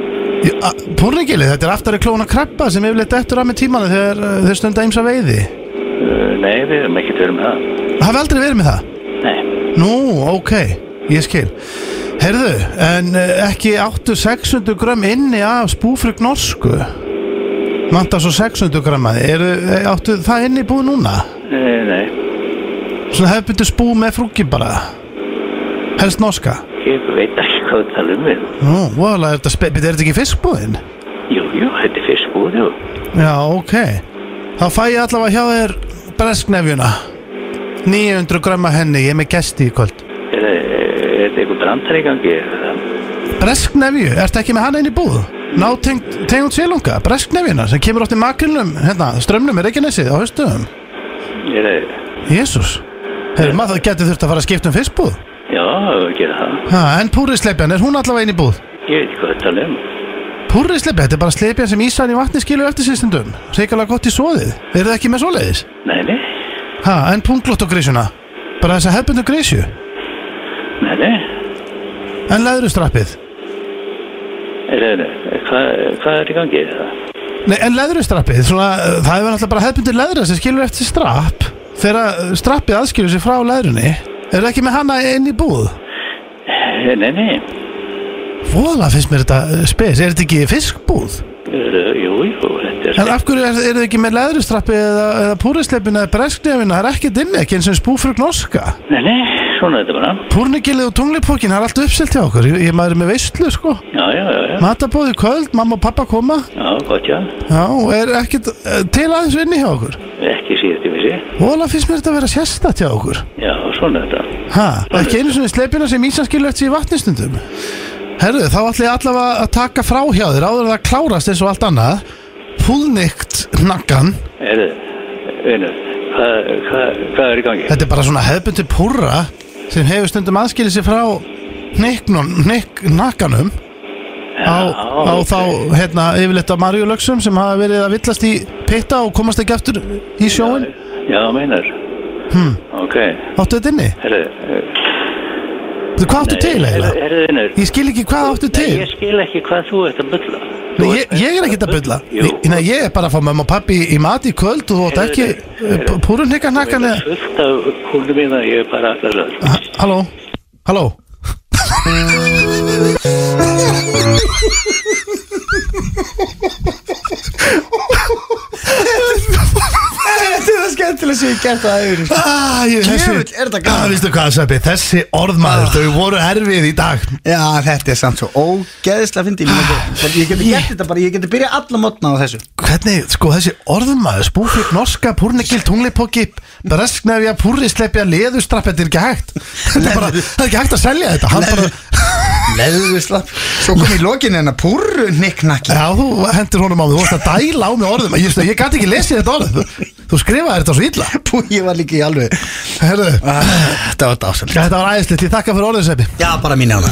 [SPEAKER 2] Jú, a- Púrnigilið, þetta er aftari klóna krabba sem yfirleitt eftir að með tímanu þegar uh, þau stunda eins að veiði.
[SPEAKER 4] Uh, nei, við erum ekki verið með það.
[SPEAKER 2] Það hafði aldrei verið með það?
[SPEAKER 4] Nei.
[SPEAKER 2] Nú, ok, ég skil. Herðu, en uh, ekki 800-600 grömm inni af spúfrug norsku? Vantar svo 600 grömm að þið, eru, eh, áttu það inni búið núna?
[SPEAKER 4] Nei, nei.
[SPEAKER 2] Svona hefðbundu spú með frúki bara? Helst norska?
[SPEAKER 4] Ég veit ekki hvað að tala um við.
[SPEAKER 2] Nú, voðalega, er þetta spe- bíddu, er þetta ekki fiskbúðin?
[SPEAKER 4] Jú, jú, þetta er fiskbúð, jú.
[SPEAKER 2] Já, ok Þá fæ ég allavega hjá þér bresknefjuna 900 grömma henni, ég er með gesti í kvöld
[SPEAKER 4] Er uh, er þetta eitthvað brandar í gangi?
[SPEAKER 2] Bresknefju, ertu ekki með hana inn í búð? Ná tegund sélunga, bresknefjuna sem kemur oft í makrinum, hérna, strömmnum er ekki nesið á höstum
[SPEAKER 4] Er uh, það?
[SPEAKER 2] Jésús, hefur maður það getur þurft að fara að skipta um fiskbúð
[SPEAKER 4] Já, við gerum það.
[SPEAKER 2] ha, En púrisleipjan, er hún allavega inn í búð?
[SPEAKER 4] Ég veit ekki hvað að tala um.
[SPEAKER 2] Púrisleipjan, þetta er bara sleipjan sem ísan í vatni skilur eftir sérstundum Reykjalega gott í svoðið, eru það ekki með svoleiðis?
[SPEAKER 4] Nei, nei.
[SPEAKER 2] Ha, en punglóttogrísjuna, bara þessa hefbundu grísju
[SPEAKER 4] Nei, nei.
[SPEAKER 2] En leðrustrappið?
[SPEAKER 4] Er það? Hvað, hvað er í gangi? Er það?
[SPEAKER 2] Nei, en leðrustrappið, svona, uh, það hefur náttúrulega bara hefbundir leðra sem skilur eftir sig strapp þegar uh, strappið aðskilur sig frá leðrunni er það ekki með hana inn í búð
[SPEAKER 4] Eh, Nei, nei.
[SPEAKER 2] Vola finnst mér þetta uh, spes, er þetta ekki fiskbúð?
[SPEAKER 4] Er, Eh, jú, jú, þetta er...
[SPEAKER 2] En af hverju er, er þetta ekki með leðrustrappið eða, eða púrisleipin eða bresknefin það er ekkert inni, ekki eins og spúfrug norska
[SPEAKER 4] Nei, nei, eh? svona er þetta bara.
[SPEAKER 2] Púrnigilið og tunglipokkin, það er allt uppselt hjá okkur ég, ég maður er með veistlu, sko
[SPEAKER 4] Já, já, já, já.
[SPEAKER 2] matabóði kvöld, mamma og pappa koma
[SPEAKER 4] Já, gott já.
[SPEAKER 2] já, er ekkert uh, til aðeins inni hjá okkur
[SPEAKER 4] Ekki síðast í vissi.
[SPEAKER 2] Vola finnst mér þetta að vera sérstætt hjá okkur
[SPEAKER 4] Já, svona er þetta.
[SPEAKER 2] Ha, ekki einu svona sleipina sem ísan skilur eftir sig í vatnistundum Herðu, þá ætla ég allavega að taka frá hjá þér áður en það klárast eins og allt annað Púlnikt nakkan
[SPEAKER 4] Er vinur, hvað, hvað, hvað er í gangi?
[SPEAKER 2] Þetta er bara svona hefbundi púrra sem hefur stundum aðskilið sér frá hnikknum, hnikk, nakkanum á, á þá hérna, yfirleitt af marjulöksum sem hafa verið að villast í pitta og komast ekki aftur í sjóin
[SPEAKER 4] Já, meinar
[SPEAKER 2] Hmm.
[SPEAKER 4] Ok,
[SPEAKER 2] áttu þetta inni?
[SPEAKER 4] herru
[SPEAKER 2] Þú, hvað áttu til eiginlega?
[SPEAKER 4] Herru, vinnur
[SPEAKER 2] Ég skil ekki hvað áttu til
[SPEAKER 4] Ég skil ekki hvað þú ert að bylla
[SPEAKER 2] Nei, ég, ég er ekkert að bylla
[SPEAKER 4] Jú.
[SPEAKER 2] Ég- Nei, ég er bara að fá mamma og pappi í mat í kvöld og þú átt
[SPEAKER 4] Heyrðu,
[SPEAKER 2] ekki
[SPEAKER 4] heyrðu.
[SPEAKER 2] uh, púrun hnikka nakkan eða
[SPEAKER 4] Fullt af kúlum mína, ég er bara allar
[SPEAKER 2] Ha- Halló, halló
[SPEAKER 3] Þetta er það skemmtilega sem ég gert það yfir
[SPEAKER 2] ah, ég,
[SPEAKER 3] Djöfull, er þetta gaman.
[SPEAKER 2] ah, Vistu hvað, Sveppi, þessi orðmaður Þau voru erfið í dag
[SPEAKER 3] Já, þetta er samt svo ógeðislega fyndi Ég meina, ég geti gert þetta bara, ég geti byrjað alla mótna á þessu
[SPEAKER 2] Hvernig, sko, þessi orðmaður Spúfið, norska, púrnekil, tunglipóki Bresknefja, púrrisleipja, leðustrapp Þetta er ekki hægt Þetta er bara, það er ekki hægt að selja þetta Hann bara,
[SPEAKER 3] Leðu slapp Svo kom í lokin en að púrru nikknakki
[SPEAKER 2] já, þú hendur honum á mig Þú vorst að dæla á mig orðum Ég, ég gæti ekki lesið þetta orð Þú, þú skrifaði þetta svo illa
[SPEAKER 3] Pú, ég var líka í alveg
[SPEAKER 2] Herðu,
[SPEAKER 3] Þetta var dásal
[SPEAKER 2] þetta var æðislegt Ég þakka fyrir orðin, Sveppi
[SPEAKER 3] Já, bara mín ána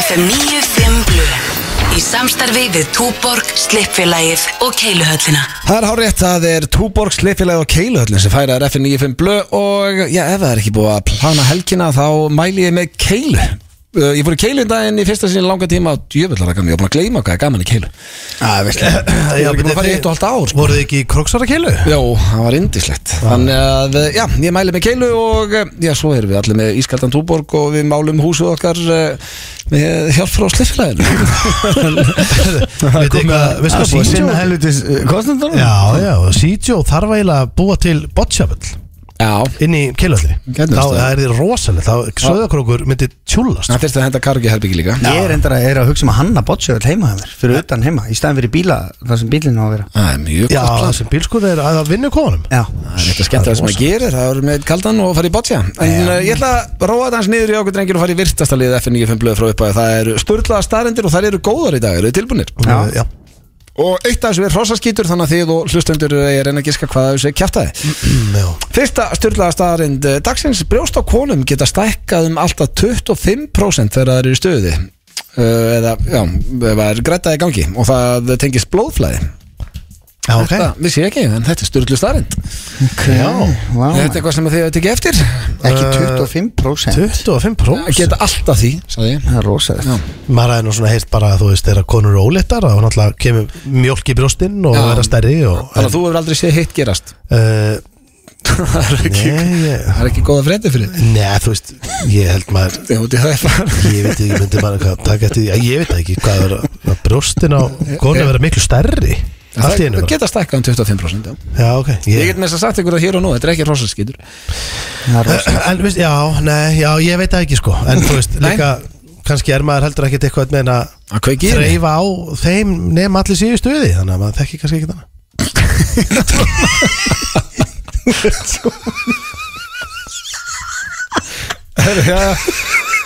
[SPEAKER 5] FM 95 Blu Í samstarfi við Túborg, Slippfélagið og Keiluhöllina
[SPEAKER 1] Það er hárétt, það er Túborg, Sliðfélag og Keiluhöllin sem færaður FN95 blö og já, ef það er ekki búið að plana helgina þá mæli ég með Keilu uh, Ég fór í Keilu daginn í fyrsta sinni í langa tíma og djöfullar að gaman, ég var búin að gleyma hvað er gaman í Keilu
[SPEAKER 3] Já, veistlega
[SPEAKER 1] Ég var ekki búin að fara í eitt og halvt ár sko.
[SPEAKER 2] Voruð þið ekki í kroksara keilu?
[SPEAKER 1] Jó, það var indislegt Þannig að, uh, já, ég mæli með Keilu og uh, já, svo erum við allir með Ískaldan Túborg og við málum húsið okkar uh, með hjálp frá Sliðfélaginu
[SPEAKER 2] Veitu hvað- veistu hvað Sítjó-
[SPEAKER 3] helvitis
[SPEAKER 1] eh,
[SPEAKER 3] kostnandar
[SPEAKER 2] Já, já, Sítjó þarf eiginlega að búa til bottsjafell
[SPEAKER 1] Já,
[SPEAKER 2] inn í keilalli
[SPEAKER 1] Gæti
[SPEAKER 2] þá
[SPEAKER 1] verið.
[SPEAKER 2] það er þið rosalega, þá söðakrókur myndi tjúlast
[SPEAKER 1] það þurfti að henda kargi herbyggi líka
[SPEAKER 3] Ég er endur að, er að hugsa um að hanna bottsjöfell heima hefur Fyrir utan heima, í staðin fyrir bíla Það sem bílinn á að vera
[SPEAKER 1] Það er mjög
[SPEAKER 2] Já,
[SPEAKER 1] gott plan
[SPEAKER 2] það sem bílskuð er að vinna konum
[SPEAKER 3] Já,
[SPEAKER 1] Það er eitthvað skemmt að það sem að gera, það er með kaldan og farið í botja En uh, ég ætla að róa þetta hans niður í okkur drengir og farið í virtasta liðið FN95 blöð frá upphæði Það eru sturlaða staðrendir og það eru góðar í dag, eru þið tilbúinir
[SPEAKER 3] Já.
[SPEAKER 2] já.
[SPEAKER 1] Og eitt af þessu er hrossaskítur þannig að þið og hlustendur eh, ég reyna að giska hvað af þessu er kjæftaði
[SPEAKER 2] Mm, já.
[SPEAKER 1] Fyrsta sturlaða staðrind eh, dagsins brjóst á konum geta stækkað um alltaf 25% þegar það eru í stöði Eh, eða, já, ef það er grætaði gangi og það tengist blóðflæði
[SPEAKER 2] já, ok
[SPEAKER 1] Þetta vissi ég ekki, en þetta er sturlu staðrind
[SPEAKER 3] já vá,
[SPEAKER 1] Þetta er eitthvað sem þið hefur tekið eftir
[SPEAKER 3] Ekki 25%
[SPEAKER 2] 25
[SPEAKER 1] Að
[SPEAKER 2] prófs
[SPEAKER 1] geta alltaf því, sagði ég
[SPEAKER 3] Það er rosalegt
[SPEAKER 2] maður hefði nú svona heilt bara að þú veist þeirra konur eru óléttar og náttúrulega kemur mjólk í brjóstinn og
[SPEAKER 1] Já.
[SPEAKER 2] verða stærri og
[SPEAKER 1] Þannig að þú hefur aldrei séð hitt gerast
[SPEAKER 2] uh,
[SPEAKER 1] Það er
[SPEAKER 2] nei, ég-
[SPEAKER 1] Það er ekki góða freyndi fyrir þig.
[SPEAKER 2] eh, nei, þú veist ég held maður
[SPEAKER 1] Já, út í það er bara
[SPEAKER 2] ég veit ekki, myndi maður hvað taka eftir því að ég veit það ekki hvað er að- að brjóstin á konu vera miklu stærri allt í
[SPEAKER 1] Eh,
[SPEAKER 2] einu
[SPEAKER 1] Það
[SPEAKER 2] bara.
[SPEAKER 1] geta stækkað um 25% já.
[SPEAKER 2] já, ok
[SPEAKER 1] Ég get með þess að sagt ykkur það hér og nú, þetta er ekki hrossaskýtur
[SPEAKER 3] Það er rosalegt
[SPEAKER 2] En veist, já, nei, já, ég veit það ekki sko En þú veist,
[SPEAKER 1] Nei.
[SPEAKER 2] líka kannski er maður heldur ekkert eitthvað með að
[SPEAKER 1] Að kveiki í henni.
[SPEAKER 2] þreifa á þeim nefn allir séu í stuði Þannig að maður þekki kannski ekkert annað
[SPEAKER 1] Herru, já,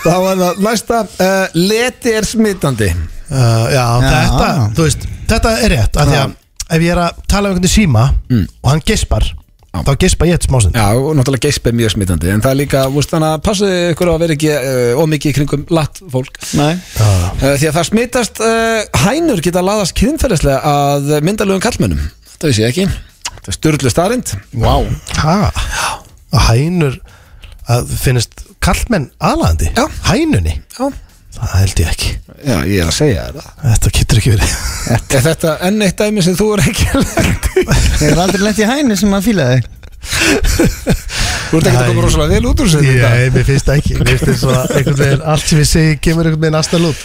[SPEAKER 1] Þá var það næsta uh, Leti er smittandi
[SPEAKER 2] uh, já, þetta, þú veist, þetta er rétt af Því að ef ég er að tala um einhvern í síma og hann gespar Þá gespa ég eitt smásinn
[SPEAKER 1] Mm. Já, og náttúrulega geisp er mjög smittandi En það er líka, þú veist þannig að passu ykkur á að vera ekki uh, ómikið í kringum latt fólk
[SPEAKER 3] Nei
[SPEAKER 2] Já,
[SPEAKER 1] uh, Því að það smittast uh, Hænur geta laðast kynferðislega að myndalögum kallmönnum Þetta vissi ég ekki Þetta er styrlu starind Vá wow.
[SPEAKER 2] ha, að hænur að finnst kallmenn aðlandi
[SPEAKER 1] Já.
[SPEAKER 2] Hænunni,
[SPEAKER 1] Já,
[SPEAKER 2] það held ég ekki
[SPEAKER 1] Já, ég er að segja þér það
[SPEAKER 2] Þetta getur ekki verið
[SPEAKER 1] Er þetta enn eitt dæmi sem þú er ekki lengt í?
[SPEAKER 3] Ég er aldrei lent í hæni sem að fíla þig
[SPEAKER 1] Þú ert ekki að koma rosalega vel út úr sér
[SPEAKER 2] Ég, ég, mér finnst það ekki Mér finnst þess að einhvern veginn Allt sem ég segi kemur einhvern veginn aðstæða lút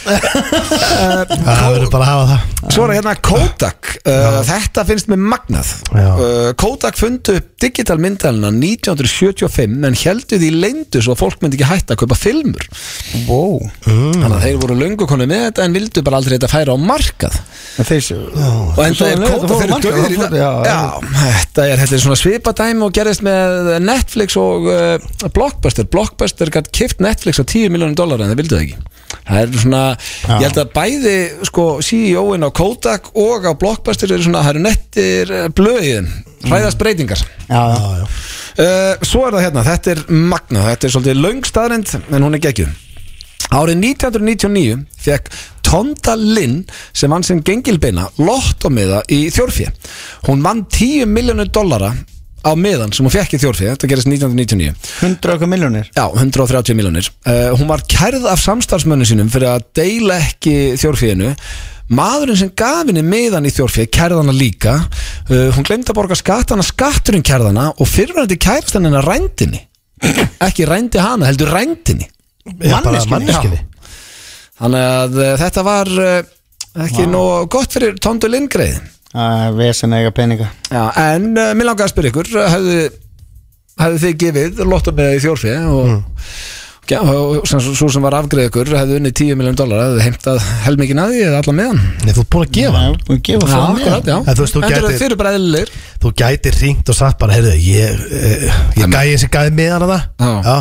[SPEAKER 2] Það verður bara að hafa það
[SPEAKER 1] Svo er hérna Kodak uh, Þetta finnst mér magnað
[SPEAKER 2] Já.
[SPEAKER 1] uh, Kodak fundu upp digital myndalina 1975 en heldu því leyndu svo að fólk myndi ekki hætta að kaupa filmur
[SPEAKER 3] Wow Mm.
[SPEAKER 1] Þannig að þeir voru löngu konu með þetta en vildu bara aldrei þetta færa á markað
[SPEAKER 3] Þeir séu
[SPEAKER 1] og enda er Kodak
[SPEAKER 3] Þeir
[SPEAKER 1] fyrir döðir í dag
[SPEAKER 3] Já, já.
[SPEAKER 1] þetta er, þetta er svona svipadæmi og gerðist með Netflix og uh, Blockbuster Blockbuster gætt kift Netflix á 10 miljónum dólar en það vildu það ekki það er svona, ég held að bæði sko, CEO-in á Kodak og á Blockbuster eru svona, það eru nettir eh, blöðin, hræðast breytingar
[SPEAKER 3] já
[SPEAKER 2] Já, já.
[SPEAKER 1] Eh, Uh, svo er það hérna, þetta er magna, þetta er svolítið löng staðrind en hún er geggjuð. Árið 1999 fekk Tonda Linn sem vann sem gengilbeina lottomiða í þjórfjö. Hún vann 10 miljónu dollara á miðan sem hún fekk í þjórfjö, þetta gerist 1999.
[SPEAKER 3] 100 okkur miljónir
[SPEAKER 1] Já, 130 miljónir. Uh, hún var kærð af samstarfsmönnum sínum fyrir að deila ekki þjórfjönu. Maðurinn sem gaf henni miðan í þjórfjö, kærðana líka, uh, hún glemdi að borga skattana, skatturinn kærðana og fyrirverandi kærast henni rændinni. Ekki rændi hana, heldur rændinni.
[SPEAKER 2] Já, bara
[SPEAKER 3] Manneskjunni.
[SPEAKER 2] manneskjunni
[SPEAKER 1] Þannig að uh, þetta var uh, ekki wow. nóg gott fyrir Tóndu Lindgreið
[SPEAKER 3] uh, Vesen eiga peninga
[SPEAKER 1] Já, en uh, mér langaði að spyrja ykkur uh, hefðu, hefðu þið gefið lottum með í þjórfi og, mm. já, og sem, svo sem var afgreið ykkur hefðu unnið 10 miljón dólar hefðu heimtað helmikinn að því eða allan meðan
[SPEAKER 2] Nei, þú ert búin að gefa hann
[SPEAKER 3] og gefa
[SPEAKER 1] Já,
[SPEAKER 3] fram
[SPEAKER 1] akkurat, já.
[SPEAKER 2] En þú veist, þú
[SPEAKER 1] Endur
[SPEAKER 2] gætir-
[SPEAKER 1] þeir eru bara eðlilegir
[SPEAKER 2] Þú gæti ringt og sagt bara, heyrðu, ég, eh, ég gæði þessi gæði með hana
[SPEAKER 1] Já.
[SPEAKER 2] það Já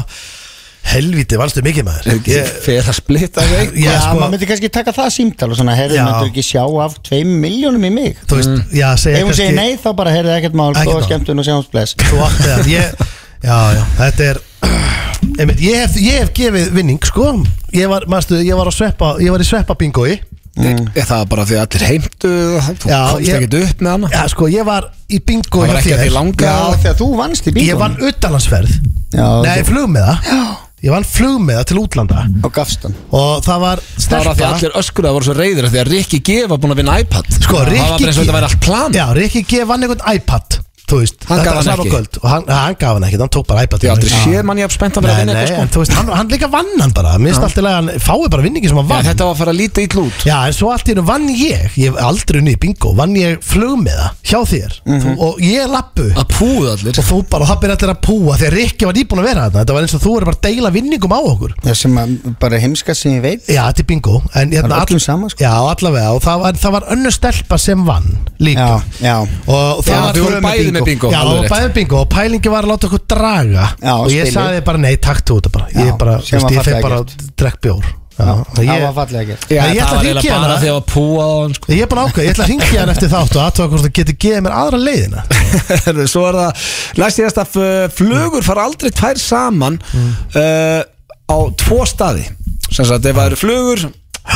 [SPEAKER 2] Helviti, valstu mikið maður
[SPEAKER 1] Ég
[SPEAKER 2] Ég-
[SPEAKER 1] fer að splitta þig
[SPEAKER 2] Já,
[SPEAKER 3] Já,
[SPEAKER 2] sko-
[SPEAKER 3] maður myndi kannski taka það símtal og svona, heyrðu,
[SPEAKER 2] Já.
[SPEAKER 3] myndur ekki sjá af 2 miljónum í mig
[SPEAKER 2] Þú veist, já, segja
[SPEAKER 3] Ef hún segir nei, þá bara heyrðu ekkert mál,
[SPEAKER 2] Ekkert
[SPEAKER 3] góða
[SPEAKER 2] mál.
[SPEAKER 3] skemmtun og sjáumst bless
[SPEAKER 2] Þú átti það ég, Já, já, þetta er einmitt, ég, hef, ég hef gefið vinning, sko Ég var, maðurstu, ég var, á sveppa, ég var í sveppa bingoi
[SPEAKER 1] mm. Það var bara því að allir heimtu þú
[SPEAKER 2] Já,
[SPEAKER 1] komst
[SPEAKER 2] ég-
[SPEAKER 1] ekkert upp með hana
[SPEAKER 2] Já, sko, ég var í bingoi
[SPEAKER 1] Það var ekki að því langa
[SPEAKER 3] Já, þegar þú vannst í
[SPEAKER 2] Ég
[SPEAKER 3] bílum
[SPEAKER 2] vann utanlandsferð
[SPEAKER 3] Já,
[SPEAKER 2] Nei,
[SPEAKER 3] þú-
[SPEAKER 2] flug með það Ég vann flug með það til útlanda
[SPEAKER 3] og gafst hann
[SPEAKER 2] Og það var
[SPEAKER 1] Það var
[SPEAKER 2] stelpa
[SPEAKER 1] að því að allir öskur að voru svo reyðir af Því að Rikki G var búin að vinna iPad
[SPEAKER 2] Sko,
[SPEAKER 1] Það var
[SPEAKER 2] Rikki
[SPEAKER 1] bara eins og þetta væri allt plan
[SPEAKER 2] Já, Rikki G vann einhvern iPad Þú veist,
[SPEAKER 1] Hann gaf
[SPEAKER 2] var
[SPEAKER 1] hann
[SPEAKER 2] sama
[SPEAKER 1] ekki.
[SPEAKER 2] kvöld Og hann, hann gaf hann ekki, hann tók bara iPad
[SPEAKER 1] Ég aldrei séð mann ég að spennta að vera að
[SPEAKER 2] Nei,
[SPEAKER 1] vinna
[SPEAKER 2] nei,
[SPEAKER 1] eitthvað
[SPEAKER 2] en
[SPEAKER 1] sko
[SPEAKER 2] þú veist, hann, hann líka vann hann bara Mér finnst alltaf að hann fái bara vinningi sem hann
[SPEAKER 1] Já,
[SPEAKER 2] vann
[SPEAKER 1] Þetta var að fara að líta ítl út
[SPEAKER 2] Já, en svo allt í hennu vann ég Ég hef aldrei unnið í bingo Vann ég flug með það hjá þér
[SPEAKER 1] Mhm.
[SPEAKER 2] þú, Og ég lappu
[SPEAKER 1] Að púða allir
[SPEAKER 2] Og þú bara, og það byrja allir að púa Þegar Rikki var nýbúin að vera þarna Þetta var eins og þú er bara að deila vinningum á okkur
[SPEAKER 3] Já, sem að, bara heimska sem ég veit
[SPEAKER 2] Já, þetta er bingo En
[SPEAKER 3] Það
[SPEAKER 2] hérna
[SPEAKER 3] er öllum sama, sko.
[SPEAKER 2] Já, allavega Og það, var- það var önnur stelpa sem vann líka
[SPEAKER 3] Já, já
[SPEAKER 2] Og
[SPEAKER 1] Já,
[SPEAKER 2] það var
[SPEAKER 1] þau voru
[SPEAKER 2] tvö
[SPEAKER 1] bæði með bingo,
[SPEAKER 2] Já,
[SPEAKER 1] alveg
[SPEAKER 2] það var
[SPEAKER 1] rétt.
[SPEAKER 2] bæði með bingo Og pælingi var að láta okkur draga
[SPEAKER 3] Já,
[SPEAKER 2] Og ég
[SPEAKER 3] spilið.
[SPEAKER 2] sagði bara nei, takk þú þetta bara Ég
[SPEAKER 3] Já,
[SPEAKER 2] bara,
[SPEAKER 3] sem
[SPEAKER 2] veist,
[SPEAKER 3] var
[SPEAKER 2] ég feg
[SPEAKER 3] fallega
[SPEAKER 2] bara að drekk bjór Já,
[SPEAKER 3] Það
[SPEAKER 2] ég-
[SPEAKER 3] var fallega gert
[SPEAKER 1] Já,
[SPEAKER 2] Nei, ég ætla
[SPEAKER 1] það
[SPEAKER 2] að
[SPEAKER 1] var
[SPEAKER 2] hringja
[SPEAKER 1] eiginlega
[SPEAKER 2] hana.
[SPEAKER 1] bara því að púa á hann sko
[SPEAKER 2] Ég er bara ákveð, ég ætla að ringja hann eftir þátt og aðtöða hvort það getur gefið mér aðra leiðina
[SPEAKER 1] Herðu, Svo er það Læst ég að flugur fara aldrei tvær saman uh, Á tvo staði Sem sagt, ef það eru flugur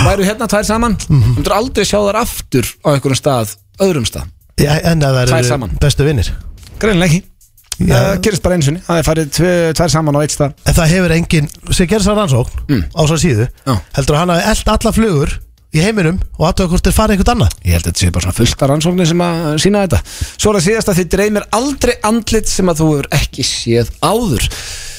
[SPEAKER 1] Væru hérna tvær saman Þú myndir aldrei sjá þar aftur á einhverjum stað Öðrum stað
[SPEAKER 2] Já, En að það
[SPEAKER 1] Tvær
[SPEAKER 2] eru
[SPEAKER 1] saman.
[SPEAKER 2] bestu vinnir
[SPEAKER 1] Greinlega ekki Það
[SPEAKER 2] Já.
[SPEAKER 1] gerist bara eins og ni Það er farið tve, tvær saman á eitt stað
[SPEAKER 2] En það hefur engin, sem gerir sér rannsókn á svo síðu,
[SPEAKER 1] Mm. Já.
[SPEAKER 2] heldur að hann hafi eld alla flugur í heiminum og aðtöða hvort þeir farið einhvern annað
[SPEAKER 1] Ég held að þetta sé bara svona fullt af rannsóknir sem að sína þetta Svo er það síðast að þið dreymir aldrei andlit sem að þú hefur ekki séð áður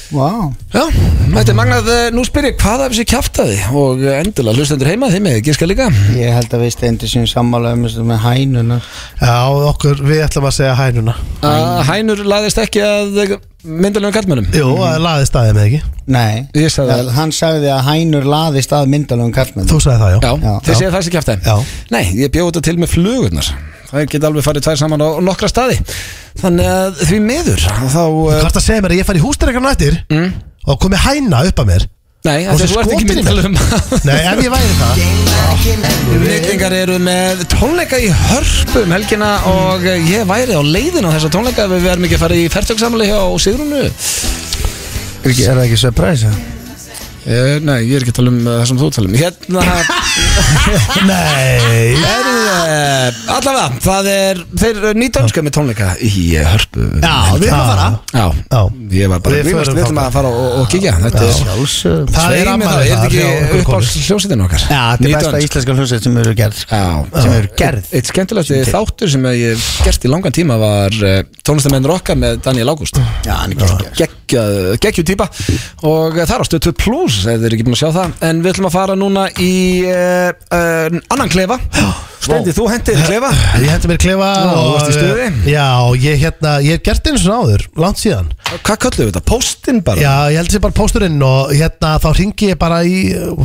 [SPEAKER 3] Vá
[SPEAKER 1] Já, þetta er magnað, eh, nú spyr ég hvað af þessi kjaftaði og eh, endilega hlustendur heima þið með gíska líka
[SPEAKER 3] Ég held að við stendur sem sammála um þessu með hænuna
[SPEAKER 2] Já, okkur, við ætlum að segja hænuna
[SPEAKER 1] að hænur laðist ekki að eh, myndalegum kallmönnum
[SPEAKER 2] Jú, að laði staðið með ekki
[SPEAKER 3] Nei
[SPEAKER 1] Ég sagði það.
[SPEAKER 3] Hann sagði að hænur laðist að myndalögum kallmenn
[SPEAKER 2] Þú sagði það, já
[SPEAKER 1] Já,
[SPEAKER 3] Já.
[SPEAKER 1] þið séð þessi kjaftaði
[SPEAKER 2] Já.
[SPEAKER 1] Nei, ég bjóð þetta til með flugurnar Það geta alveg farið tvær saman á á nokkra staði Þannig að því miður þá eh,
[SPEAKER 2] Hvort að segja mér að ég fari í húsdreikana eftir mm. og komi hæna upp að mér
[SPEAKER 1] Nei, af
[SPEAKER 2] Og
[SPEAKER 1] því að
[SPEAKER 2] svo
[SPEAKER 1] þú ert ekki
[SPEAKER 2] skotin í mér.
[SPEAKER 1] myndalegum
[SPEAKER 2] Nei, ef ég væri það
[SPEAKER 1] Vikingar eru með tónleika í hörpu um helgina og eh, ég væri á leiðin á þessa tónleika ef við erum ekki að fara í fertöksamli hjá Sigrunu
[SPEAKER 3] Er ekki- er það ekki surprise?
[SPEAKER 1] eh, Nei, ég er ekki að tala um eh, það sem þú tala um Hérna
[SPEAKER 2] Nei
[SPEAKER 1] Heru, eh, allavega, það er þeir nýdönska með tónleika í eh, hörpu
[SPEAKER 2] Já, við erum að fara.
[SPEAKER 1] Já,
[SPEAKER 2] Já.
[SPEAKER 1] ég var bara
[SPEAKER 2] Við
[SPEAKER 1] við, við,
[SPEAKER 2] förum
[SPEAKER 1] við ætlum
[SPEAKER 2] þangað.
[SPEAKER 1] að fara og, og kíkja Þetta
[SPEAKER 2] Já.
[SPEAKER 1] er
[SPEAKER 3] Sjálfsög
[SPEAKER 2] Það er
[SPEAKER 1] svei mér,
[SPEAKER 2] afmæli
[SPEAKER 1] það
[SPEAKER 2] þar
[SPEAKER 1] er
[SPEAKER 2] hjá
[SPEAKER 1] þetta
[SPEAKER 2] okkur
[SPEAKER 1] ekki upp á hljómsveitin okkar
[SPEAKER 3] Já, þetta er besta
[SPEAKER 1] Nýdönsk.
[SPEAKER 3] íslenska hljómsveit sem eru gerð sko.
[SPEAKER 1] Já,
[SPEAKER 3] Sem eru gerð
[SPEAKER 1] Eitt skemmtilegt þáttur sem ég hef gert í langan tíma var eh, tónlistamennur okkar með Daniel Ágúst
[SPEAKER 2] Mm.
[SPEAKER 3] Já, hann er gerð
[SPEAKER 1] geggju típa og það er á stöð 2 plus ef þið er ekki búin að sjá það en við ætlum að fara núna í uh, uh, annan klefa Stendi, þú hendið klefa
[SPEAKER 2] Ég hendi mér klefa
[SPEAKER 1] Nú,
[SPEAKER 2] og- eh,
[SPEAKER 1] varstu í stuði?
[SPEAKER 2] Já, ég hérna, ég hef gert eins og náður, langt síðan
[SPEAKER 1] Hvað köllum við þetta? Póstinn bara?
[SPEAKER 2] Já, ég held sér bara pósturinn og hérna þá ringi ég bara í,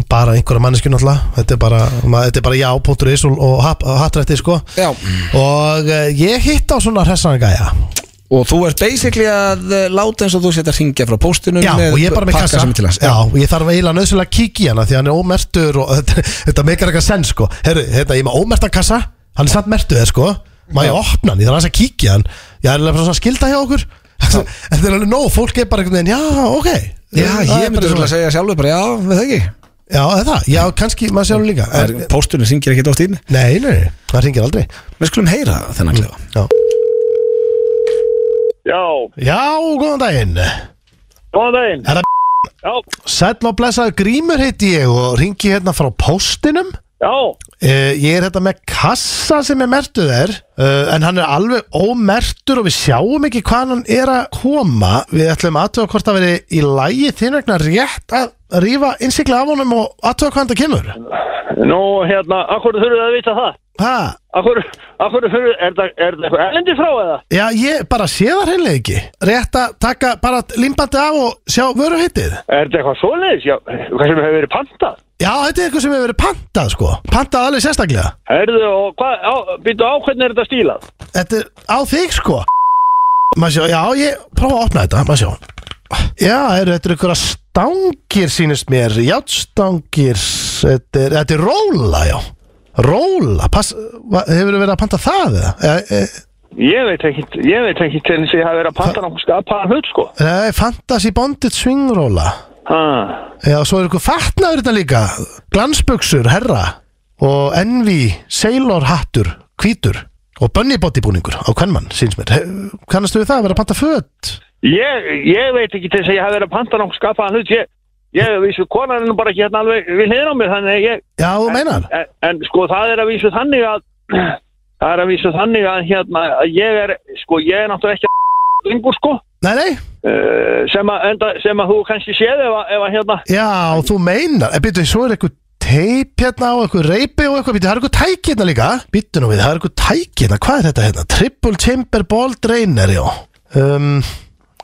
[SPEAKER 2] bara einhverja mannesku náttúrulega, þetta er bara, ma- þetta er bara já.is og, og hap- hattrætti sko
[SPEAKER 1] Já.
[SPEAKER 2] Og eh, ég hitt á svona hressana gæja
[SPEAKER 1] Og þú ert basically að eh, láta eins og þú setja að ringja frá póstinum
[SPEAKER 2] Já, og ég er bara með
[SPEAKER 1] pakka
[SPEAKER 2] kassa
[SPEAKER 1] sem er til hans
[SPEAKER 2] Já, og ég þarf eiginlega nöðsynlega að kíkja í hana því hann er ómertur og þetta, þetta meikar eitthvað senn sko Herru, hérna, ég er með ómerta kassa, hann er samt mertuð sko Má ég opna hann, ég þarf aðeins að kíkja í hann Ég er alveg bara svona skilda hjá okkur Þetta er alveg nóg, fólk er bara einhvern veginn, já, ok
[SPEAKER 1] Já,
[SPEAKER 2] Það er
[SPEAKER 1] ég
[SPEAKER 2] bara
[SPEAKER 1] myndi
[SPEAKER 2] svona-
[SPEAKER 1] svona að segja sjálfur bara já, við það ekki
[SPEAKER 2] Já, eða það, já, kannski maður sjálf líka
[SPEAKER 1] Það
[SPEAKER 2] er,
[SPEAKER 1] er- Pósturinn syngir ekkert oft í henni
[SPEAKER 2] Nei, nei, nei, það ringir aldrei
[SPEAKER 1] Við skulum heyra
[SPEAKER 2] Mm.
[SPEAKER 1] þennan klefa
[SPEAKER 2] Já,
[SPEAKER 6] Já,
[SPEAKER 2] já góðan daginn
[SPEAKER 6] góðan daginn
[SPEAKER 2] Er það
[SPEAKER 6] Já,
[SPEAKER 2] Sæll og blessaður grímur heiti ég og ringi hérna frá póstinum
[SPEAKER 6] já,
[SPEAKER 2] Uh, ég er hérna með kassa sem er mertuð er uh, en hann er alveg ómertur og við sjáum ekki hvað hann er að koma við ætlum aðtöða hvort það veri í lægi þín vegna rétt að rífa innsikla af honum og aðtöða hvaðan það kemur
[SPEAKER 6] nú hérna, akkur þurfið þið að vita það
[SPEAKER 2] ha,
[SPEAKER 6] Akkur, akkur þurfið, er það er það eitthvað erlendi frá eða?
[SPEAKER 2] Já, ég bara sé það hreinlega ekki rétt að taka bara limbandi af og sjá vöruheitið
[SPEAKER 6] Er það eitthvað svoleiðis? Já, hvað sem hefur verið pantað?
[SPEAKER 2] Já, þetta er eitthvað sem hefur verið pantað sko pantað alveg sérstaklega
[SPEAKER 6] Herðu, og hvað, á, býttu á hvernig er þetta stílað?
[SPEAKER 2] Þetta er á þig sko Maður sjá, já ég prófa að opna þetta Maður sjá Já, eru, þetta eru einhverja stangir sínist mér Játstangir Þetta er, þetta er róla, já Róla, pass, va- hefur verið að panta það eða? E, e,
[SPEAKER 6] Ég veit ekki, ég veit ekki til þess að ég hafi verið að panta náttúrulega skapaðan hlut, sko
[SPEAKER 2] e, fantasy bonded swingróla
[SPEAKER 6] Ha,
[SPEAKER 2] Já, svo er eitthvað fatnaður þetta líka Glansbuxur, herra Og envi, sailor hattur Hvítur Og bönnibóttibúningur á kvennmann, síns mér He- Kannastu við það að vera að panta föt?
[SPEAKER 6] ég, ég veit ekki til þess að ég hafi verið að panta náttúrulega skapaðan hlut Ég, ég, vissu, konan er nú bara ekki hérna alveg við hliðin á mér, þannig að ég
[SPEAKER 2] Já, þú meinar?
[SPEAKER 6] en, en sko það er að vísu þannig að það er að vísu þannig að hérna að ég er sko ég er náttúrulega ekki að lengur sko
[SPEAKER 2] Nei, nei,
[SPEAKER 6] uh, sem, að, enda, sem að þú kannski séð ef að, ef að hérna
[SPEAKER 2] já, þú meinar En byrju, svo er eitthvað teip hérna og eitthvað reypi og eitthvað, byrju, það er eitthvað tæki hérna líka Byrju nú við, það er eitthvað tæki hérna, hvað er þetta hérna? Triple chamber ball drainer, já um,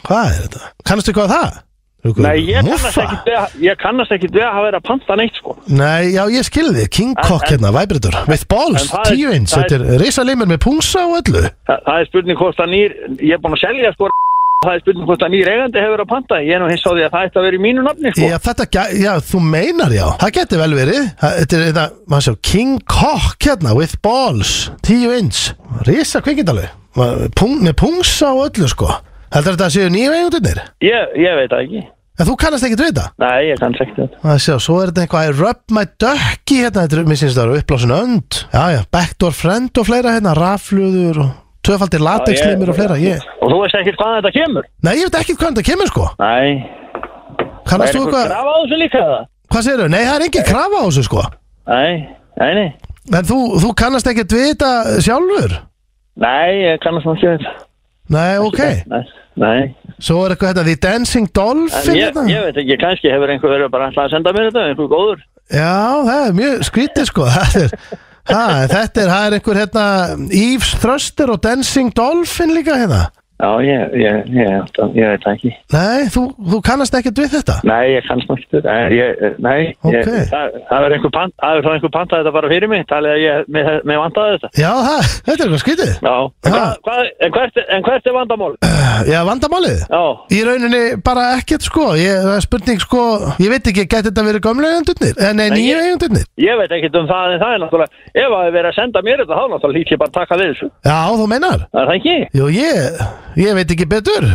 [SPEAKER 2] Hvað er þetta? Kannastu hvað það? er? Eitthvað
[SPEAKER 6] nei ég kannast
[SPEAKER 2] muffa?
[SPEAKER 6] ekki við að- ég kannast ekki við að hafa verið að panta neitt sko
[SPEAKER 2] Nei, já, ég skilði, King Cock hérna, vibrator With balls,
[SPEAKER 6] en það er-
[SPEAKER 2] 10 inch,
[SPEAKER 6] það
[SPEAKER 2] þetta
[SPEAKER 6] er-
[SPEAKER 2] er risalimur með pungsa og öllu
[SPEAKER 6] Þa, það er spurning hvort að nýr ég er búin að selja sko það er spurning hvort að nýr eigandi hefur verið að panta ég er nú hins á því að það ætti að vera í mínu nafni sko
[SPEAKER 2] Já, þetta, gæ- já, þú meinar já Það geti vel verið Það- Þetta er þetta, maður sjá, King Cock hérna With balls, 10 inch Rísa kvikindalvi Pung, Með pungsa og öllu sko Heldur þetta að séu nýju eigundunir?
[SPEAKER 6] ég, ég veit það ekki
[SPEAKER 2] En þú kannast ekkert við þetta
[SPEAKER 6] nei ég kannast ekki þetta
[SPEAKER 2] Það sjá, svo er þetta eitthvað I rub my ducky hérna Þetta er, mér syns það eru uppblásin önd Já, já, backdoor friend og fleira hérna Rafluður og tvöfaldir latexlimur og fleira ég,
[SPEAKER 6] og þú veist ekkert hvaðan þetta kemur
[SPEAKER 2] Nei, ég veit ekki hvað þetta kemur sko
[SPEAKER 6] nei
[SPEAKER 2] Kannast þú
[SPEAKER 6] eitthvað
[SPEAKER 2] eitthvað,
[SPEAKER 6] grafa á þessu líka það
[SPEAKER 2] hvað segirðu? Nei, það er engin krafa á þessu sko
[SPEAKER 6] Nei, nei, nei.
[SPEAKER 2] En þú, þú kannast ekkert við þetta sjálfur?
[SPEAKER 6] Nei, ég kannast nú ekki við þetta.
[SPEAKER 2] Nei, ok.
[SPEAKER 6] Nei, nei.
[SPEAKER 2] Svo er eitthvað þetta The Dancing
[SPEAKER 6] En
[SPEAKER 2] Dolphin
[SPEAKER 6] ég,
[SPEAKER 2] hérna?
[SPEAKER 6] ég veit ekki, kannski hefur einhver verið bara alltaf að senda mér þetta, einhver góður.
[SPEAKER 2] Já, það er mjög skrítið sko. Það er, ha, þetta er, það er einhver hérna Yves Thruster og Dancing Dolphin líka hérna.
[SPEAKER 6] Já, ég, ég, ég, ég, ég veit það ekki.
[SPEAKER 2] Nei, þú, þú kannast ekkert við þetta?
[SPEAKER 6] Nei, ég kannast nú ekki við þetta. Ég- Nei, ég,
[SPEAKER 2] Ókei.
[SPEAKER 6] það, það er einhver pant, það er þá einhver pantað þetta bara fyrir mig, talið að ég, mér, mér vantaði þetta.
[SPEAKER 2] Já, það, þetta er eitthvað skrítið.
[SPEAKER 6] Já, en,
[SPEAKER 2] Ha.
[SPEAKER 6] hvað, hvað, en, hvert, er- en hvert er vandamál?
[SPEAKER 2] Já, vandamálið.
[SPEAKER 6] Já,
[SPEAKER 2] Í rauninni bara ekkert sko, ég, það er spurning sko, ég veit ekki, gæti þetta verið gömlega eigundurnir? Eh, Nei,
[SPEAKER 6] Nei,
[SPEAKER 2] nýju
[SPEAKER 6] ég-
[SPEAKER 2] eigundurnir?
[SPEAKER 6] ég veit ekkert um það en það er náttúrulega, ef að það er verið að senda mér þetta, þá náttúrulega lít ég bara að taka við þessu.
[SPEAKER 2] Já, þú meinar?
[SPEAKER 6] Er Það ekki?
[SPEAKER 2] Jú, ég, ég veit ekki betur.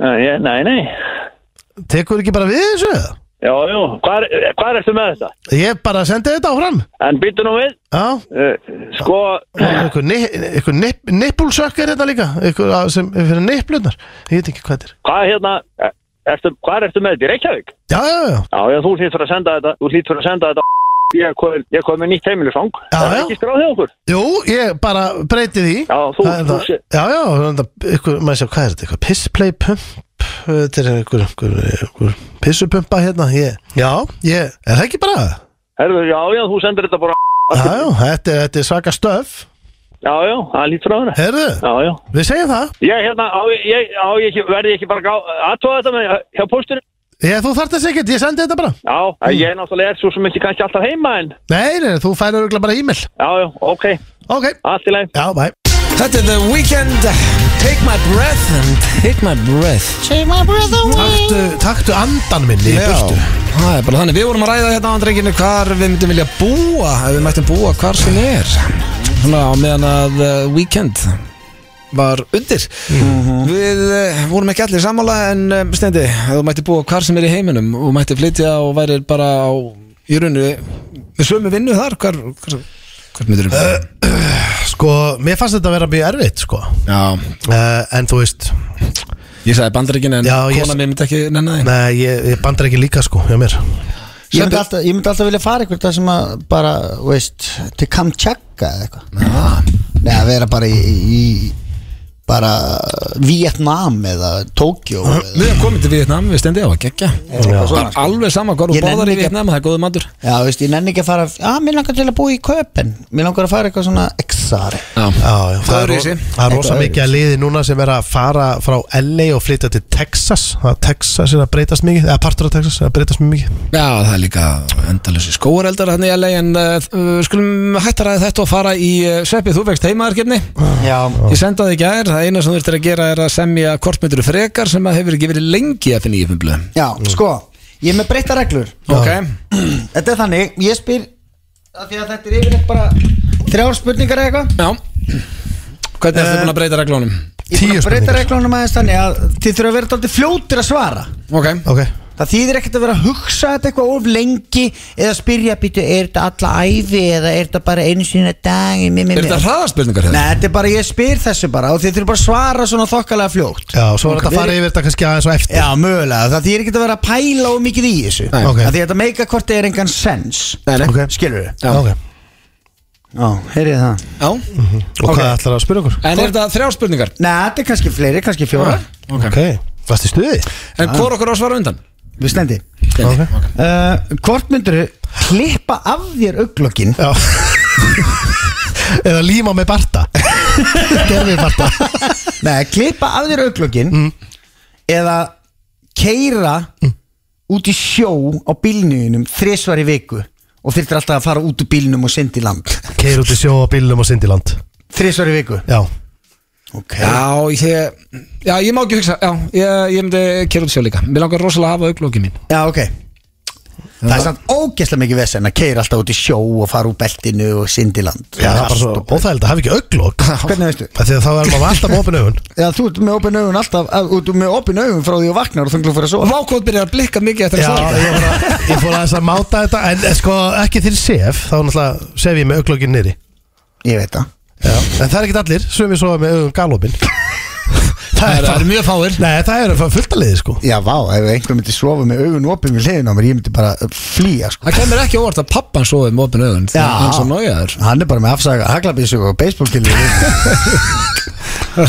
[SPEAKER 6] Nei, ég- nei, nei.
[SPEAKER 2] Tekur ekki bara við þessu?
[SPEAKER 6] Já, já, hvað, er- hvað ertu með þetta?
[SPEAKER 2] Ég bara sendi þetta áfram.
[SPEAKER 6] En býttu nú við,
[SPEAKER 2] Já,
[SPEAKER 6] uh, sko,
[SPEAKER 2] eitthvað nip, nippulsökk er þetta líka eitthvað að- sem er fyrir nipplunar ég veit ekki hvað þetta er
[SPEAKER 6] hvað hérna, eh, ertu, hvað ertu með þetta í Reykjavík?
[SPEAKER 2] já, já, já,
[SPEAKER 6] Já, já, þú hlýtt fyrir að senda þetta, þú hlýtt fyrir að senda þetta, ég kom, ég kom með nýtt heimilisfang.
[SPEAKER 2] Já,
[SPEAKER 6] Það er
[SPEAKER 2] já.
[SPEAKER 6] ekki skráð hjá okkur.
[SPEAKER 2] jú, ég bara breyti því
[SPEAKER 6] Já, þú-
[SPEAKER 2] Það er
[SPEAKER 6] þú
[SPEAKER 2] það-
[SPEAKER 6] sé-
[SPEAKER 2] já, já, það- eitthvað, maður sé, hvað er þetta eitthvað pissplay pump þetta er einhver, einhver, einhver pissupumpa hérna, ég, já, ég er það ekki bara,
[SPEAKER 6] Herðu, já, já, þú sendir þetta bara,
[SPEAKER 2] já, já, þetta er, þetta er svaka stöf,
[SPEAKER 6] já, já, það hlýtt fyrir að þetta.
[SPEAKER 2] heyrðu
[SPEAKER 6] Já, já.
[SPEAKER 2] við segjum það,
[SPEAKER 6] Ég, hérna, á, ég- ég, á, ég ekki, verði ég ekki bara aðtóða þetta með, hjá pósturinn?
[SPEAKER 2] ég, þú þarft þess ekkert, ég sendi þetta bara
[SPEAKER 6] Já,
[SPEAKER 2] Mm.
[SPEAKER 6] ég náttúrulega er svo sem ekki kannski alltaf heima en,
[SPEAKER 2] nei, nei, þú færður örugglega bara e-mail
[SPEAKER 6] já, já, ok,
[SPEAKER 2] ok,
[SPEAKER 6] allt í leið.
[SPEAKER 2] já, bæ
[SPEAKER 1] Þetta er The Weeknd Take my breath and take my breath
[SPEAKER 2] taktu, taktu andan minni í burtu
[SPEAKER 1] það er bara þannig Við vorum að ræða hérna á andrenginu hvar við myndum vilja búa ef við mættum búa hvar sem er Svona á meðan að uh, Weeknd var undir Við uh, vorum ekki allir eh, sammála en um, stendi, ef þú mætti búa hvar sem er í heiminum og mætti flytja og væri bara á í rauninu við sömu vinnu þar hvar, hvar, hvar myndir um
[SPEAKER 2] Sko, mér fannst þetta að vera mjög erfitt sko.
[SPEAKER 1] já,
[SPEAKER 2] uh, En þú veist
[SPEAKER 1] ég sagði bandaríkin en
[SPEAKER 2] Já, ég-
[SPEAKER 1] kona mér myndi ekki nenni það
[SPEAKER 2] Nei, ég, ég bandar ekki líka sko, hjá mér
[SPEAKER 3] Ég myndi alltaf, ég myndi alltaf vilja fara ykkur það sem að bara, þú veist, til Kamchakka eða eitthvað Nei, að vera bara í, í bara Vietnam eða Tókjó eða-
[SPEAKER 1] við erum komin til Vietnam, við stendi á að gegja Bara alveg sama hvar þú
[SPEAKER 3] Ég nenni
[SPEAKER 1] borðar í
[SPEAKER 3] ekki-
[SPEAKER 1] Vietnam, það er góðu matur
[SPEAKER 3] Já, þú veist, ég nenni ekki að fara Já, mér langar til að búa í Köpen Mér langar að fara eitthvað svona exari
[SPEAKER 1] já,
[SPEAKER 2] Já, já, það, er,
[SPEAKER 1] Öðruvísi.
[SPEAKER 2] ro- það er rosa
[SPEAKER 3] Eitthvað
[SPEAKER 2] mikið að liði núna sem er að fara frá LA og flytja til Texas það er Texas er að breytast mikið eða partur af Texas er að breytast mjög mikið
[SPEAKER 1] Já, það er líka endalösi skóareldar hann í LA en uh, skulum hætta að ræða þetta og fara í uh, Sveppi, þú vekst heimaðarkefni
[SPEAKER 3] Já,
[SPEAKER 1] Ég senda það í gær, það eina sem þú ert að gera er að semja kortmyndur frekar sem að hefur ekki verið lengi að finna í fumblöðum
[SPEAKER 3] já, sko Ég er með breytta reglur
[SPEAKER 1] Ok,
[SPEAKER 3] Þetta er þannig, ég spyr að Því að þetta er yfirleitt bara Þrjár spurningar eða eitthvað
[SPEAKER 1] já Hvernig
[SPEAKER 3] Eh.
[SPEAKER 1] ertu búin að breyta reglónum?
[SPEAKER 3] Ég er búin
[SPEAKER 2] Tíu
[SPEAKER 3] að breyta
[SPEAKER 2] spurningar.
[SPEAKER 3] reglunum aðeins þannig að Þið þurfa að vera dálítið fljótir að svara
[SPEAKER 1] Ok,
[SPEAKER 2] Ok,
[SPEAKER 3] Það þýðir ekkert að vera að hugsa þetta eitthvað of lengi eða spyrja býtu, er þetta alla æfi eða er þetta bara einu sinni að dag mi, mi, mi.
[SPEAKER 1] er þetta hraðarspurningar
[SPEAKER 3] Nei,
[SPEAKER 1] hefur?
[SPEAKER 3] þetta er bara, ég spyr þessu bara og þið þurfum bara að svara svona þokkalega fljótt
[SPEAKER 2] já, svo er þetta að fara yfir þetta kannski aðeins og eftir
[SPEAKER 3] Já, mögulega, það þýðir ekkert að vera að pæla of mikið í þessu
[SPEAKER 1] Nei.
[SPEAKER 2] Ok.
[SPEAKER 3] Af Því að þetta meika hvort er engan sens
[SPEAKER 1] Nei, nei.
[SPEAKER 2] Ok.
[SPEAKER 3] Skilur við?
[SPEAKER 1] Já.
[SPEAKER 2] Ok,
[SPEAKER 3] Já, heyrið það
[SPEAKER 1] Já,
[SPEAKER 2] og
[SPEAKER 1] Ok.
[SPEAKER 2] hvað ætlar að spyrja okkur?
[SPEAKER 1] en er þetta þrjá spurningar?
[SPEAKER 3] Nei, þetta er kannski fleiri, kannski fjóra
[SPEAKER 2] Ah.
[SPEAKER 1] Ok,
[SPEAKER 2] Ok, varst í stuði?
[SPEAKER 1] en hvor
[SPEAKER 3] Ah.
[SPEAKER 1] okkur á að svara undan?
[SPEAKER 3] Við slendi
[SPEAKER 2] Ok,
[SPEAKER 3] uh, Hvort myndirðu klippa af þér auglokkin
[SPEAKER 2] já Eða líma með barta Gerfi barta
[SPEAKER 3] Nei, klippa af þér auglögin
[SPEAKER 2] Mm.
[SPEAKER 3] eða keira út í sjó á bílnuginum þrisvar í viku og þyrftir alltaf að fara út úr bílnum og syndi land
[SPEAKER 2] Keir út í sjó á bílum og syndiland
[SPEAKER 3] þrisvar í viku
[SPEAKER 2] Já,
[SPEAKER 3] okay.
[SPEAKER 1] Já, ég, já, ég má ekki hugsa Já, ég, ég myndi kera út sjálf líka Mér langar rosalega að hafa auglóki mín
[SPEAKER 3] Já, ok Það er samt ógeðslega mikið vesen að keira alltaf út í sjó og fara úr beltinu og syndi land
[SPEAKER 2] já það er bara svo óþægild að hafa ekki auglokk
[SPEAKER 3] Hvernig veistu?
[SPEAKER 2] Þegar þá erum við alltaf með opin augun
[SPEAKER 3] Já, þú ert með opin augun alltaf að- Þú ert með opin augun frá því og vaknar og þunglu fyrir að sofa
[SPEAKER 1] Vákótt byrjar að blikka mikið eftir
[SPEAKER 2] Já,
[SPEAKER 1] að svara
[SPEAKER 2] ég, bara, ég fór aðeins að máta þetta En eh, sko, ekki til sef Þá náttúrulega sef ég með auglokkin niðri
[SPEAKER 3] Ég veit það
[SPEAKER 2] Já. En það er ekkert allir Sumi svo með augum galopin Það
[SPEAKER 1] Það
[SPEAKER 2] er
[SPEAKER 1] eru- það
[SPEAKER 2] það
[SPEAKER 1] eru mjög fáir
[SPEAKER 2] Nei, það er fullt að liði sko
[SPEAKER 3] Já, vá, ef einhver myndi sofa með augun opin við hliðin á mér, ég myndi bara flýja sko.
[SPEAKER 1] Það kemur ekki óvart að pappan sofi með opin augun
[SPEAKER 3] Já.
[SPEAKER 1] Þegar hann svo nájaður
[SPEAKER 3] Hann er bara með afsaga haglabísu og beisbólkillu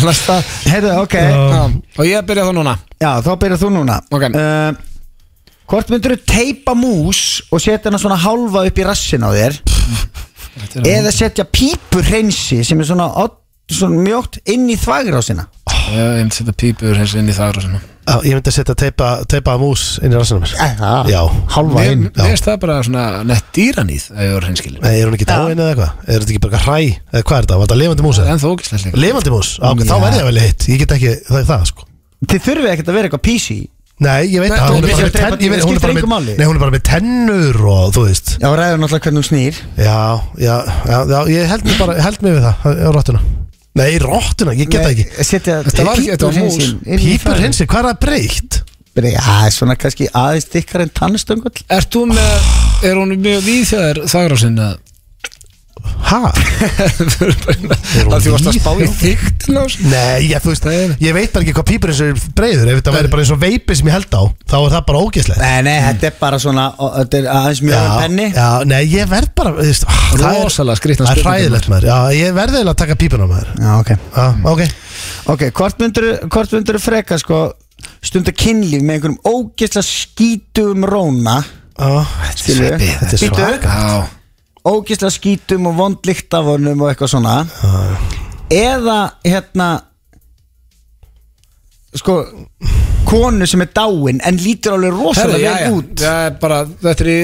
[SPEAKER 1] Næsta
[SPEAKER 3] Heyrðu, ok
[SPEAKER 1] Já, og ég byrja þá núna
[SPEAKER 3] Já, þá byrjar þú núna
[SPEAKER 1] Ok.
[SPEAKER 3] uh, Hvort myndur þú teipa mús og setja hana svona hálfa upp í rassin á þér eða setja pípur hreinsi sem er svona, odd- svona mjótt inn í þvagrásina
[SPEAKER 1] Ég myndi setja pípur hins inn í þar og svona
[SPEAKER 2] Já, Ég myndi að setja teipa, teipa mús inn í rassinum mér Já,
[SPEAKER 3] Hálfa
[SPEAKER 1] Mér
[SPEAKER 3] inn
[SPEAKER 1] mér finnst það bara svona nett dýranýð ef ég voru hinskilin
[SPEAKER 2] Nei, er hún ekki dáin eða eitthvað? Er þetta ekki bara eitthvað hræ? Eða hvað er þetta? Var þetta lifandi mús eða?
[SPEAKER 1] En þó ekki slæslega
[SPEAKER 2] Lifandi mús? Á, Ah, ok, Þá
[SPEAKER 3] Já.
[SPEAKER 2] verði ég vel hitt Ég get ekki það, það sko
[SPEAKER 3] Þið þurfið ekkert að vera eitthvað písi
[SPEAKER 2] Nei, ég veit
[SPEAKER 1] Nei,
[SPEAKER 2] það
[SPEAKER 1] þú
[SPEAKER 2] Hún er
[SPEAKER 1] veist
[SPEAKER 2] bara
[SPEAKER 3] að
[SPEAKER 2] með
[SPEAKER 3] teipa-
[SPEAKER 2] tenn- ég veit- hún er
[SPEAKER 3] skiptir
[SPEAKER 2] bara
[SPEAKER 3] engu
[SPEAKER 2] með-
[SPEAKER 3] máli.
[SPEAKER 2] Nei, hún er bara með tennur og þú veist
[SPEAKER 3] Já, ræður náttúrulega hvernig þú snýr
[SPEAKER 2] Já, já, já, já ég held mig bara, held mig við það, á rottuna Nei, rottuna, ég get það ekki
[SPEAKER 3] Nei, Setja
[SPEAKER 1] Þetta var ekki- þetta var mús.
[SPEAKER 3] hreinsin inn í
[SPEAKER 2] Pípur
[SPEAKER 3] þvagrásina.
[SPEAKER 2] hinsi, hvað er það breytt?
[SPEAKER 3] Bara, Já, svona kannski aðeins dikkar en tannstöngul
[SPEAKER 1] Ert þú með, er hún mjög víð þegar þar á sinna
[SPEAKER 2] Ha? hún
[SPEAKER 1] Það því varst að spá í þygt
[SPEAKER 2] Nei, ég, þú veist,
[SPEAKER 1] Það er-
[SPEAKER 2] ég veit bara ekki hvað pípur hinsi er breyður Ef þetta væri bara eins og veipi sem ég held á, þá er það bara ógeðslegt
[SPEAKER 3] Nei, nei, þetta er bara svona og Þetta er aðeins mjög penni
[SPEAKER 2] Mm. já, nei, ég verð bara, þú veist, ah, það er-
[SPEAKER 1] Rosalega skrýtnar
[SPEAKER 2] Það er
[SPEAKER 1] spurningar,
[SPEAKER 2] hræðilegt maður, já, ég verð eiginlega að taka pípuna maður
[SPEAKER 3] Já, ok
[SPEAKER 2] Já, ok
[SPEAKER 3] Ok, hvort myndur, hvort myndur freka sko stunda kynlíf með einhverjum ógeðsla skítum róna
[SPEAKER 2] Já,
[SPEAKER 3] Skilur við?
[SPEAKER 2] Þetta er
[SPEAKER 3] Bíddu.
[SPEAKER 2] svaka
[SPEAKER 1] Já,
[SPEAKER 3] ógeðsla skítum og vondlíkt af honum og eitthvað svona Eða, hérna sko konu sem er dáin en lítur alveg
[SPEAKER 1] Herri,
[SPEAKER 3] rosalega
[SPEAKER 1] já, já,
[SPEAKER 3] vel út
[SPEAKER 1] já, bara, þetta er, í,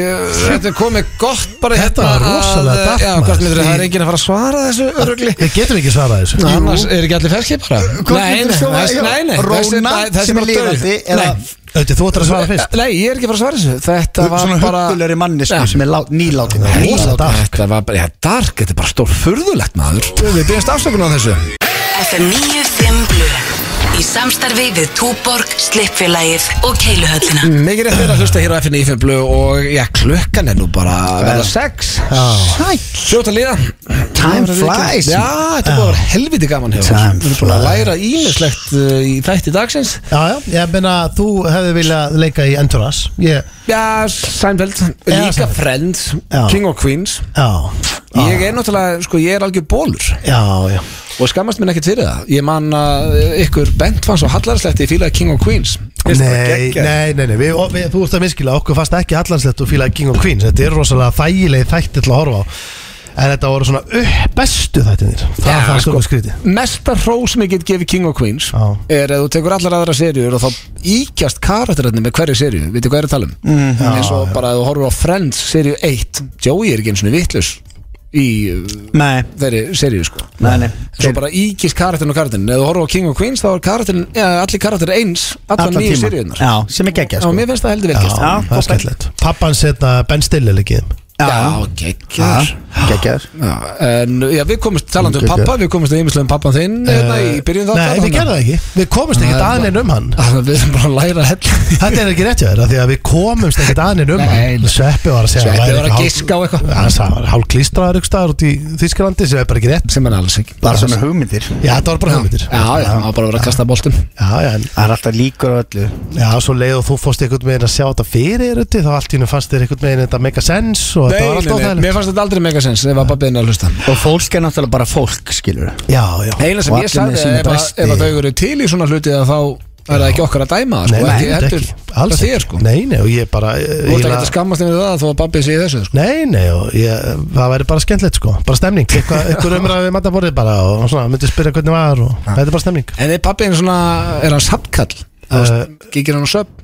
[SPEAKER 1] þetta er komið gott bara
[SPEAKER 2] Þetta var
[SPEAKER 1] hérna að-
[SPEAKER 2] rosalega dappt,
[SPEAKER 1] Já,
[SPEAKER 2] maður.
[SPEAKER 1] hvort myndir það er enginn að fara að svara þessu örugli
[SPEAKER 2] Við getum ekki svarað þessu
[SPEAKER 1] Jú. Annars er ekki allir ferskip bara
[SPEAKER 3] Hvort myndirðu sofa
[SPEAKER 1] þessi-
[SPEAKER 3] hjá
[SPEAKER 1] nei, nei, þessi-
[SPEAKER 3] Róna
[SPEAKER 1] nei, þessi
[SPEAKER 3] sem
[SPEAKER 1] bara
[SPEAKER 3] er
[SPEAKER 1] dauð.
[SPEAKER 3] lifandi eða
[SPEAKER 1] Nei.
[SPEAKER 2] Auðvitað, þú ættir að svara fyrst
[SPEAKER 1] Nei, ég er ekki að fara að svara þessu Þetta var
[SPEAKER 3] svona
[SPEAKER 1] bara
[SPEAKER 3] huggulegri mannesku
[SPEAKER 1] sko. Já.
[SPEAKER 3] sem er lá- nýlátin
[SPEAKER 2] Rosa dark.
[SPEAKER 1] Þetta var bara, já, dark, þetta er bara stór furðulegt maður Við byrjumst afsökun á þessu
[SPEAKER 5] FM 95 Blu Í samstarfi við Túborg, Slippfélagið og Keiluhöllina
[SPEAKER 1] Mikið rétt er að hlusta hér á FNI 5 blöð og já, klukkan er nú bara að verða sex Sjóta liða
[SPEAKER 3] Time flies.
[SPEAKER 1] Já, þetta er bara að vera helviti gaman hjá okkur.
[SPEAKER 3] Time
[SPEAKER 1] Við erum búin að
[SPEAKER 3] flies.
[SPEAKER 1] læra ímislegt uh, í þætti dagsins
[SPEAKER 2] Já, já, ég meina þú hefði viljað leika í Entourage Ég,
[SPEAKER 1] Já, Seinfeld,
[SPEAKER 2] Já,
[SPEAKER 1] líka
[SPEAKER 2] Seinfeld.
[SPEAKER 1] Friends,
[SPEAKER 2] Já. Ah.
[SPEAKER 1] King of Queens
[SPEAKER 2] já,
[SPEAKER 1] Ég er náttúrulega, sko, ég er algjör bólur
[SPEAKER 2] já, já
[SPEAKER 1] og skammast minn ekkert fyrir það Ég man að ykkur bent fann svo hallarslegt í fílaði King of Queens Finnst það bara
[SPEAKER 2] Nei,
[SPEAKER 1] geggjað.
[SPEAKER 2] nei, nei, nei, við, og við, þú ert að miskila okkur fast ekki allanslegt og fílaði King of Queens Þetta er rosalega þægilegi þætti til að horfa á En þetta voru svona upp bestu þættinir Það
[SPEAKER 1] Já,
[SPEAKER 2] er það
[SPEAKER 1] sko.
[SPEAKER 2] sko skrítið
[SPEAKER 1] Mesta hrós sem ég get gefið King of Queens
[SPEAKER 2] Já.
[SPEAKER 1] er að þú tekur allar aðra seríur og þá íkjast karakterarnir með hverju seríu veitu hvað er að tala um
[SPEAKER 3] Mhm.
[SPEAKER 1] mm, eins og bara að þú horfur á Friends seríu 1 Joey er ekki eins og vittlaus í uh,
[SPEAKER 3] Nei,
[SPEAKER 1] þeirri seríu sko en
[SPEAKER 3] nei, nei
[SPEAKER 1] svo bara íkjast karakterin og karakterin eða þú horfur á King of Queens þá er karakterin ja, allir karakterin eins allar
[SPEAKER 3] Allan
[SPEAKER 1] nýju
[SPEAKER 3] tímann.
[SPEAKER 1] seríunar
[SPEAKER 3] Já, sem er geggjað
[SPEAKER 1] og
[SPEAKER 3] sko
[SPEAKER 1] mér finnst það heldur vel gert
[SPEAKER 3] Já,
[SPEAKER 2] það er
[SPEAKER 3] gott.
[SPEAKER 2] skemmtilegt Pappan setna Ben Stiller leikið
[SPEAKER 1] já, geggjör
[SPEAKER 3] Geggjör
[SPEAKER 1] Já, en já, við komumst talandi um
[SPEAKER 3] Gekkjað.
[SPEAKER 1] pappa, við komumst að ymmislega um pappan þinn hérna
[SPEAKER 3] Eh,
[SPEAKER 1] í byrjun þáttar
[SPEAKER 2] Eh, Nei, við
[SPEAKER 1] þannig að-
[SPEAKER 2] gerðum það ekki Við komumst
[SPEAKER 1] Nei,
[SPEAKER 2] ekkert
[SPEAKER 1] bara-
[SPEAKER 2] aðeins um hann
[SPEAKER 1] Þannig að við erum bara að læra hell
[SPEAKER 2] Þetta er ekki rétt hjá þér af Því að við komumst ekkert aðeins um
[SPEAKER 1] Nei, nei.
[SPEAKER 2] hann Sveppi var að segja
[SPEAKER 1] Sveppi
[SPEAKER 2] hann væri
[SPEAKER 1] var að
[SPEAKER 2] eitthvað
[SPEAKER 1] giska á
[SPEAKER 2] hálf-
[SPEAKER 1] eitthvað.
[SPEAKER 2] Já, Það var hálf klístraður ykkur staðar út í Þísklandi sem er bara ekki rétt
[SPEAKER 1] sem er alls ekki
[SPEAKER 3] Bara svona hugmyndir
[SPEAKER 2] Já, þetta var bara hugmyndir
[SPEAKER 1] Já, já, það var bara að vera að kasta boltum
[SPEAKER 2] Já, já, en
[SPEAKER 3] Það er alltaf líkur á öllu
[SPEAKER 2] Já, svo leið og þú fórst einhvern veginn að sjá þetta fyrir Rutti, þá allt í hennu fannst þér einhvern veginn þetta make a sense og þetta var allt óþægilegt
[SPEAKER 1] mér fannst þetta aldrei megasens ef að babbiðin er að hlusta
[SPEAKER 3] Og fólk er náttúrulega bara fólk, skilur
[SPEAKER 2] Já, já,
[SPEAKER 1] Eina sem
[SPEAKER 3] Og
[SPEAKER 1] ég
[SPEAKER 3] allir með
[SPEAKER 1] sagði,
[SPEAKER 3] sína
[SPEAKER 1] ef, að-
[SPEAKER 3] bresti.
[SPEAKER 1] ef að þau eru til í svona hluti að þá er það ekki okkar að dæma það,
[SPEAKER 2] nei,
[SPEAKER 1] sko,
[SPEAKER 2] nei,
[SPEAKER 1] ekki
[SPEAKER 2] þetta
[SPEAKER 1] heldur
[SPEAKER 2] ekki, alls
[SPEAKER 1] þér, sko
[SPEAKER 2] Nei, nei, og ég bara
[SPEAKER 1] Þú
[SPEAKER 2] Þú
[SPEAKER 1] ert ekki að skammast yfir það þó að babbið sé í þessu, sko
[SPEAKER 2] Nei, nei, og ég, það væri bara skemmtilegt sko bara stemning, eitthvað, eitthvað umræði við mataborðið bara og svona, myndi spyrja hvernig var og þetta er bara stemning
[SPEAKER 1] En er babbiðin svona, er hann saptkall?
[SPEAKER 2] Uh,
[SPEAKER 1] Gikir hann á söp?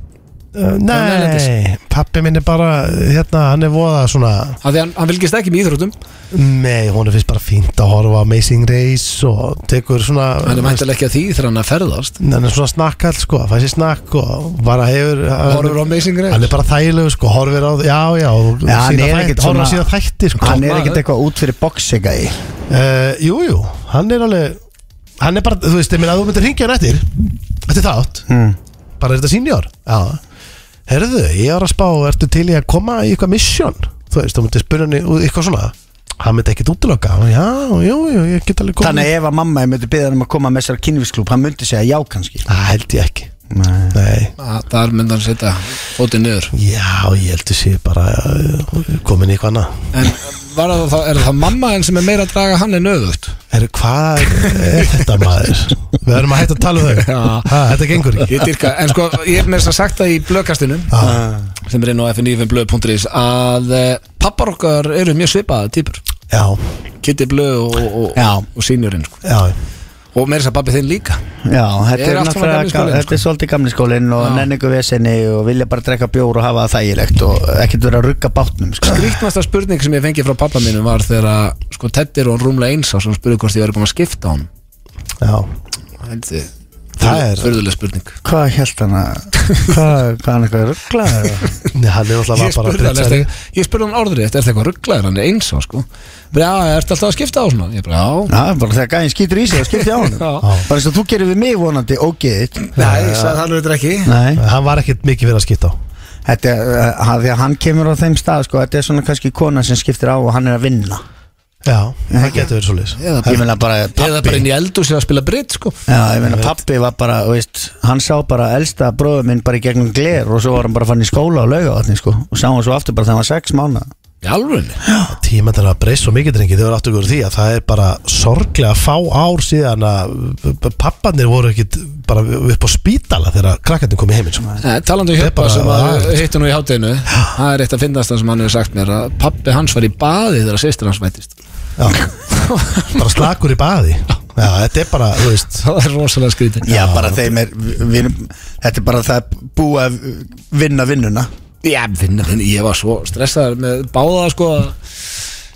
[SPEAKER 2] uh,
[SPEAKER 1] erlendis.
[SPEAKER 2] Nei, pappi minn er bara hérna, hann er voða svona
[SPEAKER 1] Af því hann, hann vilkist ekki með íþróttum
[SPEAKER 2] Nei, hún er fyrst bara fínt að horfa á Amazing Race og tekur svona
[SPEAKER 1] Hann er mæntilega ekki að því þegar hann er að ferðast
[SPEAKER 2] Hann er svona snakkall sko, fæði sér snakk og bara hefur
[SPEAKER 1] Horfur á Amazing
[SPEAKER 2] Hann
[SPEAKER 1] Race
[SPEAKER 2] er bara þægilegu sko, horfir á Já, já, og
[SPEAKER 3] Já, hann
[SPEAKER 2] sína
[SPEAKER 3] er
[SPEAKER 2] þætti,
[SPEAKER 3] ekkert
[SPEAKER 2] horfir á
[SPEAKER 3] svona-
[SPEAKER 2] sína þætti sko
[SPEAKER 3] Hann er
[SPEAKER 1] maður.
[SPEAKER 3] ekkert eitthvað út fyrir boxinga í
[SPEAKER 2] Eh, Jú, jú, hann er alveg Hann er bara, þú veist, ég meina að þú myndir hringja hann eftir Þetta er þátt
[SPEAKER 3] Mm.
[SPEAKER 2] Bara er þetta senior Já, herðu, ég var að spá Ertu til í að koma í eitthvað misjón Þú veist, þú myndir spyrja hann í út- eitthvað svona Hann myndi ekkit útiloka Já, jú, jú, ég get alveg komið
[SPEAKER 3] Þannig að ef að mamma myndi byggja hann um að koma með sér kynvísklúb Hann myndi segja já kannski
[SPEAKER 2] Það held ég ekki
[SPEAKER 3] Nei.
[SPEAKER 2] Nei
[SPEAKER 1] Að- Ah, Þar myndi hann setja fótinn niður
[SPEAKER 2] Já, ég held að sé bara eh, komin í eitthvað annað
[SPEAKER 1] En var það, þá- er það mamma henn sem er meira að draga hann en öðvögt?
[SPEAKER 2] Herru, hvað er þetta maður? Við verðum að hætta að tala um þau
[SPEAKER 1] Já.
[SPEAKER 2] ha, Þetta gengur ekki
[SPEAKER 1] Ég dyrka, en sko, ég er með þess að sagt það í blöðkastinu sem er inn á fn95blöð.is að eh, pappar okkar eru mjög svipaða týpur
[SPEAKER 2] Já,
[SPEAKER 1] Kitty Blöð og, og,
[SPEAKER 3] Já.
[SPEAKER 1] og, og seniorinn sko.
[SPEAKER 2] já,
[SPEAKER 1] og meira þess að pappi þinn líka
[SPEAKER 3] Já,
[SPEAKER 1] Er
[SPEAKER 3] þetta er,
[SPEAKER 1] allt svona
[SPEAKER 3] náttúrulega
[SPEAKER 1] gamli skólinn,
[SPEAKER 3] ga- Þetta er svolítið gamli skólinn og
[SPEAKER 1] Já.
[SPEAKER 3] nenningu vesenni og vilja bara drekka bjór og hafa það þægilegt og ekkert vera að rugga bátnum sko.
[SPEAKER 1] Grítmasta spurning sem ég fengi frá pappa mínum var þegar að, sko, Teddy er hún rúmlega eins og hann spurði hvort ég verið búin að skipta hann
[SPEAKER 2] já
[SPEAKER 1] Heldi,
[SPEAKER 2] Það er-
[SPEAKER 1] Furðuleg spurning
[SPEAKER 3] Hvað held hann að Hvað, hvað hann eitthvað ruggla
[SPEAKER 2] Nei, hann er alltaf
[SPEAKER 1] Ég
[SPEAKER 2] bara
[SPEAKER 1] spurði hann, ertu- ég spurði hann orðrið, er þetta eitthvað rugglaður, hann er eins og sko bara, já, ertu alltaf að skipta á svona? Ég bara, já,
[SPEAKER 3] Já, bara þegar gæðin skýtur í sig og skipti á hann
[SPEAKER 1] Já.
[SPEAKER 3] Bara eins og þú gerir við mig vonandi og geðið
[SPEAKER 1] Nei, ég sagði það alveg þetta ekki
[SPEAKER 3] Nei
[SPEAKER 2] Hann var ekkert mikið fyrir að skipta á
[SPEAKER 3] Þetta er, uh, að því að hann kemur á þeim stað sko, þetta er svona kannski kona sem skiptir á og hann er að vinna
[SPEAKER 2] Já, það getur verið svolítið
[SPEAKER 1] Eða
[SPEAKER 3] Ég meina bara
[SPEAKER 1] Eða bara
[SPEAKER 3] pappi
[SPEAKER 1] inn í eldu sér að spila britt sko
[SPEAKER 3] Já, ég meina pappi var bara, þú veist, hann sá bara elsta bróður minn bara í gegnum gler og svo var hann bara fann í skóla og lauga vatni, sko og sá hann svo aftur bara þegar hann var sex mánuða
[SPEAKER 1] Í alvöginni
[SPEAKER 2] Tímandar að breyst svo mikið drengi Þau eru aftur ykkur því að það er bara sorglega fá ár síðan að pappanir voru ekkit bara upp á spítala þegar krakkarnir komið heiminn sko.
[SPEAKER 1] Talandi um
[SPEAKER 2] Þetta er
[SPEAKER 1] hjöpa
[SPEAKER 2] bara
[SPEAKER 1] sem að
[SPEAKER 2] agalegt.
[SPEAKER 1] hittu nú í hátteginu Það er eitt að finnast það sem hann hefur sagt mér að pappi hans var í baði þegar sýstir hans vættist
[SPEAKER 2] Já. Bara slakur í baði Já, þetta er bara, þú veist
[SPEAKER 1] Það er rosalega skrítið
[SPEAKER 3] Já, bara þeim er, við, við, erum- þetta er bara það að búa að vinna vinnuna
[SPEAKER 1] Já, vinna, vinna, ég var svo stressaður með báða sko að-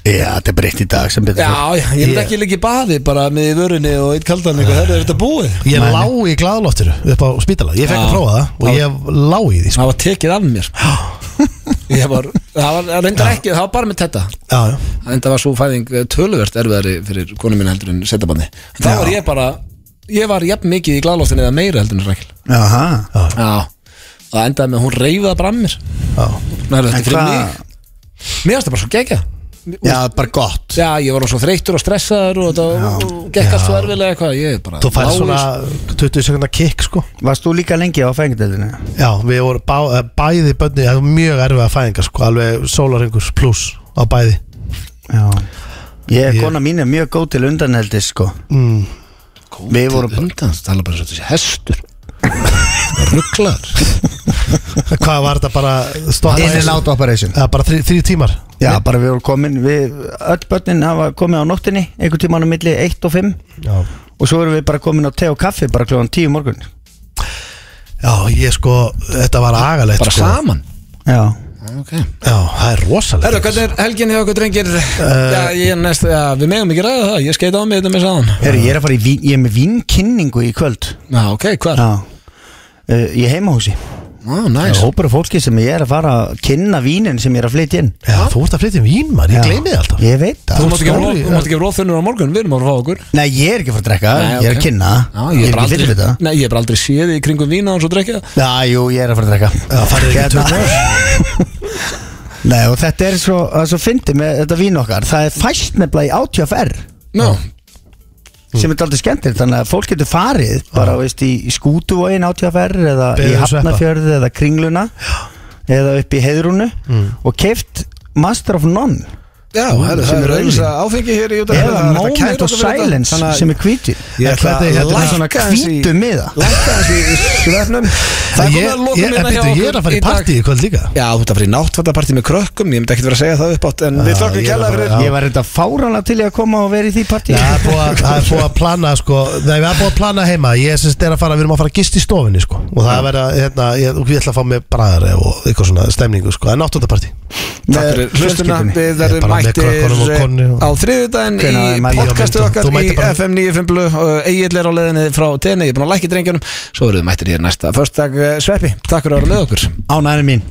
[SPEAKER 3] Já, þetta er breytt í dag sem betur fer.
[SPEAKER 1] Já, já, ég myndi
[SPEAKER 3] Ég-
[SPEAKER 1] ekki líka í baði bara með í vörunni og eitt kaldan eitthvað, herri, er þetta búið?
[SPEAKER 2] Ég lá í glaðloftinu upp á spítala Ég fekk
[SPEAKER 1] Já.
[SPEAKER 2] að prófa það og ég lá í því sko.
[SPEAKER 1] Það var tekið af mér Ég var, það var, það reyndar ekki, það var bara með þetta
[SPEAKER 2] Já, já,
[SPEAKER 1] Það enda var svo fæðing eh, töluvert erfiðari fyrir konu mín heldur en setabandi En þá var ég bara ég var jafn mikið í glæðloftinu eða meira heldur en Rækil
[SPEAKER 3] Jaha
[SPEAKER 1] Já Það endaði með að hún reyfaði bara að mér
[SPEAKER 2] Já.
[SPEAKER 1] Nei, þetta er
[SPEAKER 3] En
[SPEAKER 1] fyrir
[SPEAKER 3] hvað-
[SPEAKER 1] mig Mér varst það bara svo gegja
[SPEAKER 3] Já, bara gott
[SPEAKER 1] Já, ég var orðinn svo þreyttur og stressaður og þetta og gekk allt svo erfilega eitthvað Ég er bara
[SPEAKER 2] Þú færði
[SPEAKER 1] lágur.
[SPEAKER 2] svona 20 sekundar kick sko
[SPEAKER 3] Varst þú líka lengi á fengideldinu?
[SPEAKER 2] Já, við vorum bá, eh, bæði bönni það var mjög erfið að fæðinga sko, alveg sólaringur pluss á bæði
[SPEAKER 3] Já Ég,
[SPEAKER 2] Ég-
[SPEAKER 3] kona mín er mjög góð til undanheldi sko
[SPEAKER 2] mm.
[SPEAKER 3] Við vorum
[SPEAKER 1] Undan, það tala bara svo þessi hestur Rugglar
[SPEAKER 2] Hvað var þetta bara stoppa
[SPEAKER 3] In and out operation
[SPEAKER 2] Eða bara þrý, þrý tímar
[SPEAKER 3] Já, bara við vorum komin við, Öll börnin hafa komið á nóttinni einhvern tímann á milli 1 og 5
[SPEAKER 2] Já,
[SPEAKER 3] og svo erum við bara komin á te og kaffi bara kljóðan 10 morgun
[SPEAKER 2] Já ég sko, þetta var agalegt
[SPEAKER 1] Bara
[SPEAKER 2] sko.
[SPEAKER 1] saman
[SPEAKER 3] Já
[SPEAKER 1] okay.
[SPEAKER 2] Já, það er rosalegt
[SPEAKER 1] Herra, hvernig er helgin hjá okkur drengir? já, ég er næst, já, við megum ekki ræða það Ég skeita á mig þetta með sáðan
[SPEAKER 3] Heru, ég, er að fara í vín, ég er með vínkinningu í kvöld
[SPEAKER 1] Já, ok, hvar? Já,
[SPEAKER 3] Já uh, Í heimahúsi Það er
[SPEAKER 1] næs
[SPEAKER 3] hópur af fólki sem ég er að fara að kynna vínin sem ég er að flytja inn
[SPEAKER 2] Já, þú ert að flytja um vín maður, ég gleymi þið alltaf
[SPEAKER 3] Ég veit það
[SPEAKER 1] Þú mátt ekki
[SPEAKER 2] stóri,
[SPEAKER 1] vera- þú mátt ekki róðfunnur á morgun, við erum að fá okkur
[SPEAKER 3] Nei, ég er ekki að fara að drekka
[SPEAKER 1] Nei,
[SPEAKER 3] Ég er
[SPEAKER 1] ok.
[SPEAKER 3] að kynna
[SPEAKER 1] Já, ég, er bara
[SPEAKER 3] ekki fyrir
[SPEAKER 1] aldrei,
[SPEAKER 3] þetta
[SPEAKER 1] nei, ég er bara aldrei séð í kringum vína og svo drekja
[SPEAKER 3] Já, jú, ég er að fara að drekka
[SPEAKER 2] Já, farið ekki
[SPEAKER 3] Hérna-
[SPEAKER 2] tökum
[SPEAKER 3] Nei, og þetta er svo, það er svo fyndið með þetta vín okkar Það er fæst nefnilega í ATFR
[SPEAKER 1] Ná,
[SPEAKER 3] sem er aldrei skemmtilegt þannig að fólk getur farið bara veist, í, í skútuvógin ATFR eða
[SPEAKER 2] Beðið
[SPEAKER 3] í
[SPEAKER 2] sveppa.
[SPEAKER 3] Hafnafjörðu eða Kringluna eða upp í Heðrúnu og keift Master of None
[SPEAKER 1] já, herru,
[SPEAKER 2] sem
[SPEAKER 1] það
[SPEAKER 2] er
[SPEAKER 1] er
[SPEAKER 2] auglýsing.
[SPEAKER 1] auðvitað áfengi hér í út
[SPEAKER 3] eða Moment of Silence sem er hvíti
[SPEAKER 2] Ég ætla að-
[SPEAKER 3] þetta
[SPEAKER 2] hérna-
[SPEAKER 3] er svona hvítu miða
[SPEAKER 1] Lækka þessi svefnum Það er komið að
[SPEAKER 2] Ég- ég-
[SPEAKER 1] lokum
[SPEAKER 2] en
[SPEAKER 1] hérna hjá
[SPEAKER 2] býttu, Ég er að fara í
[SPEAKER 1] dag.
[SPEAKER 2] partí í kvöld líka
[SPEAKER 1] Já, þú ert að fara í náttvartapartí með krökkum Ég myndi ekkert vera að segja það upp átt En við þökkum
[SPEAKER 2] ég er
[SPEAKER 1] kjalla
[SPEAKER 2] að fara-
[SPEAKER 1] fyrir
[SPEAKER 2] Já.
[SPEAKER 3] ég var reynda fárana til ég að koma og vera í því partí
[SPEAKER 2] Já, Það er búið að- það er búið að plana sko Nei, við erum búið að plana heima Ég syns þetta er að fara, við erum að fara að gist í stofinni sko Og það er að vera, hérna, ég, ég ætla að fá mig bræðar Og eitthvað svona stemningu sko En áttundapartí
[SPEAKER 1] Takk fyrir hlustuna
[SPEAKER 3] fjölskyldunni.
[SPEAKER 1] Við
[SPEAKER 2] Ég er
[SPEAKER 1] verðum
[SPEAKER 2] bara með
[SPEAKER 1] mættir
[SPEAKER 2] krökkunum og konni og-
[SPEAKER 1] á þriðudaginn í
[SPEAKER 3] Hvenær er mætið?
[SPEAKER 1] podcastið
[SPEAKER 2] Tíu á
[SPEAKER 1] okkar
[SPEAKER 2] myndum. Þú
[SPEAKER 1] í
[SPEAKER 2] mætir bara.
[SPEAKER 1] FM 95 Egil er á leiðinni frá TN Ég er búin að lækja drengjunum Svo verðum við mættir hér næsta Förstak sveppi, takk eh, fyrir að vera með okkur
[SPEAKER 3] ánæðin mín